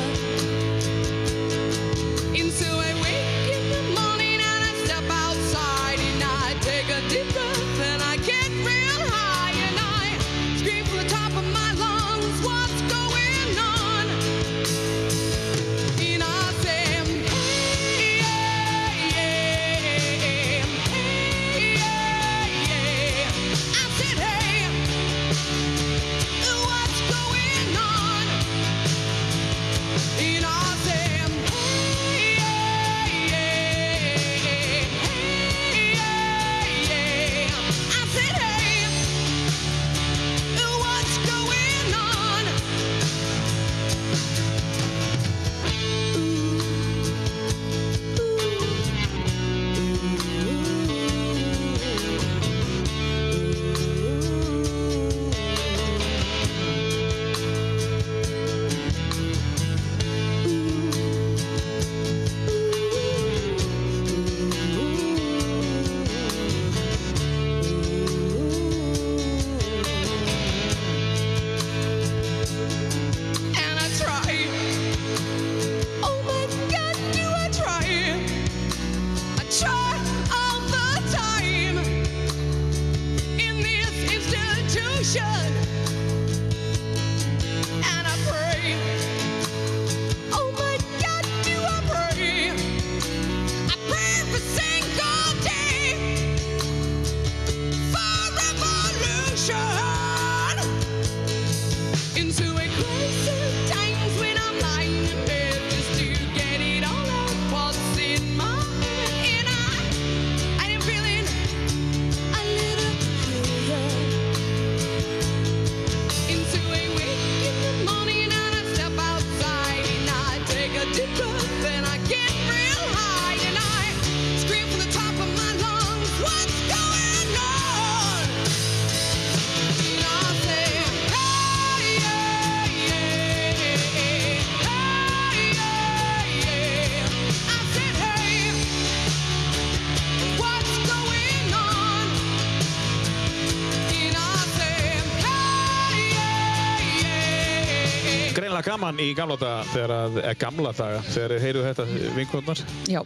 Speaker 2: greinlega gaman í gamla daga þegar að, eh, gamla daga, þegar þeir heyrðu þetta vinkvöldnar
Speaker 3: Já,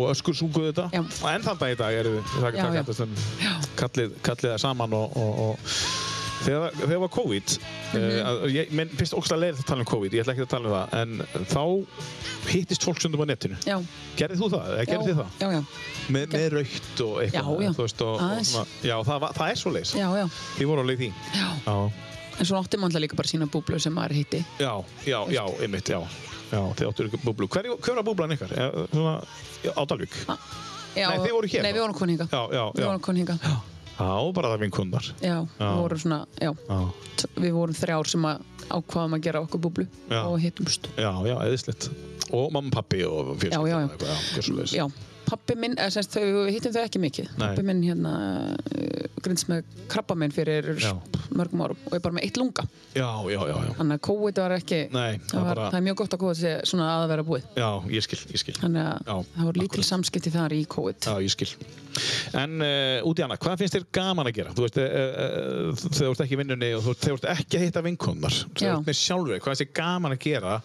Speaker 2: og öskur sunguðu þetta
Speaker 3: Já.
Speaker 2: og enn þann dag í dag eru þið það
Speaker 3: Já, já.
Speaker 2: kallast um kallið, kallið það saman og, og, og þegar, það- þegar var COVID mm
Speaker 3: Mhm.
Speaker 2: ég, menn finnst ógstlega leið að tala um COVID ég ætla ekki að tala um það en þá hittist fólk sundum á netinu
Speaker 3: já.
Speaker 2: gerðið þú það? eða
Speaker 3: já,
Speaker 2: gerðið þið það?
Speaker 3: Já, já,
Speaker 2: með, með raukt og eitthvað
Speaker 3: Já, já.
Speaker 2: þú veist, og, og
Speaker 3: Aðeins.
Speaker 2: svona, já, það, var- það er svo leið
Speaker 3: já, já.
Speaker 2: ég voru alveg í því
Speaker 3: já.
Speaker 2: já,
Speaker 3: En svo átti maður alltaf líka bara sína búblu sem maður hitti.
Speaker 2: já, já, já, einmitt, já Já, þið áttu ykkur búblu. Hver, hver var búblan ykkar? Eh, Svona, á Dalvík?
Speaker 3: Já,
Speaker 2: Nei, þið voruð hér
Speaker 3: Nei,
Speaker 2: þá?
Speaker 3: við vorum komin hingað.
Speaker 2: Já, já,
Speaker 3: Ah. Við
Speaker 2: já.
Speaker 3: vorum komin hingað.
Speaker 2: Já, bara það vinkunnar.
Speaker 3: Já, við vorum svona, já.
Speaker 2: Já.
Speaker 3: t- Við vorum þrjár sem að ákvaðum að gera okkur búblu
Speaker 2: Já.
Speaker 3: og hittumst.
Speaker 2: Já, já, eðislegt. Og mamma, pappi og fjölskylda.
Speaker 3: Já, já, já.
Speaker 2: Eitthvað, já, gjörðu svo leiðis.
Speaker 3: Já, pappi minn, eða semst þau, við hittum þau ekki mikið.
Speaker 2: Nei.
Speaker 3: Pappi minn hérna uh, grindst með krabba minn fyrir
Speaker 2: Já.
Speaker 3: mörgum árum og er bara með eitt lunga.
Speaker 2: Já, já, já, já.
Speaker 3: Þannig að kóið var ekki,
Speaker 2: Nei,
Speaker 3: það, var,
Speaker 2: bara-
Speaker 3: það er mjög gott að kóið sé svona að vera búið.
Speaker 2: Já, ég skil, ég skil.
Speaker 3: Þannig að
Speaker 2: Já,
Speaker 3: það voru lítil
Speaker 2: akkúrat.
Speaker 3: samskipti þar í kóið.
Speaker 2: Já, ég skil. En uh, út í annað, hvað finnst þér gaman að gera? Þú veist, uh, uh, þegar þú ert ekki í vinnunni og þú þegar þú ert ekki að hitta vinkunnar. Þegar
Speaker 3: Já.
Speaker 2: þú ert með sjálfur, hvað finnst þér gaman að gera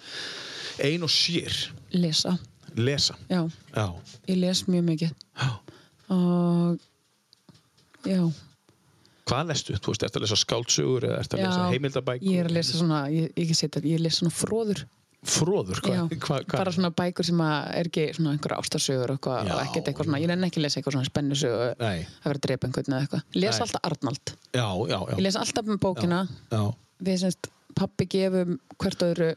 Speaker 2: ein og sér?
Speaker 3: Lesa,
Speaker 2: Lesa.
Speaker 3: já,
Speaker 2: Já.
Speaker 3: ég les mjög mikið.
Speaker 2: já.
Speaker 3: Og já,
Speaker 2: Hvað lestu? Þú veist, ertu að lesa skáldsögur eða ertu að
Speaker 3: já,
Speaker 2: lesa heimildabækur?
Speaker 3: ég er að lesa svona, ég, ég, ekki setja, ég les svona fróður.
Speaker 2: Fróður, hvað?
Speaker 3: Já,
Speaker 2: hvað, hvað?
Speaker 3: bara svona bækur sem að er ekki svona einhverja ástarsögur og eitthvað,
Speaker 2: Já.
Speaker 3: og ekkert eitthvað svona, ég nenni ekki að lesa eitthvað svona spennusögu að
Speaker 2: Nei.
Speaker 3: vera að drepa einhvern eða eitthvað. Ég les
Speaker 2: Nei.
Speaker 3: alltaf Arnald.
Speaker 2: Já, já, já.
Speaker 3: Ég les alltaf með bókina.
Speaker 2: Já,
Speaker 3: Við semst, pappi gefum hvert öðru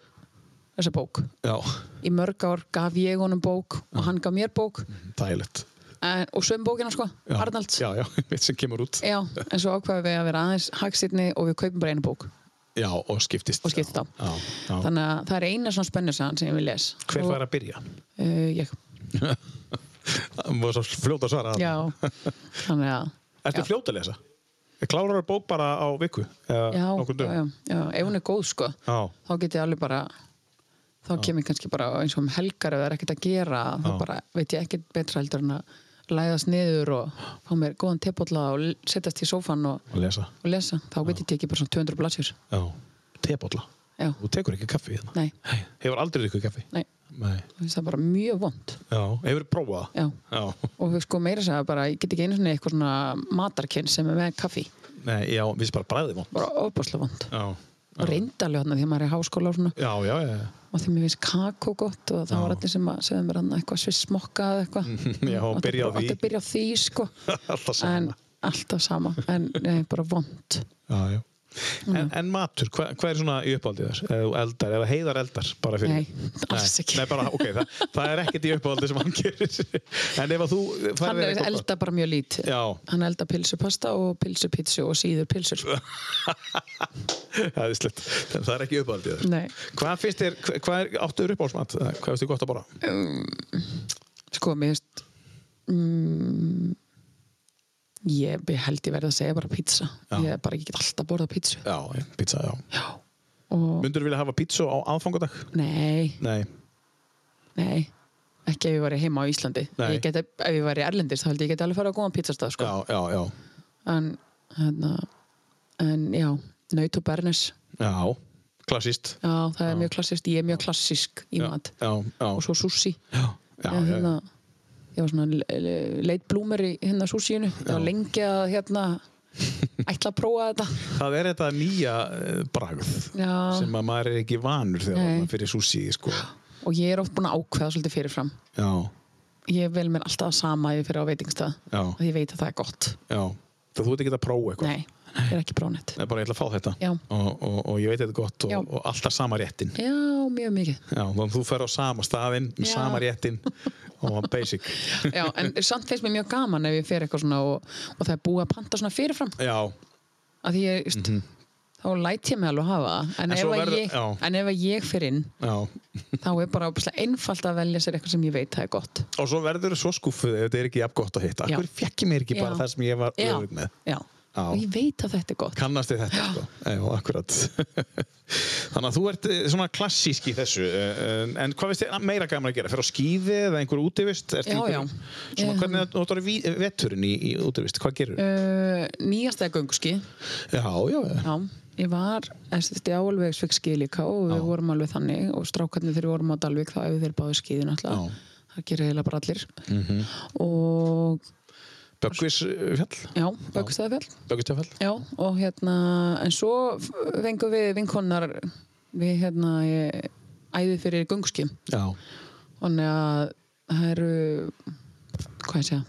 Speaker 3: þessa bók.
Speaker 2: já.
Speaker 3: Í mörg ár gaf ég honum bók og hann gaf mér bók
Speaker 2: Dægilegt.
Speaker 3: en, og söm bókina sko,
Speaker 2: Já.
Speaker 3: Arnalds.
Speaker 2: Já, já, mitt sem kemur út.
Speaker 3: Já, en svo ákvaðum við að vera aðeins hagsirni og við kaupum bara einu bók
Speaker 2: Já, og skiptist.
Speaker 3: og skiptum þá.
Speaker 2: Já, já.
Speaker 3: Þannig að það er eina svona spennusagan sem ég vil les.
Speaker 2: Hver
Speaker 3: Og-
Speaker 2: var að byrja?
Speaker 3: Uh, ég.
Speaker 2: Það var svo fljóta að svara. þarna.
Speaker 3: Já, þannig að...
Speaker 2: Ertu
Speaker 3: já.
Speaker 2: fljóta að lesa? Ég klárar bók bara á viku. eða
Speaker 3: Já,
Speaker 2: nokkurn
Speaker 3: já, já,
Speaker 2: dögum.
Speaker 3: já, ef hún er góð sko
Speaker 2: Já.
Speaker 3: þá get ég alveg bara þá kem ég kannski bara eins og um helgar ef það er ekkert að gera, þá
Speaker 2: Já.
Speaker 3: bara veit ég ekkert betra heldur en að læðast niður og fá mér góðan tepólla og l- setjast í sófan og,
Speaker 2: Að lesa.
Speaker 3: og lesa þá get ég tekið bara svona 200 blassjur
Speaker 2: Já. Tebólla.
Speaker 3: Já,
Speaker 2: Þú tekur ekki kaffi hérna.
Speaker 3: nei,
Speaker 2: Nei. Hefur aldrei ykkur kaffi?
Speaker 3: nei,
Speaker 2: Nei.
Speaker 3: mér finnst það bara mjög vond
Speaker 2: Já. Hefur prófað það?
Speaker 3: Já,
Speaker 2: Já.
Speaker 3: og við sko meira segja bara ég get ekki einu svona eitthvað svona matarkinn sem er með kaffi,
Speaker 2: Nei, já, við sem bara bræðið vond.
Speaker 3: bara ofbáslega vond
Speaker 2: Já.
Speaker 3: og reyndalega þarna því að maður er í háskóla og svona
Speaker 2: Já, já, já. já.
Speaker 3: og því mér finnst kakó gott og það var allir sem að segja mér hann eitthvað svissmokka eða eitthvað
Speaker 2: já,
Speaker 3: Átti
Speaker 2: byrja á
Speaker 3: bara-
Speaker 2: því.
Speaker 3: átti að byrja á því sko
Speaker 2: Alltaf
Speaker 3: en
Speaker 2: saman.
Speaker 3: alltaf sama en nei, bara vond
Speaker 2: Já, já.
Speaker 3: Mm.
Speaker 2: En, en matur, hvað, hvað er svona í uppáhaldið þess? Eða þú eldar, eða heiðar eldar bara fyrir?
Speaker 3: Nei, alls ekki.
Speaker 2: Nei, bara, ok, það, það er ekkert í uppáhaldið sem hann gerir. En ef að þú færðir
Speaker 3: hann er
Speaker 2: eitthvað-
Speaker 3: elda bara mjög lítið
Speaker 2: Já,
Speaker 3: hann elda pilsupasta og pilsupitsu og síður sko. pilsur
Speaker 2: það er slett. Það er ekki í uppáhaldið þess.
Speaker 3: nei,
Speaker 2: Hvað finnst þér, hva- hvað er áttur uppáhaldsmat? Eða Hvað finnst þér gott að bara?
Speaker 3: sko mér finnst mm, ég be- held ég verði að segja bara pizza
Speaker 2: Já.
Speaker 3: ég er bara ekki alltaf borða pizzu
Speaker 2: Já, pizza, já.
Speaker 3: og
Speaker 2: Mundur vilja hafa pizza á aðfangadag?
Speaker 3: nei,
Speaker 2: Nei.
Speaker 3: nei ekki ef ég væri heima á Íslandi
Speaker 2: Nei.
Speaker 3: Ég geti, ef ég væri erlendis þá held ég geti alveg fara á góðan pizzastað sko.
Speaker 2: Já, já, já.
Speaker 3: en, hérna, en já, naut og bernes
Speaker 2: Já, klassist.
Speaker 3: já, það er mjög klassist, ég er mjög klassísk í
Speaker 2: Já,
Speaker 3: mat,
Speaker 2: já, já.
Speaker 3: og svo sushi
Speaker 2: Já, já,
Speaker 3: En, hérna,
Speaker 2: já, já.
Speaker 3: ég var svona le- le- leit blúmer í hérna sushiinu ég var lengi að hérna ætla að prófa þetta
Speaker 2: Það er þetta nýja eh, bragð.
Speaker 3: já,
Speaker 2: sem að maður er ekki vanur þegar
Speaker 3: Nei.
Speaker 2: maður fyrir sushi sko.
Speaker 3: og ég er oft búin að ákveða svolítið fyrirfram
Speaker 2: já,
Speaker 3: ég vel mér alltaf að sama ef ég fyrir á veitingstað
Speaker 2: já,
Speaker 3: að ég veit að það er gott
Speaker 2: já það þú ert ekki að prófa eitthvað
Speaker 3: nei, ég er ekki brónett
Speaker 2: Nei, bara ég ætla að fá þetta
Speaker 3: Já.
Speaker 2: og, og, og ég veit þetta er gott og,
Speaker 3: Já.
Speaker 2: og alltaf sama réttin
Speaker 3: já, mjög mikið
Speaker 2: já, þannig að þú fer á sama staðinn með
Speaker 3: Já.
Speaker 2: sama réttin og basic
Speaker 3: já, en samt finnst mér mjög gaman ef ég fer eitthvað svona og, og það er búið að panta svona fyrirfram
Speaker 2: já,
Speaker 3: að því ég, just, þá læt ég mig alveg hafa það en,
Speaker 2: Mhm. En
Speaker 3: ef
Speaker 2: svo
Speaker 3: að
Speaker 2: verður-
Speaker 3: ég,
Speaker 2: já.
Speaker 3: en ef að ég fer inn
Speaker 2: já
Speaker 3: þá er bara óbúslega einfalt að velja sér eitthvað sem ég veit það er gott
Speaker 2: og svo verður þú svo skúffuð ef þetta er ekki jafn gott að hitta
Speaker 3: Já.
Speaker 2: akkur fekk ég mér ekki bara
Speaker 3: Já.
Speaker 2: það sem ég var
Speaker 3: já,
Speaker 2: örug með
Speaker 3: já.
Speaker 2: Já.
Speaker 3: og ég veit að þetta er gott
Speaker 2: kannast þið þetta sko. Já, akkurat þannig að þú ert eh, svona klassísk í þessu eh, en, en hvað veist þið meira gaman að gera fyrir á skíði eða einhver útivist Ertu
Speaker 3: Já,
Speaker 2: einhver-
Speaker 3: já.
Speaker 2: svona
Speaker 3: Ég-
Speaker 2: hvernig þú notar ví- veturinn í, í útivist hvað gerur
Speaker 3: uh, nýjasta er gönguski
Speaker 2: já, já, já,
Speaker 3: Já, ég var, þessi álvegs fekk skil líka og við vorum alveg þannig og strákarnir þegar við vorum á Dalvík þá ef þeir báðu skíði náttúrulega, það gerir heila bara allir og
Speaker 2: Böggvisfjall
Speaker 3: já, Böggstæðafell
Speaker 2: Böggvisfjall
Speaker 3: já, og hérna, en svo fengum við vinkonnar við hérna ég, æði fyrir gungski
Speaker 2: já,
Speaker 3: þannig að það eru hvað ég segja,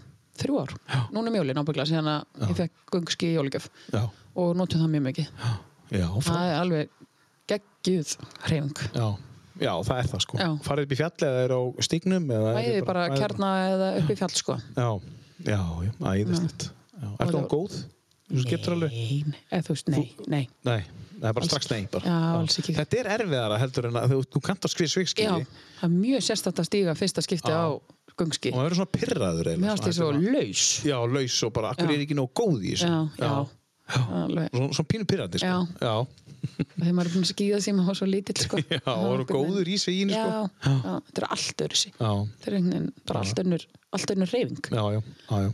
Speaker 3: þrjú ár já. núna um jólin ábyggla, síðan að ég fekk gungski í jólgjöf
Speaker 2: já,
Speaker 3: og notum það mjög mikið
Speaker 2: já, frá,
Speaker 3: það er alveg geggjuð hreyfing
Speaker 2: já. já það er það sko
Speaker 3: Já.
Speaker 2: farið upp í fjall eða er á stígnum eða er
Speaker 3: Bæði bara kjarna eða upp í fjall sko
Speaker 2: já, já, já, æðislegt Já. er það góð? þú getur alveg
Speaker 3: Nei, nei, eða þú veist, nei, nei
Speaker 2: Nei, það er bara strax nei bara.
Speaker 3: Já, alls ekki.
Speaker 2: Þetta er erfiðara heldur en að þú, þú kantar skvið
Speaker 3: Já,
Speaker 2: svikskili
Speaker 3: það er mjög sérstætt að stíga fyrsta skipti á gungski
Speaker 2: og það verður svona pirraður
Speaker 3: Mér fannst ég svo laus
Speaker 2: Já, laus og bara, akkur
Speaker 3: Já.
Speaker 2: er ekki nóg góð í þessu
Speaker 3: Já, já, alveg
Speaker 2: Svo, Svona pínu pirrandi sko.
Speaker 3: Já.
Speaker 2: já,
Speaker 3: Þegar maður er búin að skíða sem maður var svo lítill sko
Speaker 2: já og eru góður í sig í henni
Speaker 3: Já,
Speaker 2: sko.
Speaker 3: já, þetta er allt öðru sí
Speaker 2: Já,
Speaker 3: Þetta er einhvern veginn bara allt önnur, allt önnur reyfing
Speaker 2: já, já, já, já.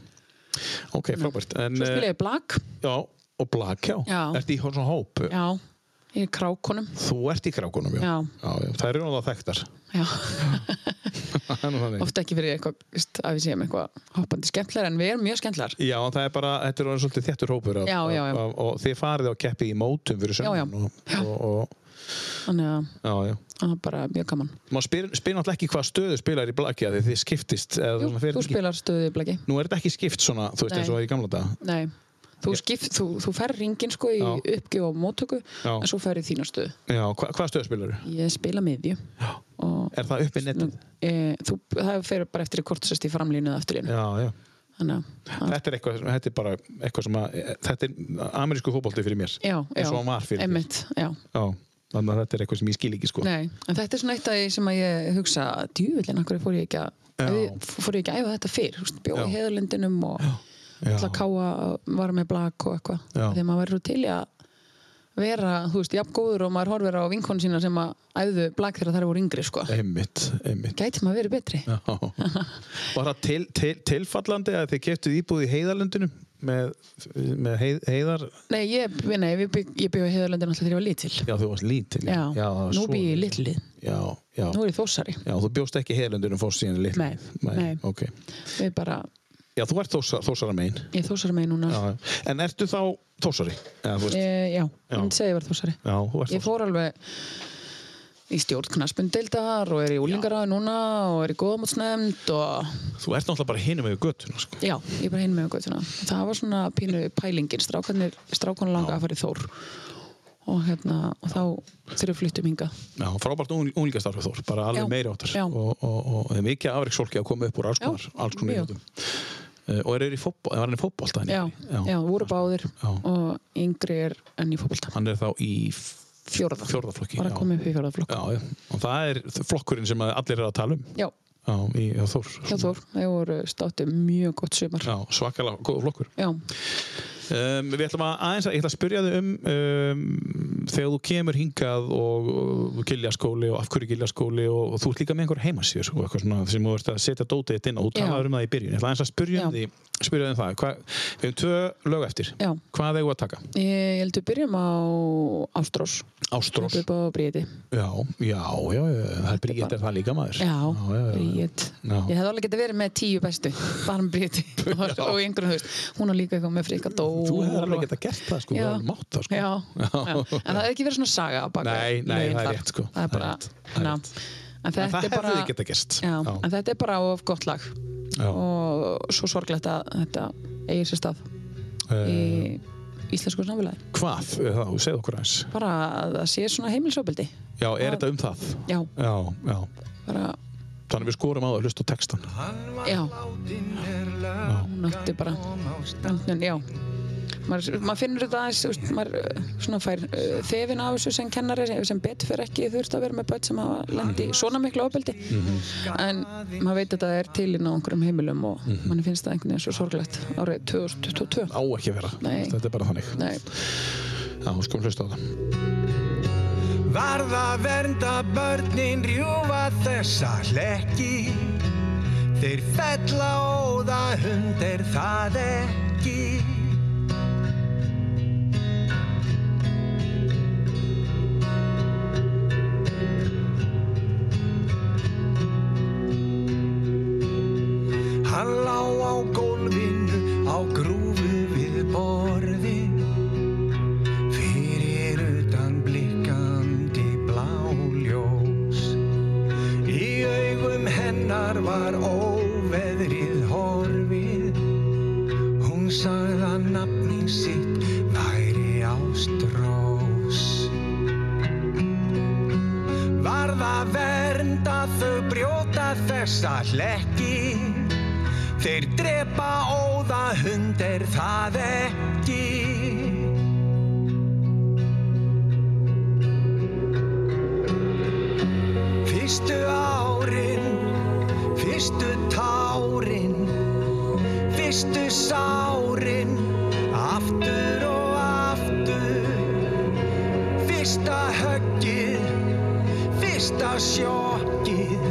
Speaker 2: Ok, frábært en,
Speaker 3: Mm. Svo spila
Speaker 2: eh,
Speaker 3: ég blag,
Speaker 2: Já, og blak, já,
Speaker 3: Já.
Speaker 2: Ertu í svona hóp?
Speaker 3: já Ég er krákonum,
Speaker 2: Þú ert í krákunum, já
Speaker 3: Já.
Speaker 2: já, Það eru náttúrulega þekktar
Speaker 3: já
Speaker 2: Það er nú þannig.
Speaker 3: Oft ekki fyrir eitthvað, veist, að við séum eitthvað hoppandi skemmtlar en við erum mjög skemmtlar
Speaker 2: Já, en það er bara, þetta er orðin svolítið þéttur hópur af,
Speaker 3: Já, já, já.
Speaker 2: Af, af, og þið farið á keppi í mótum fyrir
Speaker 3: Já, já.
Speaker 2: söndan og, og, og,
Speaker 3: Þannig að
Speaker 2: já, já.
Speaker 3: það er bara mjög gaman
Speaker 2: Maður spyr, spyr náttúrulega ekki hvað stöðu spilar í blaki að þið skiptist eða,
Speaker 3: Jú,
Speaker 2: svona, þið eruð
Speaker 3: þú
Speaker 2: ekki-
Speaker 3: spilar stöðu í blagi
Speaker 2: Nú er þetta ekki skipt svona, þú veist,
Speaker 3: Nei.
Speaker 2: eins og í gamla dag
Speaker 3: Nei, þú, skip, þú, þú fer ringin sko í
Speaker 2: Já.
Speaker 3: uppgjöf og móttöku
Speaker 2: Já.
Speaker 3: en svo fer í þína stöðu.
Speaker 2: Já, hva, hvað stöðu spilar þið?
Speaker 3: Ég spila miðju og
Speaker 2: Er það uppið netið?
Speaker 3: e, þú, það fer bara eftir í hvort þú sest í framlínu eða afturlínu.
Speaker 2: Já, já
Speaker 3: Þannig að
Speaker 2: Þetta er, eitthvað, sem- þetta er bara eitthvað sem að e, þetta er amerísku fótbolti fyrir mér
Speaker 3: Já, já,
Speaker 2: eins og hann var fyrir mér
Speaker 3: einmitt, já,
Speaker 2: Já, þannig að þetta er eitthvað sem ég skil ekki sko
Speaker 3: nei, en þetta er svona eitt af því sem að ég hugsa, djúvillin, akkur fór ég ekki að
Speaker 2: Já.
Speaker 3: við- fór ég ekki að æfa þetta fyrr, þú veist, bjóði
Speaker 2: Já.
Speaker 3: heðalindinum og alltaf káa var með blak og eitthvað,
Speaker 2: Já.
Speaker 3: þegar maður verður til í að vera, þú veist, jafn góður og maður horfir á vinkonu sína sem að æfðu blak þegar þær voru yngri, sko.
Speaker 2: Einmitt, einmitt
Speaker 3: gæti maður verið betri
Speaker 2: Já. Var það til, til, tilfallandi að þið keftuð íbúð í heiðarlundinu með, með heið, heiðar
Speaker 3: nei, ég, nei, ég bygg- ég bygg á heiðarlöndin alltaf þegar ég var lítil
Speaker 2: Já, þú varst lítil
Speaker 3: já,
Speaker 2: það var
Speaker 3: nú
Speaker 2: svo-
Speaker 3: bygg ég lítlið,
Speaker 2: Já, já,
Speaker 3: nú er ég þósari
Speaker 2: já, þú bjóst ekki heiðarlundinu fórst síðan í litlu
Speaker 3: Nei, nei.
Speaker 2: ok
Speaker 3: við bara,
Speaker 2: Já, þú ert þósar, þósara megin
Speaker 3: ég er þósari með núna
Speaker 2: já, já. En ertu þá þósari? Já, þú
Speaker 3: e,
Speaker 2: veist
Speaker 3: já,
Speaker 2: Já.
Speaker 3: hún segi ég var þósari
Speaker 2: Já, þú ert
Speaker 3: ég fór alveg í stjórn knaspundildar og er í úlingaráði núna og er í góðamótsnefnd og
Speaker 2: þósari Þú ert náttúrulega bara hinum yfir göttuna sko.
Speaker 3: já, ég er bara hinn með um gautina það var svona pínu pælingin strákanir, strákan langa að fara í þór og hérna, og þá þegar við fluttum hingað
Speaker 2: Já, frábært úlingastarfið Þór, bara alveg
Speaker 3: Já,
Speaker 2: meiri áttar
Speaker 3: já.
Speaker 2: og, og, og, og það er mikið afriksólki að koma upp úr alls
Speaker 3: Já,
Speaker 2: konar, alls konar
Speaker 3: mjög.
Speaker 2: íþróttum. Eh, og er þeir í fótbolta, var hann í fótbolta hann
Speaker 3: já, já,
Speaker 2: já,
Speaker 3: voru báðir
Speaker 2: Já.
Speaker 3: og yngri er enn í fótbolta
Speaker 2: hann er þá í f-
Speaker 3: fjórða
Speaker 2: fjórðaflokki
Speaker 3: bara
Speaker 2: já.
Speaker 3: komið upp í fjórðaflokk
Speaker 2: já, já, og það er flokkurinn sem að allir er að tala um
Speaker 3: já,
Speaker 2: já, í, á Þór,
Speaker 3: hjá Þór, það voru státti mjög gott sumar
Speaker 2: já, svakalega góð flokkur
Speaker 3: já,
Speaker 2: um, við ætlum að aðeins að, ég ætla að spyrja þig um, um þegar þú kemur hingað og, og giljaskóli og af hverju giljaskóli og, og þú ert líka með einhver heimasýr og eitthvað svona sem þú ert að setja dótið þitt inn og þú
Speaker 3: Já.
Speaker 2: talaður um það í byrjun ég ætla aðeins að spyrja um,
Speaker 3: Já.
Speaker 2: því, spyrja um það Hva, við hefum tvö lög eftir
Speaker 3: Já.
Speaker 2: hvað eigum við að taka?
Speaker 3: ég, ég held við byrjum á Ástrós
Speaker 2: Ástrós já,
Speaker 3: upp á Bríði
Speaker 2: já, já, já, það er Bríett er það líka maður
Speaker 3: já,
Speaker 2: já, já, já.
Speaker 3: Bríði
Speaker 2: Já.
Speaker 3: ég hefði alveg getið verið með tíu bestu bara um Bríði og og í einhverjum þú veist, hún á líka eitthvað með frika dó
Speaker 2: þú hefur
Speaker 3: og-
Speaker 2: alveg gett að gert það sko,
Speaker 3: Já.
Speaker 2: þú hefur mátt það sko
Speaker 3: já, já. en það hefði ekki verið svona saga á bak við
Speaker 2: Nei, nei,
Speaker 3: lögin
Speaker 2: það er
Speaker 3: þar.
Speaker 2: rétt, sko.
Speaker 3: það
Speaker 2: Það er
Speaker 3: er bara,
Speaker 2: rétt, það er
Speaker 3: ná,
Speaker 2: rétt.
Speaker 3: en
Speaker 2: En
Speaker 3: þetta
Speaker 2: það
Speaker 3: er bara
Speaker 2: hefði geta gerst
Speaker 3: já, en þetta er bara of gott lag
Speaker 2: Já.
Speaker 3: og svo sorglegt að þetta eigir sér stað í
Speaker 2: Eh.
Speaker 3: íslensku samfélagi
Speaker 2: Hvað, Eh, þá, segð okkur aðeins
Speaker 3: bara að það sé svona heimilisofbildi
Speaker 2: Já, er þetta um það?
Speaker 3: já,
Speaker 2: Já, já
Speaker 3: bara,
Speaker 2: Þannig að við skorum á það að hlusta á textan
Speaker 3: já hún átti bara en, en, já, maður maður finnur þetta aðeins, þú veist, maður uh, svona fær uh, þefin af þessu sem kennari sem, sem betur fyrir ekki þurft að vera með börn sem hafa lendi svona miklu ofbeldi
Speaker 2: Mhm.
Speaker 3: en maður veit að það er til inn á einhverjum heimilum og mm mann finnst það einhvern veginn svo sorglegt árið 2022
Speaker 2: á ekki að vera,
Speaker 3: Nei.
Speaker 2: þetta er bara þannig
Speaker 3: Nei,
Speaker 2: já, skulum hlusta á það
Speaker 1: Varða vernda börnin rjúfa þessa hlekki Þeir fella óða undir það ekki Hann lá á gólfinu á grúfu við borðin fyrir utan blikkandi bláljós í augum hennar var óveðrið horfið hún sagði að nafnin sitt væri ástrós varð að vernda þau brjóta þessa hlekki þeir drepa óða hundir það ekki Fyrstu árin, fyrstu tárin, fyrstu sárin, aftur og aftur. Fyrsta höggið, fyrsta sjokkið,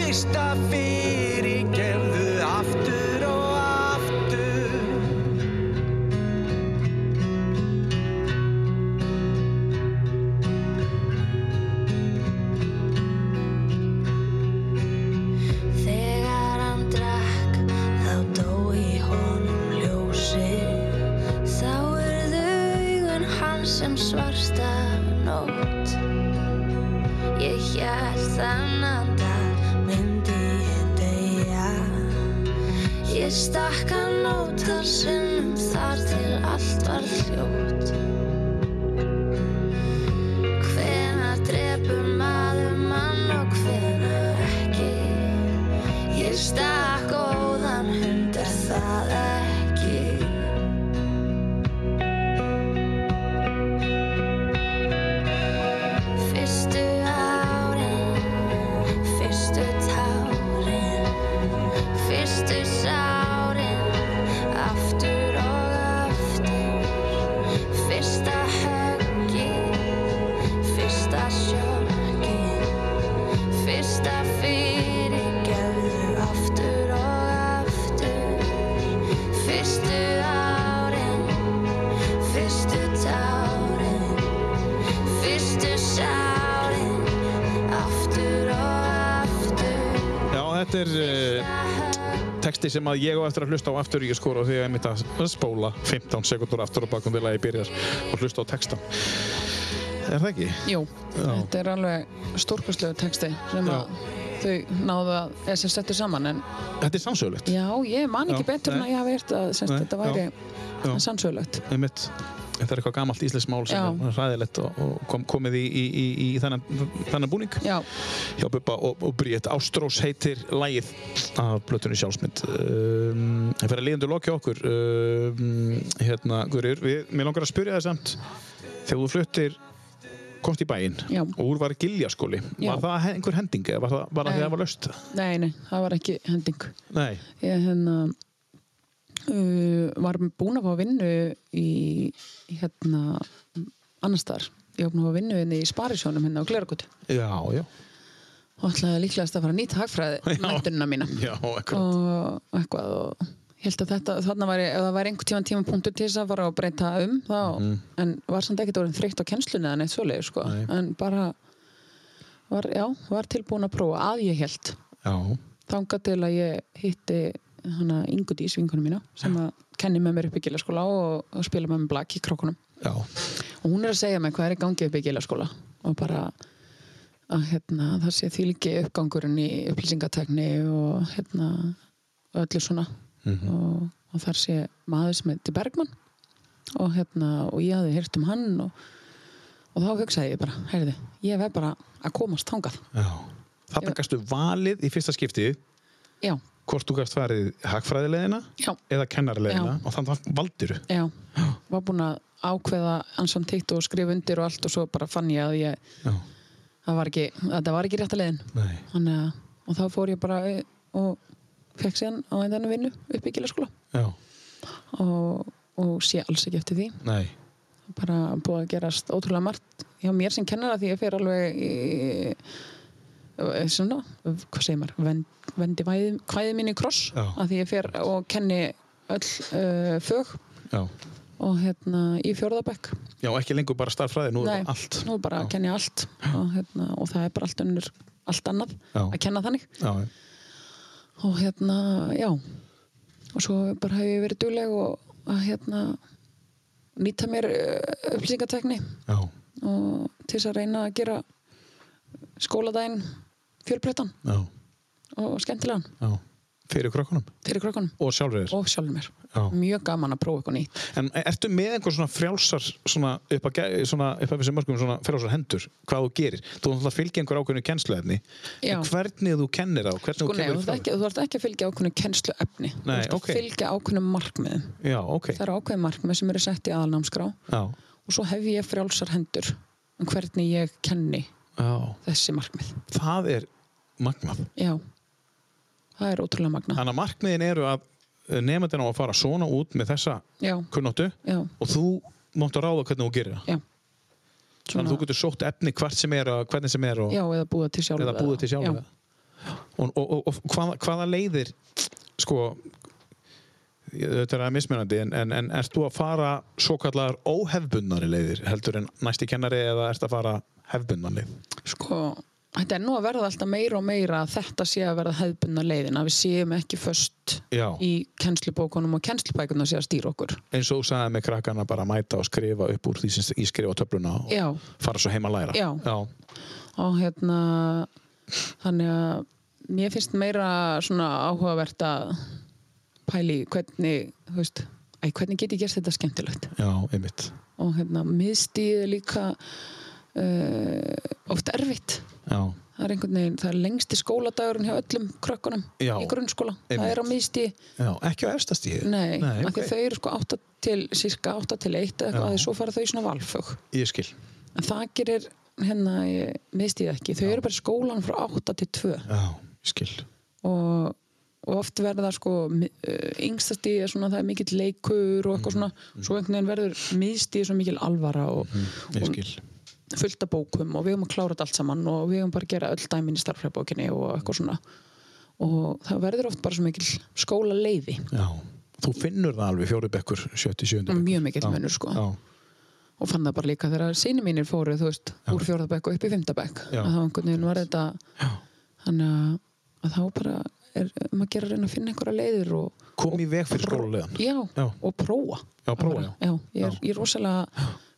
Speaker 1: fyrsta fyrirgerðu, aftur og aftur.
Speaker 6: Þegar hann drakk þá dó í honum ljósið Þá urðu augun hans sem svarta nótt Ég hélt þannan dag myndi ég deyja Ég stakk hann nótar sinnum þar til allt var hljótt Hvenær drepur maður mann og hvenær ekki Ég stakk óðan hundar það ekki Fyrstu árin, fyrstu tárin Fyrstu sárin, aftur og aftur Fyrsta höggi, fyrsta sjokki Fyrsta fyrirgefðu aftur og aftur Fyrstu árin, fyrstu tárin Fyrstu sárin, er aftur og aftur
Speaker 2: já, þetta er uh, texti sem að ég á eftir að hlusta á aftur ég skora því að ég mitt að spóla 15 sekundur aftur og bakum til að ég byrjar og hlusta á textan er það ekki?
Speaker 3: jú, þetta er alveg stórkastlegu texti sem að þau náðu að, eða sem settu saman en
Speaker 2: Þetta er sannsögulegt
Speaker 3: já, ég man ekki
Speaker 2: Já,
Speaker 3: betur en
Speaker 2: nei.
Speaker 3: að ég hafi heyrt að sem sagt,
Speaker 2: Nei,
Speaker 3: þetta væri
Speaker 2: já.
Speaker 3: sannsögulegt
Speaker 2: Einmitt. Þetta er eitthvað gamalt íslensk mál sem
Speaker 3: Já.
Speaker 2: er hræðilegt og, og kom, komið í, í, í, í þennan, þennan búning
Speaker 3: Já,
Speaker 2: hjá Bubba og, og Bríett. Ástrós heitir lægið af blötunni sjálfsmynd. Um, Það fyrir að liðundu lokja okkur. Um, hérna, Guðrýr, við- mér langar að spyrja það samt. Þegar þú fluttir komst í bæinn
Speaker 3: Já.
Speaker 2: og úr var giljaskóli.
Speaker 3: Já.
Speaker 2: Var það he- einhver hending eða var það bara
Speaker 3: Nei.
Speaker 2: þegar það var löst?
Speaker 3: nei, nei, það var ekki hending
Speaker 2: Nei.
Speaker 3: ég hérna uh, var búin að fá vinnu í hérna annars þar ég var búin að fá vinnu inn í Sparisjónum hérna á Glergutu
Speaker 2: Já, já.
Speaker 3: og ætlaði líklegast að fara að nýta hagfræði mættunina mína
Speaker 2: Já, eitthvað.
Speaker 3: og eitthvað og ég held að þetta, þarna væri, ef það væri einhvern tíman tímapunktur til þess að fara og breyta um þá,
Speaker 2: Mhm.
Speaker 3: en var samt ekkert orðin þreytt á kennslunni eða neitt svoleiði sko, en bara var, já, var tilbúin að prófa að ég held
Speaker 2: Já.
Speaker 3: þangað til að ég hitti hana Ingu Dís vinkunum mína sem að kenni með mér upp í gilaskóla og, og spila með mér blak í krókunum
Speaker 2: Já.
Speaker 3: og hún er að segja mér hvað er í gangi upp í gilaskóla og bara að hérna, það sé því líki uppgangurinn í upplýsingatekni og hérna og öllu svona og, og þar sé maður sem heitir Bergmann og hérna og ég hafði heyrt um hann og, og þá hugsaði ég bara, heyrði, ég verð bara að komast þangað
Speaker 2: Já. Þarna
Speaker 3: Ég-
Speaker 2: gæstu valið í fyrsta skiptið
Speaker 3: já,
Speaker 2: hvort þú gæst farið hagfræðilegina
Speaker 3: Já.
Speaker 2: eða kennarlegina og þannig að valdiru
Speaker 3: Já, var búin að ákveða ansan tíkt og skrifa undir og allt og svo bara fann ég að ég
Speaker 2: Já.
Speaker 3: það var ekki, þetta var ekki rétta leiðin
Speaker 2: Nei.
Speaker 3: Þannig að, og þá fór ég bara eh, og fekk síðan á endanum vinnu upp í gilaskóla
Speaker 2: Já.
Speaker 3: og, og sé alls ekki eftir því
Speaker 2: Nei.
Speaker 3: bara búið að gerast ótrúlega margt hjá mér sem kennara því ég fer alveg í, eh, svona, hvað segir maður Vend, vendi væði- kvæði mín í kross
Speaker 2: Já.
Speaker 3: að því ég fer og kenni öll uh, fög
Speaker 2: Já.
Speaker 3: og hérna í fjórðabæk
Speaker 2: Já, ekki lengur bara starffræði, nú er það allt
Speaker 3: nú bara
Speaker 2: Já.
Speaker 3: kenni ég allt og, hérna, og það er bara allt unnur allt annað
Speaker 2: Já.
Speaker 3: að kenna þannig
Speaker 2: Já, já.
Speaker 3: og hérna, já og svo bara hef ég verið dugleg og að hérna nýta mér uh, upplýsingatekni
Speaker 2: Já.
Speaker 3: og til þess að reyna að gera skóladaginn fjölbreyttan
Speaker 2: Já.
Speaker 3: og skemmtilegan
Speaker 2: Já. Fyrir krökkunum
Speaker 3: fyrir krökkunum
Speaker 2: og sjálfur
Speaker 3: og sjálfur mér
Speaker 2: Já.
Speaker 3: mjög gaman að prófa eitthvað nýtt
Speaker 2: En ertu með einhver svona frjálsar svona upp að, gæ- svona upp að vissum mörgum svona frjálsar hendur, hvað þú gerir þú ætla að fylgja einhver ákveðinu kennsluefni
Speaker 3: Já.
Speaker 2: En hvernig þú kennir það og hvernig
Speaker 3: sko,
Speaker 2: þú
Speaker 3: nei,
Speaker 2: kemur
Speaker 3: þú, ert
Speaker 2: frá
Speaker 3: ekki, þú ert ekki að fylgja ákveðnu kennsluefni þú
Speaker 2: Nei,
Speaker 3: ert að
Speaker 2: ókei.
Speaker 3: fylgja ákveðnu markmiðum
Speaker 2: því? Já, ok
Speaker 3: það eru ákveðin markmið sem eru sett í aðalnámskrá
Speaker 2: Já,
Speaker 3: og svo hef ég frjálsar hendur um hvernig ég kenni
Speaker 2: já,
Speaker 3: þessi markmið
Speaker 2: það er magnað
Speaker 3: já, það er ótrúlega magna
Speaker 2: Þannig að markmiðin eru að nefndin á að fara svona út með þessa
Speaker 3: já,
Speaker 2: kunnáttu
Speaker 3: já,
Speaker 2: og þú mátt að ráða hvernig þú gerir það.
Speaker 3: já
Speaker 2: Þannig að þú getur sótt efni hvert sem er og hvernig sem er og
Speaker 3: já, eða búið til sjálf
Speaker 2: eða búið til sjálf
Speaker 3: já,
Speaker 2: það. Og, og, og, og hvaða, hvaða leiðir sko ég- þetta er að mismunandi en, en, en ert þú að fara svo kallar óhefbundnari leiðir heldur en næsti kennari eða ert að fara hefbundnari
Speaker 3: sko, þetta er nú að verða alltaf meira og meira að þetta sé að verða hefðbunna leiðin að við séum ekki föst
Speaker 2: Já.
Speaker 3: í kennslubókunum og kennslubækunum sé að stýra okkur
Speaker 2: eins og þú sagði með krakkana bara að mæta og skrifa upp úr því sem ég skrifa töfluna og
Speaker 3: Já.
Speaker 2: fara svo heim að læra
Speaker 3: Já.
Speaker 2: Já.
Speaker 3: og hérna þannig að mér finnst meira svona áhugavert að pæli hvernig þú veist, æ, hvernig get ég gert þetta skemmtilegt
Speaker 2: Já, einmitt
Speaker 3: og hérna miðstíð er líka uh, oft erfitt
Speaker 2: Já,
Speaker 3: það er einhvern veginn, það er lengsti skóladagurinn hjá öllum krökkunum
Speaker 2: Já.
Speaker 3: í grunnskóla það
Speaker 2: Einmitt.
Speaker 3: er á miðstíð
Speaker 2: Já. ekki á efstastíð
Speaker 3: Nei,
Speaker 2: Nei
Speaker 3: Nei
Speaker 2: ok.
Speaker 3: þau eru sko 8 til, cirka 8 til 1 eða eitthvað,
Speaker 2: Já.
Speaker 3: að svo fara þau í svona valfög.
Speaker 2: Ég skil
Speaker 3: En það gerir, hérna, ég misti það ekki, þau eru bara í skólan frá 8 til 2
Speaker 2: Já, ég skil
Speaker 3: og, og oft verða sko yngstasti er svona það er mikill leikur og eitthvað
Speaker 2: Mhm.
Speaker 3: svona, svo einhvern veginn verður misti svo mikil alvara og,
Speaker 2: Mhm. Ég
Speaker 3: og
Speaker 2: skil
Speaker 3: fullt af bókum og við höfum að klára þetta allt saman og við höfum bara að gera öll dæmin í starffræðbókinni og eitthvað svona og það verður oft bara svo mikil skóla leiði
Speaker 2: Já, þú finnur það alveg fjóri bekkur, sjötti, sjöndi bekkur.
Speaker 3: Mjög mikill
Speaker 2: Já,
Speaker 3: munur, sko.
Speaker 2: Já,
Speaker 3: og fann það bara líka þegar sinni mínir fóru þú veist, úr fjórðabæk og upp í fymtabæk
Speaker 2: Já.
Speaker 3: að þá einhvern veginn var þetta þannig að, að þá bara er maður að gera að reyna að finna einhverja leiðir og,
Speaker 2: kom í veg fyrir skólulegan.
Speaker 3: já,
Speaker 2: Já.
Speaker 3: og prófa
Speaker 2: Já, prófa,
Speaker 3: já. já ég er, ég er rosalega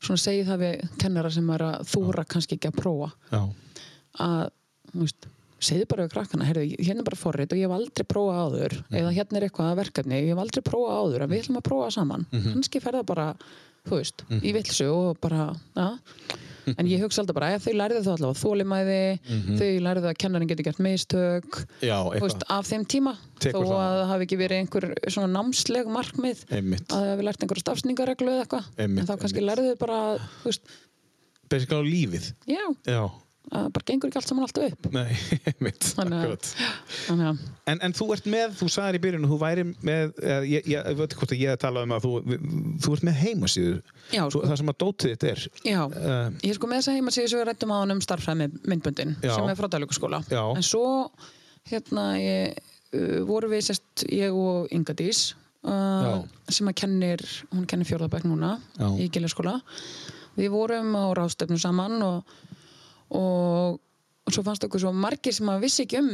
Speaker 3: svona segi það við kennara sem er að þóra kannski ekki að prófa
Speaker 2: Já,
Speaker 3: að, þú veist, segðu bara við krakkana, heyrðu, hérna er bara forrið og ég hef aldrei prófað áður,
Speaker 2: Mhm.
Speaker 3: eða hérna er eitthvað verkefni, ég hef aldrei prófað áður en við ætlum að prófa saman,
Speaker 2: Mhm.
Speaker 3: kannski fer það bara þú veist, í villsu og bara ja. en ég hugsa alltaf bara, að þau lærðu það allavega þólimæði þau lærðu að kennarin getur gert mistök
Speaker 2: Mhm. Já,
Speaker 3: þú veist, af þeim tíma
Speaker 2: Tekur
Speaker 3: þó
Speaker 2: það.
Speaker 3: að það hafi ekki verið einhver svona námsleg markmið
Speaker 2: Einmitt.
Speaker 3: að það hafi lært einhverja stafsningareglu eða eitthvað
Speaker 2: Einmitt,
Speaker 3: en þá kannski
Speaker 2: einmitt.
Speaker 3: lærðu þau bara, þú veist,
Speaker 2: Basically á lífið.
Speaker 3: já,
Speaker 2: Já,
Speaker 3: að bara gengur ekki allt saman alltaf upp
Speaker 2: nei, mitt,
Speaker 3: Þannig að-
Speaker 2: akkurat.
Speaker 3: þannig að
Speaker 2: En, en þú ert með, þú sagðir í byrjun, að þú væri með, eða ég, ég, ég veit ekki hvort að ég talaði um að þú, þú ert með heimasíðu.
Speaker 3: Já,
Speaker 2: Svo,
Speaker 3: sko.
Speaker 2: það sem að dótið þitt er.
Speaker 3: Já,
Speaker 2: Um,
Speaker 3: ég er sko með þess að heima síðan sem við rættum á hann um starffræði myndböndin
Speaker 2: Já.
Speaker 3: sem er frá dælugaskóla
Speaker 2: Já.
Speaker 3: en svo hérna ég, uh, voru við sérst ég og Inga Dís uh, sem að kennir, hún kennir fjórðabæk núna
Speaker 2: Já.
Speaker 3: í giljaskóla við vorum á ráðstefnu saman og, og, og svo fannst okkur svo margir sem að vissi ekki um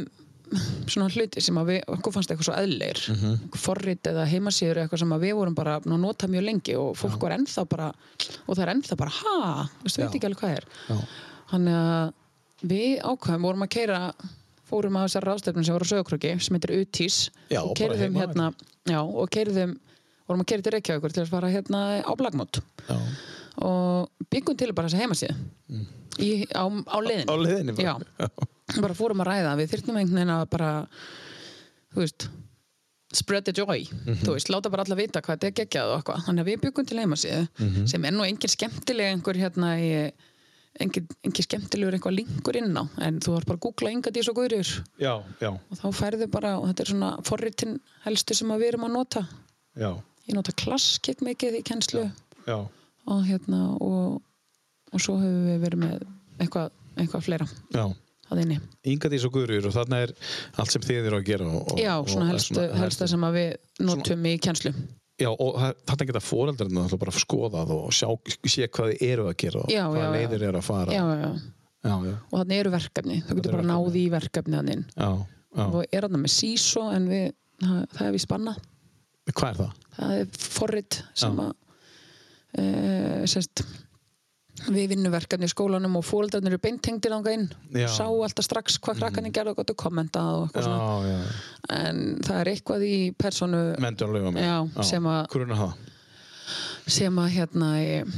Speaker 3: svona hluti sem að við, okkur fannst eitthvað svo eðleir mm
Speaker 2: Mhm.
Speaker 3: forrit eða heimasíður eitthvað sem að við vorum bara að nota mjög lengi og fólk var ennþá bara og það er ennþá bara, ha, þú veist, veit ekki alveg hvað er þannig að við ákvæðum vorum að keira fórum að þessar ráðstefnum sem voru á sögurkröki sem heitir UTIS
Speaker 2: Já,
Speaker 3: og
Speaker 2: bara
Speaker 3: keirðum
Speaker 2: heima,
Speaker 3: hérna já, og keirðum, vorum að keira til Reykjavíkur til að fara hérna á Blagmót
Speaker 2: Já.
Speaker 3: og byggum til bara þessa heimasíð í, á, á leiðinni
Speaker 2: Mm. Á leiðinni bara.
Speaker 3: já, bara fórum að ræða við þyrftum einhvern veginn að bara þú veist, spread the joy
Speaker 2: Mhm.
Speaker 3: þú veist, láta bara alla vita hvað þetta er geggjað og eitthvað, þannig að við byggum til heimasíðu
Speaker 2: Mhm.
Speaker 3: sem er nú engin skemmtileg einhver hérna í engin, engin skemmtilegur einhver linkur inn á en þú þarf bara að googla yngat í svo guður
Speaker 2: já, já,
Speaker 3: og þá færðu bara, og þetta er svona forritin helstu sem að við erum að nota
Speaker 2: já,
Speaker 3: ég nota klasskip mikið í kennslu
Speaker 2: já
Speaker 3: og hérna og, og svo höfum við verið með eitthvað, eitthvað fleira
Speaker 2: já
Speaker 3: að inni
Speaker 2: Inga Dís og Guðrýr og þarna er allt sem þið eru að gera og, og-
Speaker 3: Já, svona
Speaker 2: og-
Speaker 3: helstu, helsta sem að við notum í kennslu.
Speaker 2: Já, og það- þarna geta foreldrarna náttúrulega bara skoðað og sjá, sé hvað þið eru að gera og
Speaker 3: Já,
Speaker 2: hvaða
Speaker 3: já, já.
Speaker 2: leiðir eru að fara
Speaker 3: Já, já, já.
Speaker 2: já, já,
Speaker 3: Og þannig eru verkefni. Þú getur
Speaker 2: eru
Speaker 3: bara náði í verkefni þannig.
Speaker 2: já, já.
Speaker 3: Og er þarna með SISO en við, það, það er við spannað.
Speaker 2: Hvað er það?
Speaker 3: Það er forrit sem að e, sérst, við vinnum verkefni í skólanum og fóreldrarnir eru beintengdir þangað inn
Speaker 2: Já. Mm.
Speaker 3: og sá alltaf strax hvað krakkarnir gerðu og gott að kommenta og eitthvað svona.
Speaker 2: Já, já,
Speaker 3: En það er eitthvað í personu
Speaker 2: menntunarlega með
Speaker 3: Já, sem að-
Speaker 2: Hvernig er það?
Speaker 3: sem að hérna er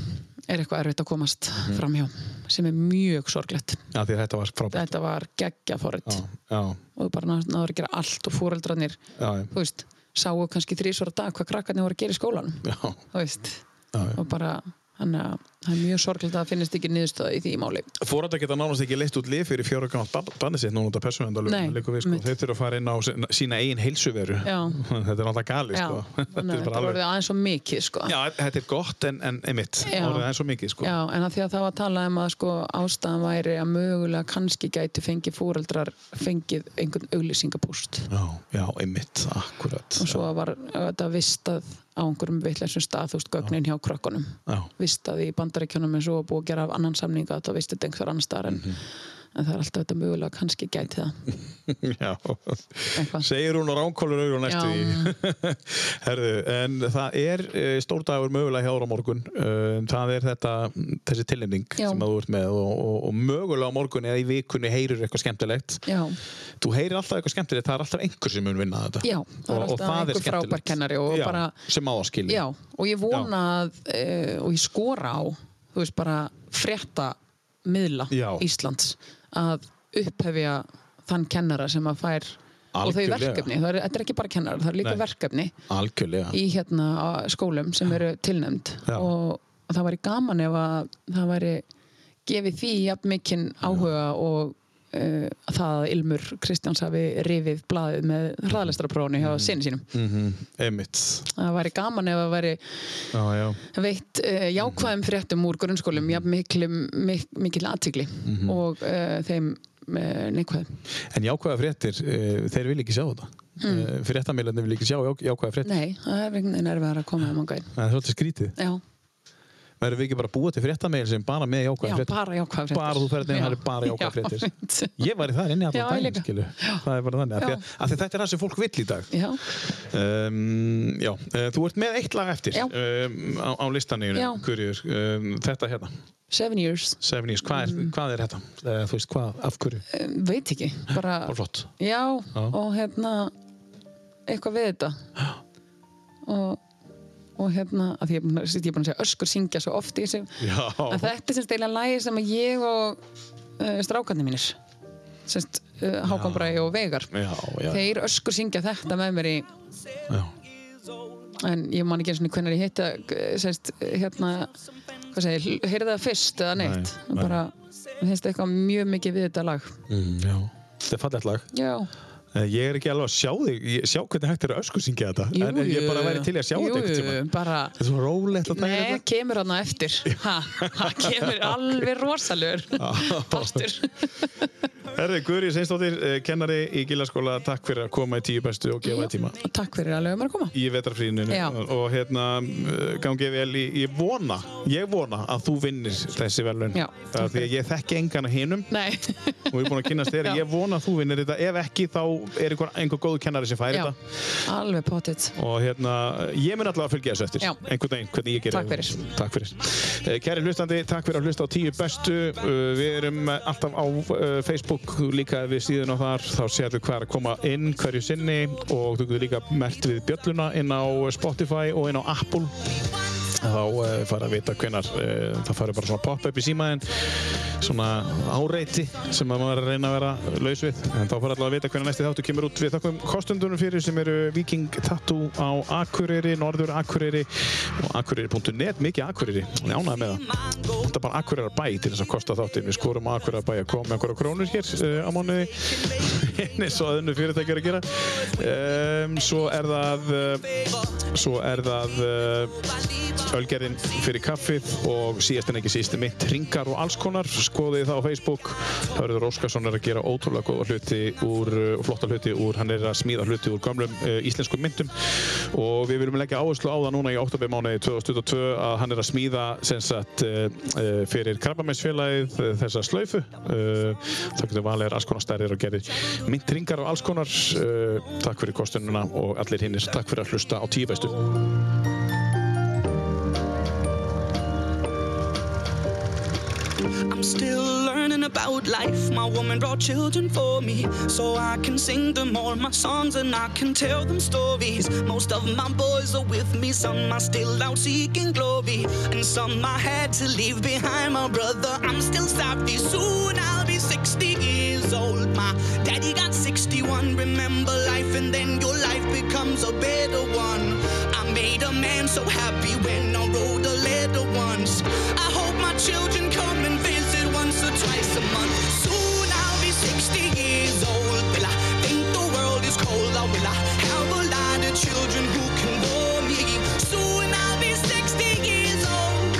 Speaker 3: er eitthvað erfitt að komast
Speaker 2: Mhm.
Speaker 3: framhjá sem er mjög sorglegt.
Speaker 2: Já, því að þetta var frábært
Speaker 3: Þetta var geggja forrit
Speaker 2: Já, já,
Speaker 3: og þú bara ná- náður að gera allt og fóreldrarnir,
Speaker 2: já, já,
Speaker 3: þú veist, sáu kannski þrísvara dag hvað krakkarnir voru að gera í skólanum,
Speaker 2: já,
Speaker 3: þú veist,
Speaker 2: já.
Speaker 3: og bara, þannig að það er mjög sorglegt að það finnist ekki niðurstöða í því máli.
Speaker 2: Fórhaldar geta nánast ekki leitt út lið fyrir fjóra gammalt barn- barnið sitt núna út af
Speaker 3: Nei,
Speaker 2: persónuendalöfum við, sko.
Speaker 3: einmitt.
Speaker 2: Þeir þurfa að fara inn á sína- sína eigin heilsuveru
Speaker 3: Já.
Speaker 2: Þetta er alltaf gali
Speaker 3: Já,
Speaker 2: sko.
Speaker 3: þannig að
Speaker 2: bara
Speaker 3: þetta
Speaker 2: alveg-
Speaker 3: voruði aðeins og mikið, sko.
Speaker 2: Já, þetta er gott en, en einmitt,
Speaker 3: Já.
Speaker 2: orðið eins og mikið sko.
Speaker 3: Já, en að því að það var að tala um að sko ástæðan væri að mögulega kannski gæti fengið fóreldrar fengið einhvern auglýsingapúst.
Speaker 2: já, já, einmitt, akkurat
Speaker 3: og svo var þetta vistað á einhverjum vitleisum stað, þú veist, gögnin hjá krökkunum
Speaker 2: Já.
Speaker 3: vistað í bandaríkjunum eins og búið að gera af annan samninga að þetta vistið þetta einhver annar staðar en,
Speaker 2: Mhm.
Speaker 3: en það er alltaf þetta mögulega kannski gæti það
Speaker 2: Já,
Speaker 3: Eitthvað.
Speaker 2: segir hún og ránkólur auður næstu
Speaker 3: Já.
Speaker 2: í Herðu, en það er eh, stór dagur mögulega hjá ára morgun Eh, það er þetta, þessi tilnefning
Speaker 3: Já.
Speaker 2: sem að þú ert með og, og, og mögulega á morgun eða í vikunni heyrir eitthvað skemmtilegt
Speaker 3: Já,
Speaker 2: þú heyrir alltaf eitthvað skemmtilegt, það er alltaf einhver sem mun vinna þetta
Speaker 3: já, það er
Speaker 2: Og- og
Speaker 3: alltaf
Speaker 2: það er
Speaker 3: einhver
Speaker 2: skemmtilegt.
Speaker 3: frábær kennari og
Speaker 2: já,
Speaker 3: bara,
Speaker 2: sem á að skilja
Speaker 3: já, og ég vona að, e, og ég skora á þú veist, bara frétta miðla
Speaker 2: Já.
Speaker 3: Íslands að upphefja þann kennara sem að fær og þau
Speaker 2: Algjörlega.
Speaker 3: verkefni, það er, þetta er ekki bara kennara það er líka
Speaker 2: Nei.
Speaker 3: verkefni
Speaker 2: algjörlega
Speaker 3: í hérna á skólum sem eru tilnæmd
Speaker 2: Já.
Speaker 3: og það væri gaman ef að það væri gefið því jafn mikinn áhuga og uh, það að Ilmur Kristjáns hafi rifið blaðið með hraðalestaraprófunu
Speaker 2: Mhm.
Speaker 3: hjá sinni sínum.
Speaker 2: einmitt,
Speaker 3: Það væri gaman ef að væri
Speaker 2: já, já
Speaker 3: veitt uh,
Speaker 2: Mhm.
Speaker 3: jákvæðum fréttum úr grunnskólum jafn miklum, mik mikil aðtigli
Speaker 2: Mhm.
Speaker 3: og uh, þeim uh, neikvæðum.
Speaker 2: En jákvæða fréttir, uh, þeir vil ekki sjá þetta. Mm. Uh, Fréttamiljarnir vil ekki sjá já, jákvæða fréttir.
Speaker 3: Nei, það er einhvern veginn erfiðar að koma um ánga inn.
Speaker 2: Það er svolítið skrítið.
Speaker 3: Já,
Speaker 2: Verðum við ekki bara að búa til fréttamil sem bara með jákvæða
Speaker 3: já
Speaker 2: fréttir?
Speaker 3: bara jákvæðum fréttir.
Speaker 2: Bara þú ferð inn, það er bara jákvæða fréttir. Ég var í það inni
Speaker 3: Já,
Speaker 2: allan
Speaker 3: ég
Speaker 2: daginn,
Speaker 3: líka.
Speaker 2: skilu. Það er bara þannig. Af því, að,
Speaker 3: Já.
Speaker 2: af því að þetta er það sem fólk vill í dag.
Speaker 3: Já,
Speaker 2: Um, já, uh, þú ert með eitt lag eftir
Speaker 3: Já.
Speaker 2: um, á, á listaninu,
Speaker 3: Já.
Speaker 2: kurjur. Um, þetta hérna,
Speaker 3: seven years.
Speaker 2: Seven Years, hvað er, hvað er þetta? Uh, þú veist, hvað, af hverju?
Speaker 3: Mm. Eh, veit ekki, bara
Speaker 2: Bara flott.
Speaker 3: já, og hérna eitthvað við þetta og, og hérna að því ég er búin að, ég er búin að segja öskur syngja svo oft í þessu
Speaker 2: Já.
Speaker 3: að þetta er sem steyla lægi sem að ég og uh, strákarnir mínir semst uh, Hákon Bræði og Vegar
Speaker 2: Já, já,
Speaker 3: þeir öskur syngja þetta með mér í
Speaker 2: já.
Speaker 3: en ég man ekki eins og hvernig ég hitta eh, semst hérna hvað segir, heyrði það fyrst eða neitt
Speaker 2: Nei, nei.
Speaker 3: bara, mér finnst eitthvað mjög mikið við þetta lag
Speaker 2: Mm, já. Þetta er fallegt lag.
Speaker 3: já
Speaker 2: Eh, Ég er ekki alveg að sjá þig, ég, sjá hvernig hægt er að ösku syngja þetta
Speaker 3: Jú,
Speaker 2: En en ég
Speaker 3: jú.
Speaker 2: bara væri til í að sjá
Speaker 3: Jú,
Speaker 2: þetta
Speaker 3: jú,
Speaker 2: eitthvað tíma
Speaker 3: bara
Speaker 2: Þetta er svo rólegt að taka
Speaker 3: Nei,
Speaker 2: þetta
Speaker 3: kemur hann eftir Það kemur alveg rosalur Partur
Speaker 2: Herði, Guðri Seinstóttir, eh, kennari í Gilaskóla Takk fyrir að koma í tíu bestu og gefa tíma
Speaker 3: Takk fyrir að lögum að koma
Speaker 2: Í vetrafríðinu
Speaker 3: Já.
Speaker 2: Og hérna, eh, gangi vel í, ég vona, ég vona að þú vinnir þessi velun
Speaker 3: Já, takk
Speaker 2: Því að ég þekki engana hinum
Speaker 3: Nei,
Speaker 2: og við erum búin að kynast þér
Speaker 3: Já.
Speaker 2: Ég vona að þú vinnir þetta, ef ekki þá er einhver, einhver góð kennari sem fær
Speaker 3: já,
Speaker 2: þetta
Speaker 3: alveg pottitt
Speaker 2: og hérna, ég mun allavega að fylgja þessu eftir
Speaker 3: Já.
Speaker 2: einhvern veginn, hvernig ég gerir
Speaker 3: Takk fyrir.
Speaker 2: takk fyrir. Eh, Kæri hlustandi, takk fyrir að hlusta á tíu bestu Eh, við erum eh, alltaf á eh, Facebook líka við síðan á þar þá sérðu hvað er að koma inn hverju sinni og þú getur líka mert við bjölluna inn á eh, Spotify og inn á Apple eh, þá eh, fara að vita hvenar það fara bara svona pop-up í símaðin svona áreiti sem að maður er að reyna að vera laus við. En þá fara allavega að vita hvernig næsti þáttu kemur út. Við þakkum kostendunum fyrir sem eru Viking Tattoo á Akureyri, Norður Akureyri og akureyri.net, mikið Akureyri. Ég Ánægði með það. Þetta er bara Akureyrar bæ til þess að kosta þáttin. Við skorum á Akureyrar bæ að koma með einhverja krónur hér uh, á mánuði eins og að önnu fyrirtæki eru að gera. Um, svo er það uh, svo er það uh, Ölgerðin fyrir kaffið og síðast en ekki síst mitt ringar og alls konar skoðið það á Facebook Hörður Óskarsson er að gera ótrúlega góða hluti úr, uh, flotta hluti úr, hann er að smíða hluti úr gamlum uh, íslenskum myndum og við viljum leggja áherslu á það núna í oktober mánuði 2022 að hann er að smíða sem sagt uh, uh, fyrir krabbameinsfélagið uh, þessa slaufu uh, það getur valið alls konar stærðir og gerir mynd ringar og alls konar uh, takk fyrir kostununa og allir hinnir takk fyrir að hlusta á tíu bestu
Speaker 9: I'm still learning about life. My woman brought children for me, so I can sing them all my songs and I can tell them stories. Most of my boys are with me, some are still out seeking glory, and some I had to leave behind. My brother, I'm still savvy. Soon I'll be 60 years old. My daddy got 61. Remember life, and then your life becomes a better one. I made a man so happy when I wrote a letter once. I hope my children come and visit once or twice a month. Soon I'll be 60 years old. Will I think the world is cold? Or will I have a lot of children who can bore me? Soon I'll be 60 years old.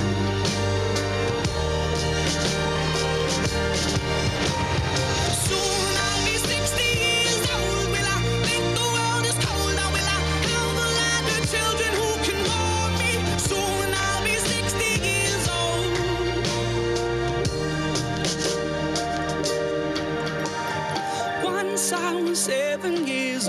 Speaker 9: Soon I'll be 60 years old. Will I think the world is cold? Or will I have a lot of children who can bore me? Soon I'll be 60 years old. Once I was seven years